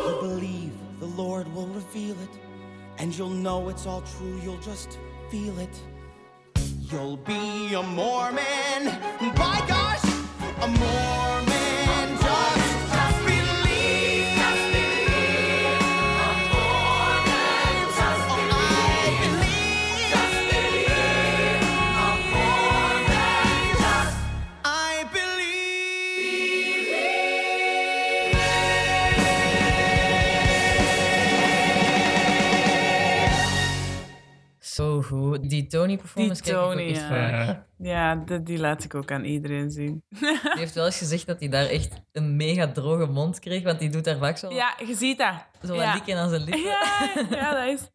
G: You believe the Lord will reveal it, and you'll know it's all true, you'll just feel it.
D: You'll be a Mormon. By gosh, a Mormon. Just, just believe. Just believe. A Mormon. Just believe. I believe. Just believe. A Mormon. Just I believe.
B: Zo goed. Die Tony-performance
C: Die
B: kijk ik ook
C: Tony,
B: echt
C: ja.
B: vaak.
A: Ja.
C: Ja, de- die laat ik ook aan iedereen zien.
B: Die heeft wel eens gezegd dat hij daar echt een mega droge mond kreeg, want die doet daar vaak zo,
C: Ja, je ziet dat.
B: zo wat
C: ja.
B: likken aan zijn lippen.
C: Ja, ja, dat is...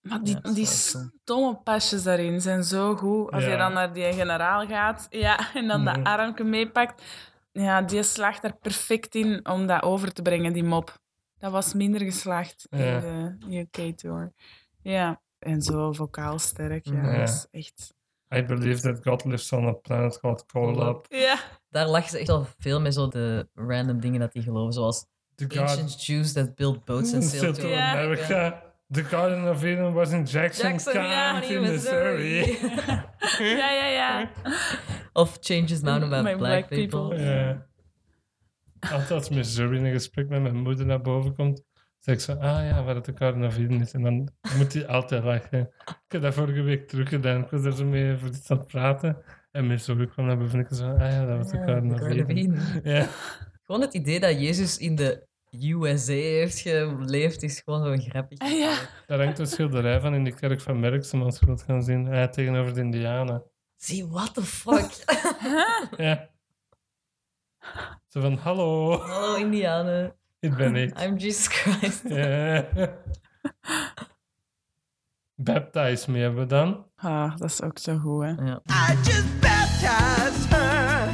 C: Maar die,
B: Ja, dat
C: die
B: is wel zo.
C: stomme pasjes daarin zijn zo goed. Als
A: Ja.
C: je dan naar die generaal gaat ja, en dan dat
A: Mhm.
C: armje meepakt. Ja, die slaagt er perfect in om dat over te brengen, die mop. Dat was minder geslaagd
A: Ja.
C: in de UK-tour. Ja, en zo vocaal sterk. Ja,
A: Ja.
C: dat is echt...
A: I Believe that God lives on a planet called Kolob.
C: Ja.
B: Daar lachen ze echt al veel mee, zo de random dingen dat die geloven, zoals
A: The God
B: ancient Jews that built boats and
A: Still
B: sailed
A: to
B: to
C: Ja.
A: America. The Garden of Eden was in Jackson,
B: Jackson
A: County,
B: County,
A: Missouri.
B: Missouri.
C: ja, ja, ja.
B: of Changes Mountain by
C: My
B: black,
C: black
B: people.
C: people.
A: Ja. Altijd als Missouri in een gesprek met mijn moeder naar boven komt, zeg ik zo, ah ja, waar het de Garden of Eden is. En dan moet hij altijd lachen. Ik heb dat vorige week teruggedaan. Ik was daar zo mee voor iets aan het praten. En Missouri kwam naar boven en ik zo, ah ja, dat was de
B: Ja,
A: Garden of
B: Garden of
A: Eden.
B: Eden.
A: Ja.
B: Gewoon het idee dat Jezus in de USA heeft geleefd, is gewoon zo'n grappig.
C: Ja.
A: Daar hangt een schilderij van in de kerk van Merksem, als je wilt gaan zien. Ah, tegenover de Indianen.
B: Zie, what the fuck?
A: Ja. Zo van, hallo,
B: Hallo Oh, Indianen,
A: dit ben Eh, ik.
B: I'm Jesus Christ.
A: Ja. Baptize me hebben we dan.
C: Ah, dat is ook zo goed, hè.
B: Ja.
G: I just baptized her.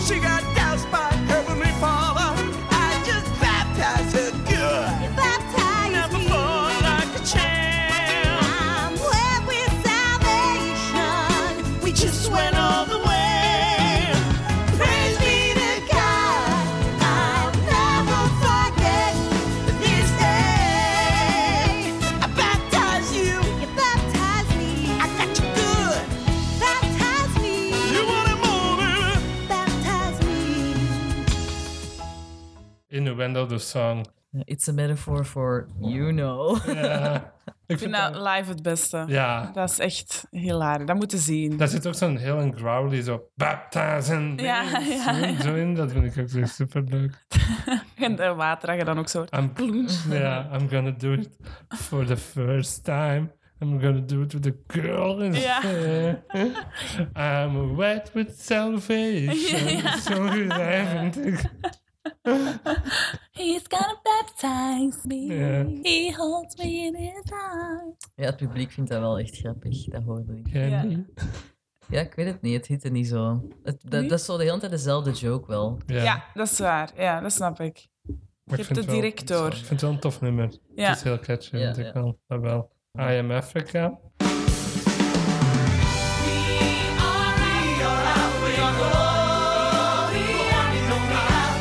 G: She got doused by Heavenly Father. I just baptized her good.
F: Baptize me.
G: Born like a champ.
F: I'm wet with salvation. We just went
G: Went all the way.
F: Praise be to God. I'll never forget this day. I baptize you. You baptize me. I got you good. Baptize me.
G: You want it more, baby?
F: Baptize me.
A: Innuendo the song.
B: It's a metaphor for you know.
A: Ja, Eh, ik
C: Ik
A: vind
C: vind dat
A: dat-
C: live het beste.
A: ja,
C: Dat is echt hilarisch. Dat moeten zien.
A: daar zit ook zo'n heel een growly zo. Baptizen.
C: Ja,
A: me,"
C: ja,
A: zo-
C: ja.
A: Zo in, dat vind ik ook zo superleuk.
C: En de water je dan ook zo.
A: I'm, yeah, I'm gonna do it for the first time. I'm gonna do it with a girl. in-
C: Ja.
A: I'm wet with salvation.
C: Ja, ja.
A: Zo goed, hè, vind ik.
E: He's gonna baptize me.
A: Ja.
E: He holds me in his arms.
B: Ja, het publiek vindt dat wel echt grappig, dat hoorde ik.
A: Jij
C: Ja.
A: niet?
B: Ja, ik weet het niet, het hitte niet zo. Het, dat, dat is zo de hele tijd dezelfde joke wel.
A: Ja,
C: Ja. dat is waar. Ja, dat snap ik.
A: maar
C: je hebt
A: vind
C: het
A: wel-
C: direct door.
A: Ik vind het wel een tof nummer.
C: Ja.
A: Het is heel catchy,
B: Ja,
A: vind ik
B: ja.
A: wel. Dat wel. I am Africa.
D: We are out. We are out. We are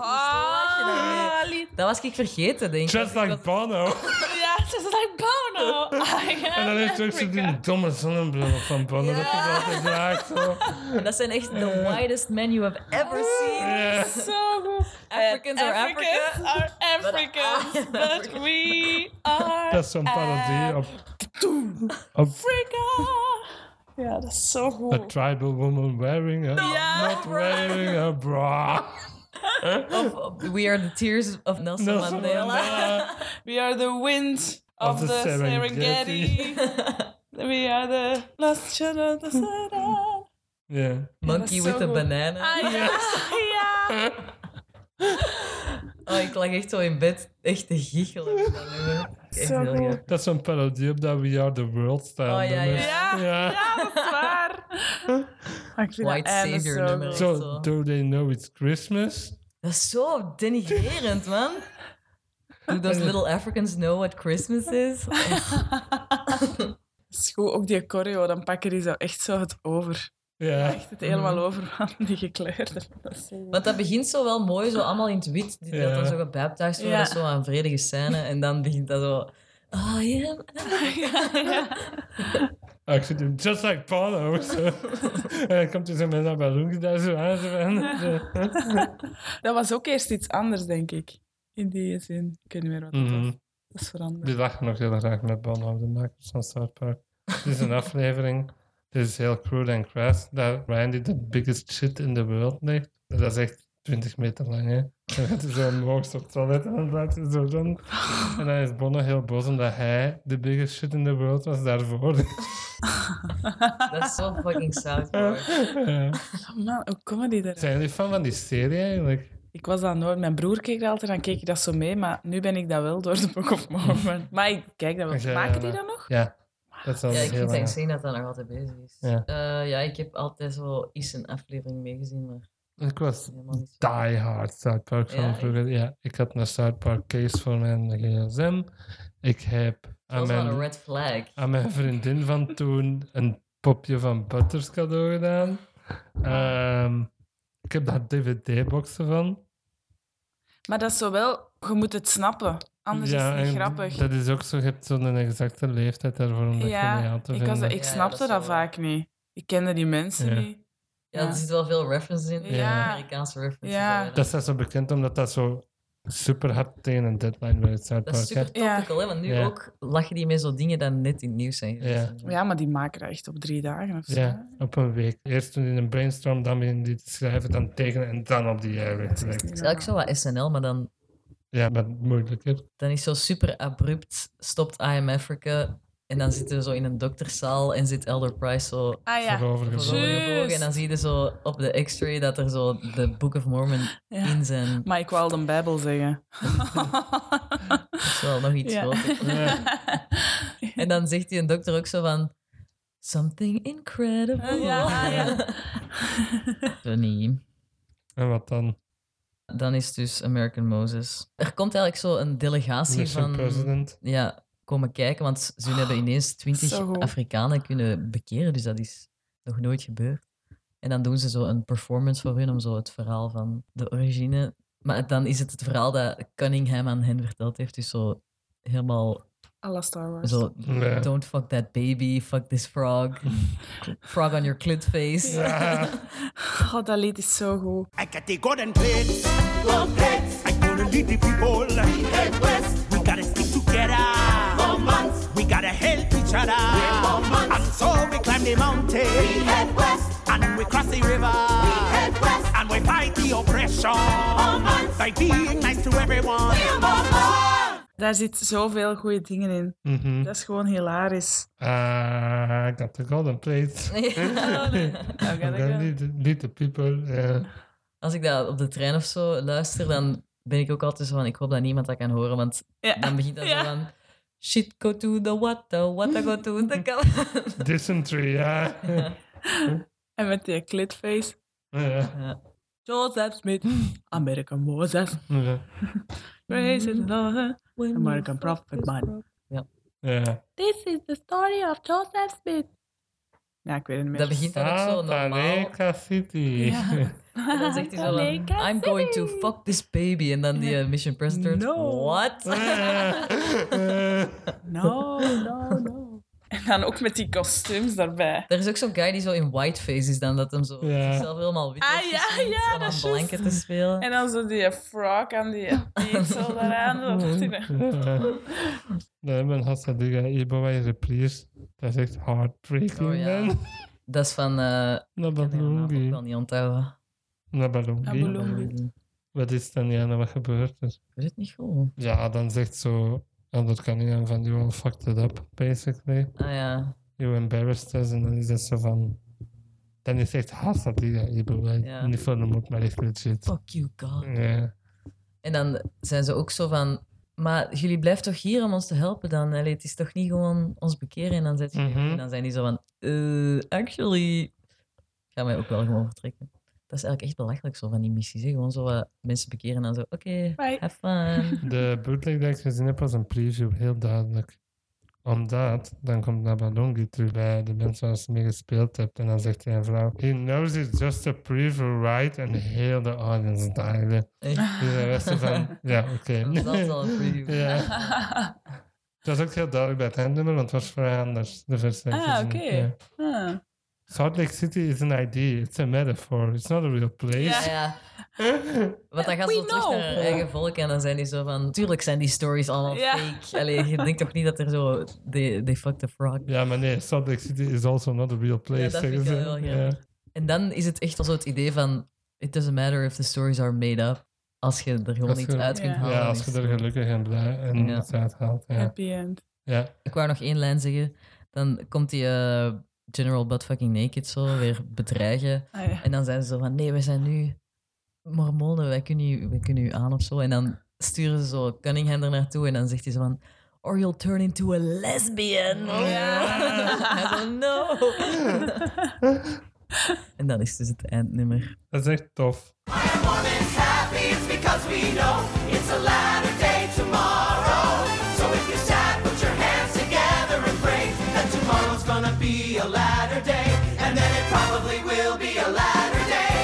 B: Oh,
C: Ah.
B: was ik vergeten, denk ik.
A: Just
B: Ik
A: like
B: was-
A: Bono.
C: Ja, ze is like Bono. Ah, I am
A: En dan heeft ze ook zo die
C: Africa.
A: domme zonnebril van Bono. Dat
B: Ja.
A: is altijd draagt. Zo.
B: Dat zijn echt the
C: Eh.
B: widest men you have ever seen.
A: Ja.
C: Zo goed.
B: Africans are Africa.
C: are Africans,
B: But I am
C: but
B: African.
C: we are
A: Dat is zo'n parodie op, op
C: Africa. Ja, dat is zo
A: a
C: goed.
A: tribal woman wearing a,
C: Ja,
A: not wearing a bra.
B: Of we are the tears of Nelson,
A: Nelson
B: Mandela.
A: Mandela.
C: We are the wind of,
A: the
C: the,
A: Serengeti.
C: Serengeti. we are the last children of the Serengeti.
A: Ja.
B: Monkey
C: is
B: with
C: zo
B: a
C: goed.
B: banana.
C: Ah, ja. ja.
B: Oh, ik lag echt zo in bed, echt te giechelen. met dat nummer. Echt
C: Zo
B: heel
C: goed.
B: grappig.
A: Dat is zo'n parodie op dat We Are The World style
B: Oh, ja,
A: nummer.
C: Ja, ja, dat is waar. Ah, ik vind
B: White
C: dat einde
B: savior
C: zo
B: nummer.
C: goed.
A: Zo,
B: Zo.
A: do they know it's Christmas?
B: Dat is zo denigrerend, man. Do those little Africans know what Christmas is?
C: Dat is goed, ook die choreo, dan pakken die zo echt zo het over.
A: Ja.
C: Echt het
A: Mhm.
C: helemaal over van die gekleurde. Dat is zo goed.
B: Want dat begint zo wel mooi, zo allemaal in het wit. Die
A: Ja.
B: dat dan zo gebaptized wordt,
C: Ja.
B: dat is zo aan vredige scène. En dan begint dat zo... Oh, yeah.
A: Ah, Ik zit hier just like Bono. zo. en dan komt hij zo met dat ballon daar zo aan. Zo aan. Zo.
C: Dat was ook eerst iets anders, denk ik. In die zin. Ik weet niet meer wat dat
A: Mhm. Dus-
C: was. Dat is veranderd.
A: Die lachen nog heel graag met Bono, de makers van South Park. Dit is een aflevering. Dit is heel crude en crass. Dat Randy de biggest shit in the world ligt. Dat is echt 20 meter lang, hè. En dat is zo omhoog op het toilet en dan draait hij zo rond. En dan is Bono heel boos omdat hij de biggest shit in the world was daarvoor.
B: Dat is zo fucking South Park.
A: Ja.
C: Oh man, hoe komen die daar?
A: Zijn jullie fan van die serie eigenlijk?
C: Ik was dat nooit. Mijn broer keek dat altijd en dan keek ik dat zo mee. Maar nu ben ik dat wel door de Book of Mormon. Maar ik kijk dat
A: Ja,
C: wel. Maken
A: Mhm. ja.
C: die dat nog?
A: Ja. Dat is al
B: Ja,
A: heel
B: ik vind het
A: lang.
B: insane dat dat nog altijd bezig is.
A: Ja.
B: Eh, ja, ik heb altijd zo eens een aflevering meegezien, maar
A: Ik was
B: helemaal niet zo.
A: die hard South Park fan
B: Ja,
A: vroeger. Ja, ik had een South Park case voor mijn gsm. Ik heb
B: Dat
A: aan
B: was wel een
A: mijn,
B: red flag.
A: aan mijn vriendin van toen een popje van Butters cadeau gedaan. Ehm, ik heb daar dvd-boxen van.
C: Maar dat is zo wel... Je moet het snappen. Anders is het
A: en
C: niet grappig.
A: Dat is ook zo, je hebt zo'n exacte leeftijd daarvoor om dat
C: Ja,
A: geniaal te
C: ik,
A: vinden.
C: was, ik
B: Ja,
C: snapte
B: dat is
C: dat
B: wel waar.
C: vaak niet. Ik kende die mensen
A: Ja.
C: niet.
B: Ja, er zitten wel veel references in.
C: Ja.
B: Amerikaanse references.
C: Ja.
B: alweer.
A: Dat staat zo bekend omdat dat zo super hard tegen een deadline bij het South
B: Dat is
A: Park. hè.
B: super topical, hè? Want nu
A: Ja.
B: ook lachen die met zo dingen dat net in het nieuws zijn geweest.
C: Ja, maar die maken dat echt op drie dagen of zo.
A: Ja, op een week. Eerst toen in een brainstorm, dan begin die te schrijven, dan tekenen en dan op die jij
C: Dat is echt
A: wegwerken.
C: niet
B: Het is eigenlijk zo wat SNL, maar dan,
A: Ja, maar moeilijker.
B: dan is zo super abrupt stopt I am Africa en dan zitten we zo in een dokterszaal en zit Elder Price zo
C: normaal. Ah ja.
A: Voorover gebogen.
C: Juist.
B: voorovergebogen en dan zie je zo op de x-ray dat er zo de Book of Mormon
C: Ja.
B: in zijn.
C: Maar ik wou al de Bijbel zeggen.
B: Dat is wel nog iets
C: Ja.
B: groter.
A: Ja.
B: En dan zegt die een dokter ook zo van... Something incredible.
C: Eh, Ja, ah, ja.
B: Funny.
A: En wat dan?
B: Dan is het dus American Moses. Er komt eigenlijk zo een delegatie
A: Mission
B: van...
A: President.
B: Ja, komen kijken, want ze hebben ineens
C: Ah, Zo
B: twintig
C: goed.
B: Afrikanen kunnen bekeren. Dus dat is nog nooit gebeurd. En dan doen ze zo een performance voor hun om zo het verhaal van de origine... Maar dan is het het verhaal dat Cunningham aan hen verteld heeft. Dus zo helemaal
C: Alla Star Wars.
B: Zo,
A: Ja.
B: don't fuck that baby, fuck this frog. frog on your clit face.
C: God, dat lied is zo goed.
G: I got the golden plates. Gold plates. I'm gonna lead the people. West. We gotta stick together. For months. We gotta help each other. For months. And so we climb the mountain. We head west. And we cross the river. We head west. And we fight the oppression. For months. By being nice to everyone.
C: Daar zit zoveel goede dingen in.
A: Mhm.
C: Dat is gewoon hilarisch.
A: Ah, I got the golden plate.
C: Nou, ga ik wel.
A: Niet the people. eh, ja.
B: Als ik dat op de trein of zo luister, dan ben ik ook altijd zo van, ik hoop dat niemand dat kan horen, want dan
C: Ja.
B: begint dat
C: Ja.
B: zo van, shit go to the water, water go to the cow.
A: Dysentery, ja.
C: En met die klitface.
A: Ja.
C: Joseph Smith. American Moses.
A: Ja.
C: Praise the Lord.
B: When
C: American
B: you fuck
C: Prophet
B: this
C: Man.
B: frog.
A: Ja.
E: This is the story of Joseph Smith.
C: Ja, ik weet het niet meer.
B: Dat begint dan ook zo normaal.
A: Santa City.
C: Ja.
B: En dan zegt hij zo dan,
E: Jamaica
B: I'm going to fuck this baby. En dan die eh, Mission President.
C: No.
B: What?
A: Eh.
B: Ah,
C: No, no, no. En dan ook met die kostuums daarbij.
B: Er is ook zo'n guy die zo in whiteface is dan, dat hem zo
A: Ja.
B: zichzelf helemaal wit
C: Ah,
B: heeft
C: ja,
B: gesminkt om
C: ja, dat
B: aan
C: is
B: blanken te spelen.
C: En dan zo die frog en die pizza daaraan. Dat die-
A: eh, Nee, men had dat ding, eh, Ibo in reprise. Dat is echt heartbreaking,
B: Oh, ja.
A: man.
B: Dat is van... eh ik
A: Na
B: kan die naam ook wel
A: Balungi.
B: niet onthouden.
A: Na
C: Nabalungi.
A: Balungi. Wat is dan, Jana? Wat gebeurt er?
B: Ik weet Eh, het niet goed.
A: Ja, dan zegt zo Ander Cunningham van, you all fucked it up, basically.
B: Ah ja,
A: You embarrassed us. En dan is dat zo van... Dan is echt haast dat die Ibo
B: Ja.
A: Niet voor de moed, maar echt legit.
B: fuck you God.
A: Ja.
B: En dan zijn ze ook zo van... Maar jullie blijven toch hier om ons te helpen dan? Allee, het is toch niet gewoon ons bekeren? En dan, zet je
A: Mhm.
B: en dan zijn die zo van... eh, actually... Gaan wij ook wel gewoon vertrekken. Dat is eigenlijk echt belachelijk zo van die missies. hè. Gewoon zo wat mensen bekeren en dan zo... Oké,
C: Bye.
B: have fun.
A: De bootleg dat ik gezien heb was een preview, heel duidelijk. Omdat, dan komt Nabalongi terug bij de mensen waar ze mee gespeeld hebt. En dan zegt hij een vrouw, he knows it's just a preview, right? En heel de audience daalde.
B: Echt.
A: Dus hij was zo van, ja, oké.
B: Dat was al een preview.
A: ja. Het was ook heel duidelijk bij het eindnummer, want het was vrij anders, de versie. dat ik
C: Ah,
A: gezien heb,
C: oké.
A: ja.
C: Ah.
A: Salt Lake City is an idea, it's a metaphor, it's not a real
B: Ja,
A: place.
B: ja. Want dan gaan ze
C: We
B: zo terug naar hun
C: know.
B: eigen volk en dan zijn die zo van... Tuurlijk zijn die stories allemaal
C: Ja.
B: fake. Allee, je denkt toch niet dat er zo... They, they fucked the frog.
A: Ja, maar nee, Salt Lake City is also not a real place.
B: Ja, dat vind ik
A: zeggen
B: wel
A: ze.
B: heel
A: Ja.
B: grappig. En dan is het echt al zo het idee van... It doesn't matter if the stories are made up. Als je er gewoon
A: Als
B: iets
A: je-
B: uit kunt
C: Ja.
B: halen.
A: Ja,
B: dan
A: als
B: is
A: je
B: het
A: er
B: zo.
A: gelukkig en blij en
B: Ja.
A: iets uit haalt. Ja.
C: Happy end.
A: ja.
B: Ik wou nog één lijn zeggen. Dan komt die eh, General Buttfucking Naked zo weer bedreigen.
C: Ah, ja.
B: En dan zijn ze zo van... Nee, we zijn nu mormonen. Wij kunnen u, wij kunnen u aan of zo. En dan sturen ze zo Cunningham er naartoe. En dan zegt hij zo van... Or you'll turn into a lesbian.
C: Oh,
B: Hij zo, no. en dan is dus het eindnummer.
A: Dat is echt tof.
D: Mormons happy, it's because we know it's a latter day tomorrow. So if you're sad, put your hands together and pray that tomorrow's gonna be a latter day. And then it probably will be a latter day.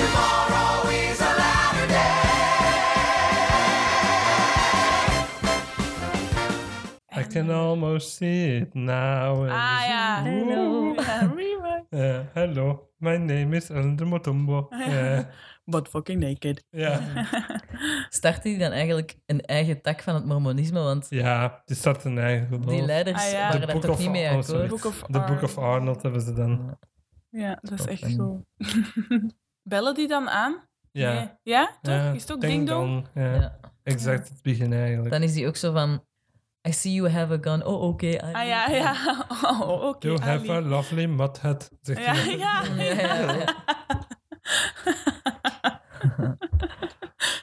D: Tomorrow is a latter day.
A: I can almost see it now.
C: Ah ja.
A: Hello.
C: Ja, rewind.
A: Eh, hello, my name is Ellen Motombo. Eh,
C: But fucking naked.
A: Ja,
B: Startte die dan eigenlijk een eigen tak van het mormonisme? Want
A: ja, die staat in eigen geloof.
B: die leiders
C: Ah, ja.
B: waren
A: The
B: daar
A: Book
B: toch
A: of-
B: niet mee
A: oh, sorry.
B: akkoord.
C: Book of
A: The Book of
C: Arms.
A: Arnold hebben ze dan.
C: Ja, dat is
B: Top,
C: echt
B: en-
C: goed. Bellen die dan aan?
A: Ja.
C: Nee. Ja? Toch?
A: Ja,
C: is het ook
A: Ding
C: ding dong?
A: Dong, Ja.
B: Ja.
A: Exact het begin eigenlijk.
B: Dan is die ook zo van... I see you have a gun. Oh, oké. I
C: Ah
B: need
C: ja,
B: one."
C: ja. Oh, oké.
A: You have a
C: Ali.
A: lovely mud hat, zegt
C: Ja,
A: hij.
C: ja.
B: Ja, ja, ja.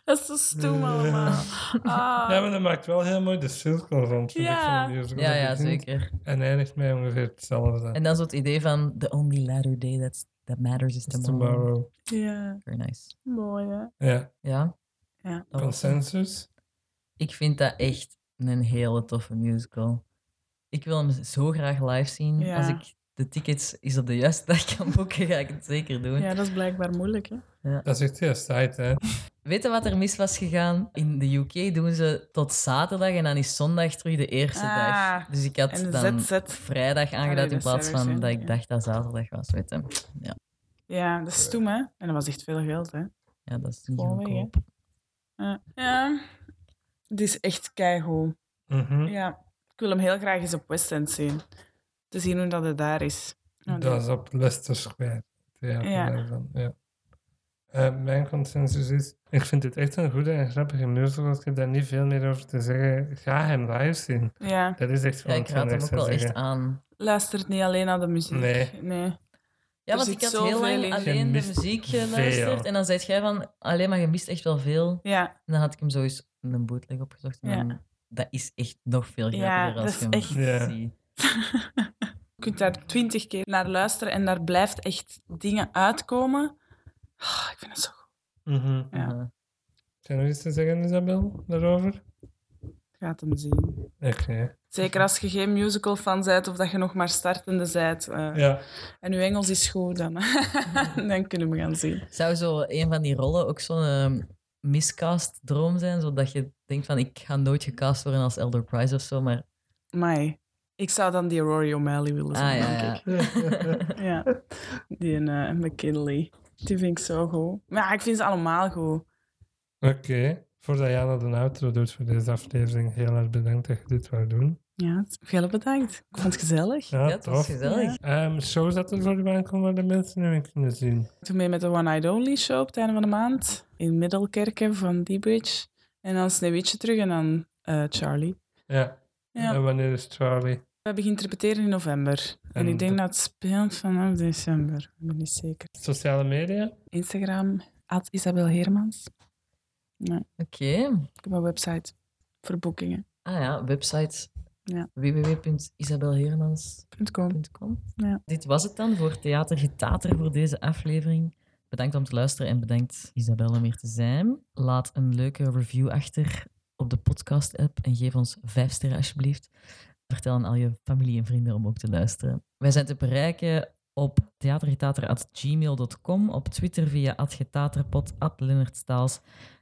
C: Dat is zo stoem allemaal. Ah.
A: Ja, maar dat maakt wel heel mooi de cirkel rond. vind ik,
C: Ja.
A: van de musical.
B: Ja,
A: Dat
B: ja,
A: begint
B: zeker.
A: En eindigt mij ongeveer hetzelfde.
B: En dan zo het idee van... The only latter day that's, that matters is tomorrow.
A: Tomorrow.
C: Ja,
B: Very nice.
C: mooi hè.
A: Ja,
B: Ja?
C: Ja.
B: Dat was hem.
A: consensus.
B: Ik vind dat echt een hele toffe musical. Ik wil hem zo graag live zien.
C: Ja.
B: Als ik de tickets is op de juiste dag kan boeken, ga ik het zeker doen.
C: Ja, dat is blijkbaar moeilijk hè.
A: Dat is echt heel saai, hè?
B: Weet je wat er mis was gegaan? In de UK doen ze tot zaterdag en dan is zondag terug de eerste
C: Ah,
B: dag. Dus ik had
C: en
B: dan
C: ZZ.
B: vrijdag
C: Allee,
B: aangeduid in
C: dat
B: plaats
C: zou
B: van
C: weer
B: dat
C: zijn,
B: ik
C: ja.
B: dacht dat zaterdag was. Weet je?
C: Ja, dat is stoem hè. En dat was echt veel geld hè.
B: Ja, dat is niet
C: Gewoon weg, hè.
B: goedkoop.
C: Ja. ja. Het is echt keigoed.
A: Mhm.
C: Ja. Ik wil hem heel graag eens op West End zien. Te zien hoe dat het daar is. Ja,
A: Dat is op Leicester Square. theater
C: Nou, Ja.
A: daarvan, ja. Eh, mijn consensus is, ik vind dit echt een goede en grappige musical. Ik heb daar niet veel meer over te zeggen. Ga hem live zien.
C: ja.
A: Dat is echt
B: Ja,
A: gewoon
B: ik raad hem ook wel echt aan.
C: Luistert niet alleen naar de muziek.
A: Nee.
C: Nee.
B: Ja,
C: Er
B: want
C: zit
B: ik had
C: zoveel
B: heel lang
C: in.
A: Je
B: alleen de
A: mist
B: muziek geluisterd.
A: veel.
B: En dan zei jij van, alleen maar je mist echt wel veel.
C: Ja,
B: En dan had ik hem sowieso in een bootleg opgezocht. En
C: Ja.
B: dan- dat is echt nog veel
C: Ja,
B: grappiger als je
C: dat
B: hem
C: is
A: echt-
B: ziet.
C: je kunt daar twintig keer naar luisteren en daar blijft echt dingen uitkomen. Ah, ik vind het zo goed.
A: Mhm.
C: Ja.
B: Uh,
A: Zijn er nog iets te zeggen, Isabel, daarover?
C: gaat hem zien.
A: Echt, hè?
C: Zeker als je geen musical fan bent of dat je nog maar startende bent. eh,
A: Ja.
C: En uw Engels is goed, dan, dan kunnen we gaan zien.
B: Zou zo een van die rollen ook zo'n ehm, miscast-droom zijn? Zodat je denkt van, ik ga nooit gecast worden als Elder Price of zo, maar...
C: Mai. Ik zou dan die Rory O'Malley willen
B: Ah,
C: zijn,
B: ja,
C: denk
B: ja.
C: ik. Ja, die en eh, McKinley. Die vind ik zo goed. Maar ja, ik vind ze allemaal goed.
A: Oké. Voordat Jana de outro doet voor deze aflevering, heel erg bedankt dat je dit wou doen.
C: Ja, veel bedankt. Ik vond het gezellig.
A: Ja,
B: Ja, het
A: tof.
B: was gezellig.
A: Ehm, shows dat er voor de baan komen waar de mensen nu in kunnen zien.
C: Ik doe mee met de One Night Only show op het einde van de maand. In Middelkerken van D-Bridge. En dan Sneeuwwitje terug en dan eh, Charlie.
A: Ja.
C: Ja.
A: En wanneer is Charlie?
C: We hebben geïnterpreteerd in november. En,
A: En
C: ik denk
A: de-
C: dat het speelt vanaf december. Ik ben niet zeker.
A: Sociale media?
C: Instagram, at Isabel Hermans.
B: Oké.
C: Ik heb een website voor boekingen.com.
B: Ah ja, website.
C: Ja.
B: www.isabelheermans. www.theatergetater.com.
C: Ja.
B: Dit was het dan voor Theater Getater voor deze aflevering. Bedankt om te luisteren en bedankt Isabelle om hier te zijn. Laat een leuke review achter op de podcast-app en geef ons vijf sterren alsjeblieft. Vertel aan al je familie en vrienden om ook te luisteren. Wij zijn te bereiken op theatergetater.gmail.com, op Twitter via atgetaterpot, atleonardstaals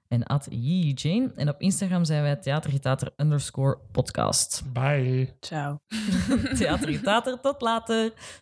B: en at Jane. En op Instagram zijn wij theatergetater underscore podcast.
A: Bye.
C: Ciao.
B: Theater Getater, tot later.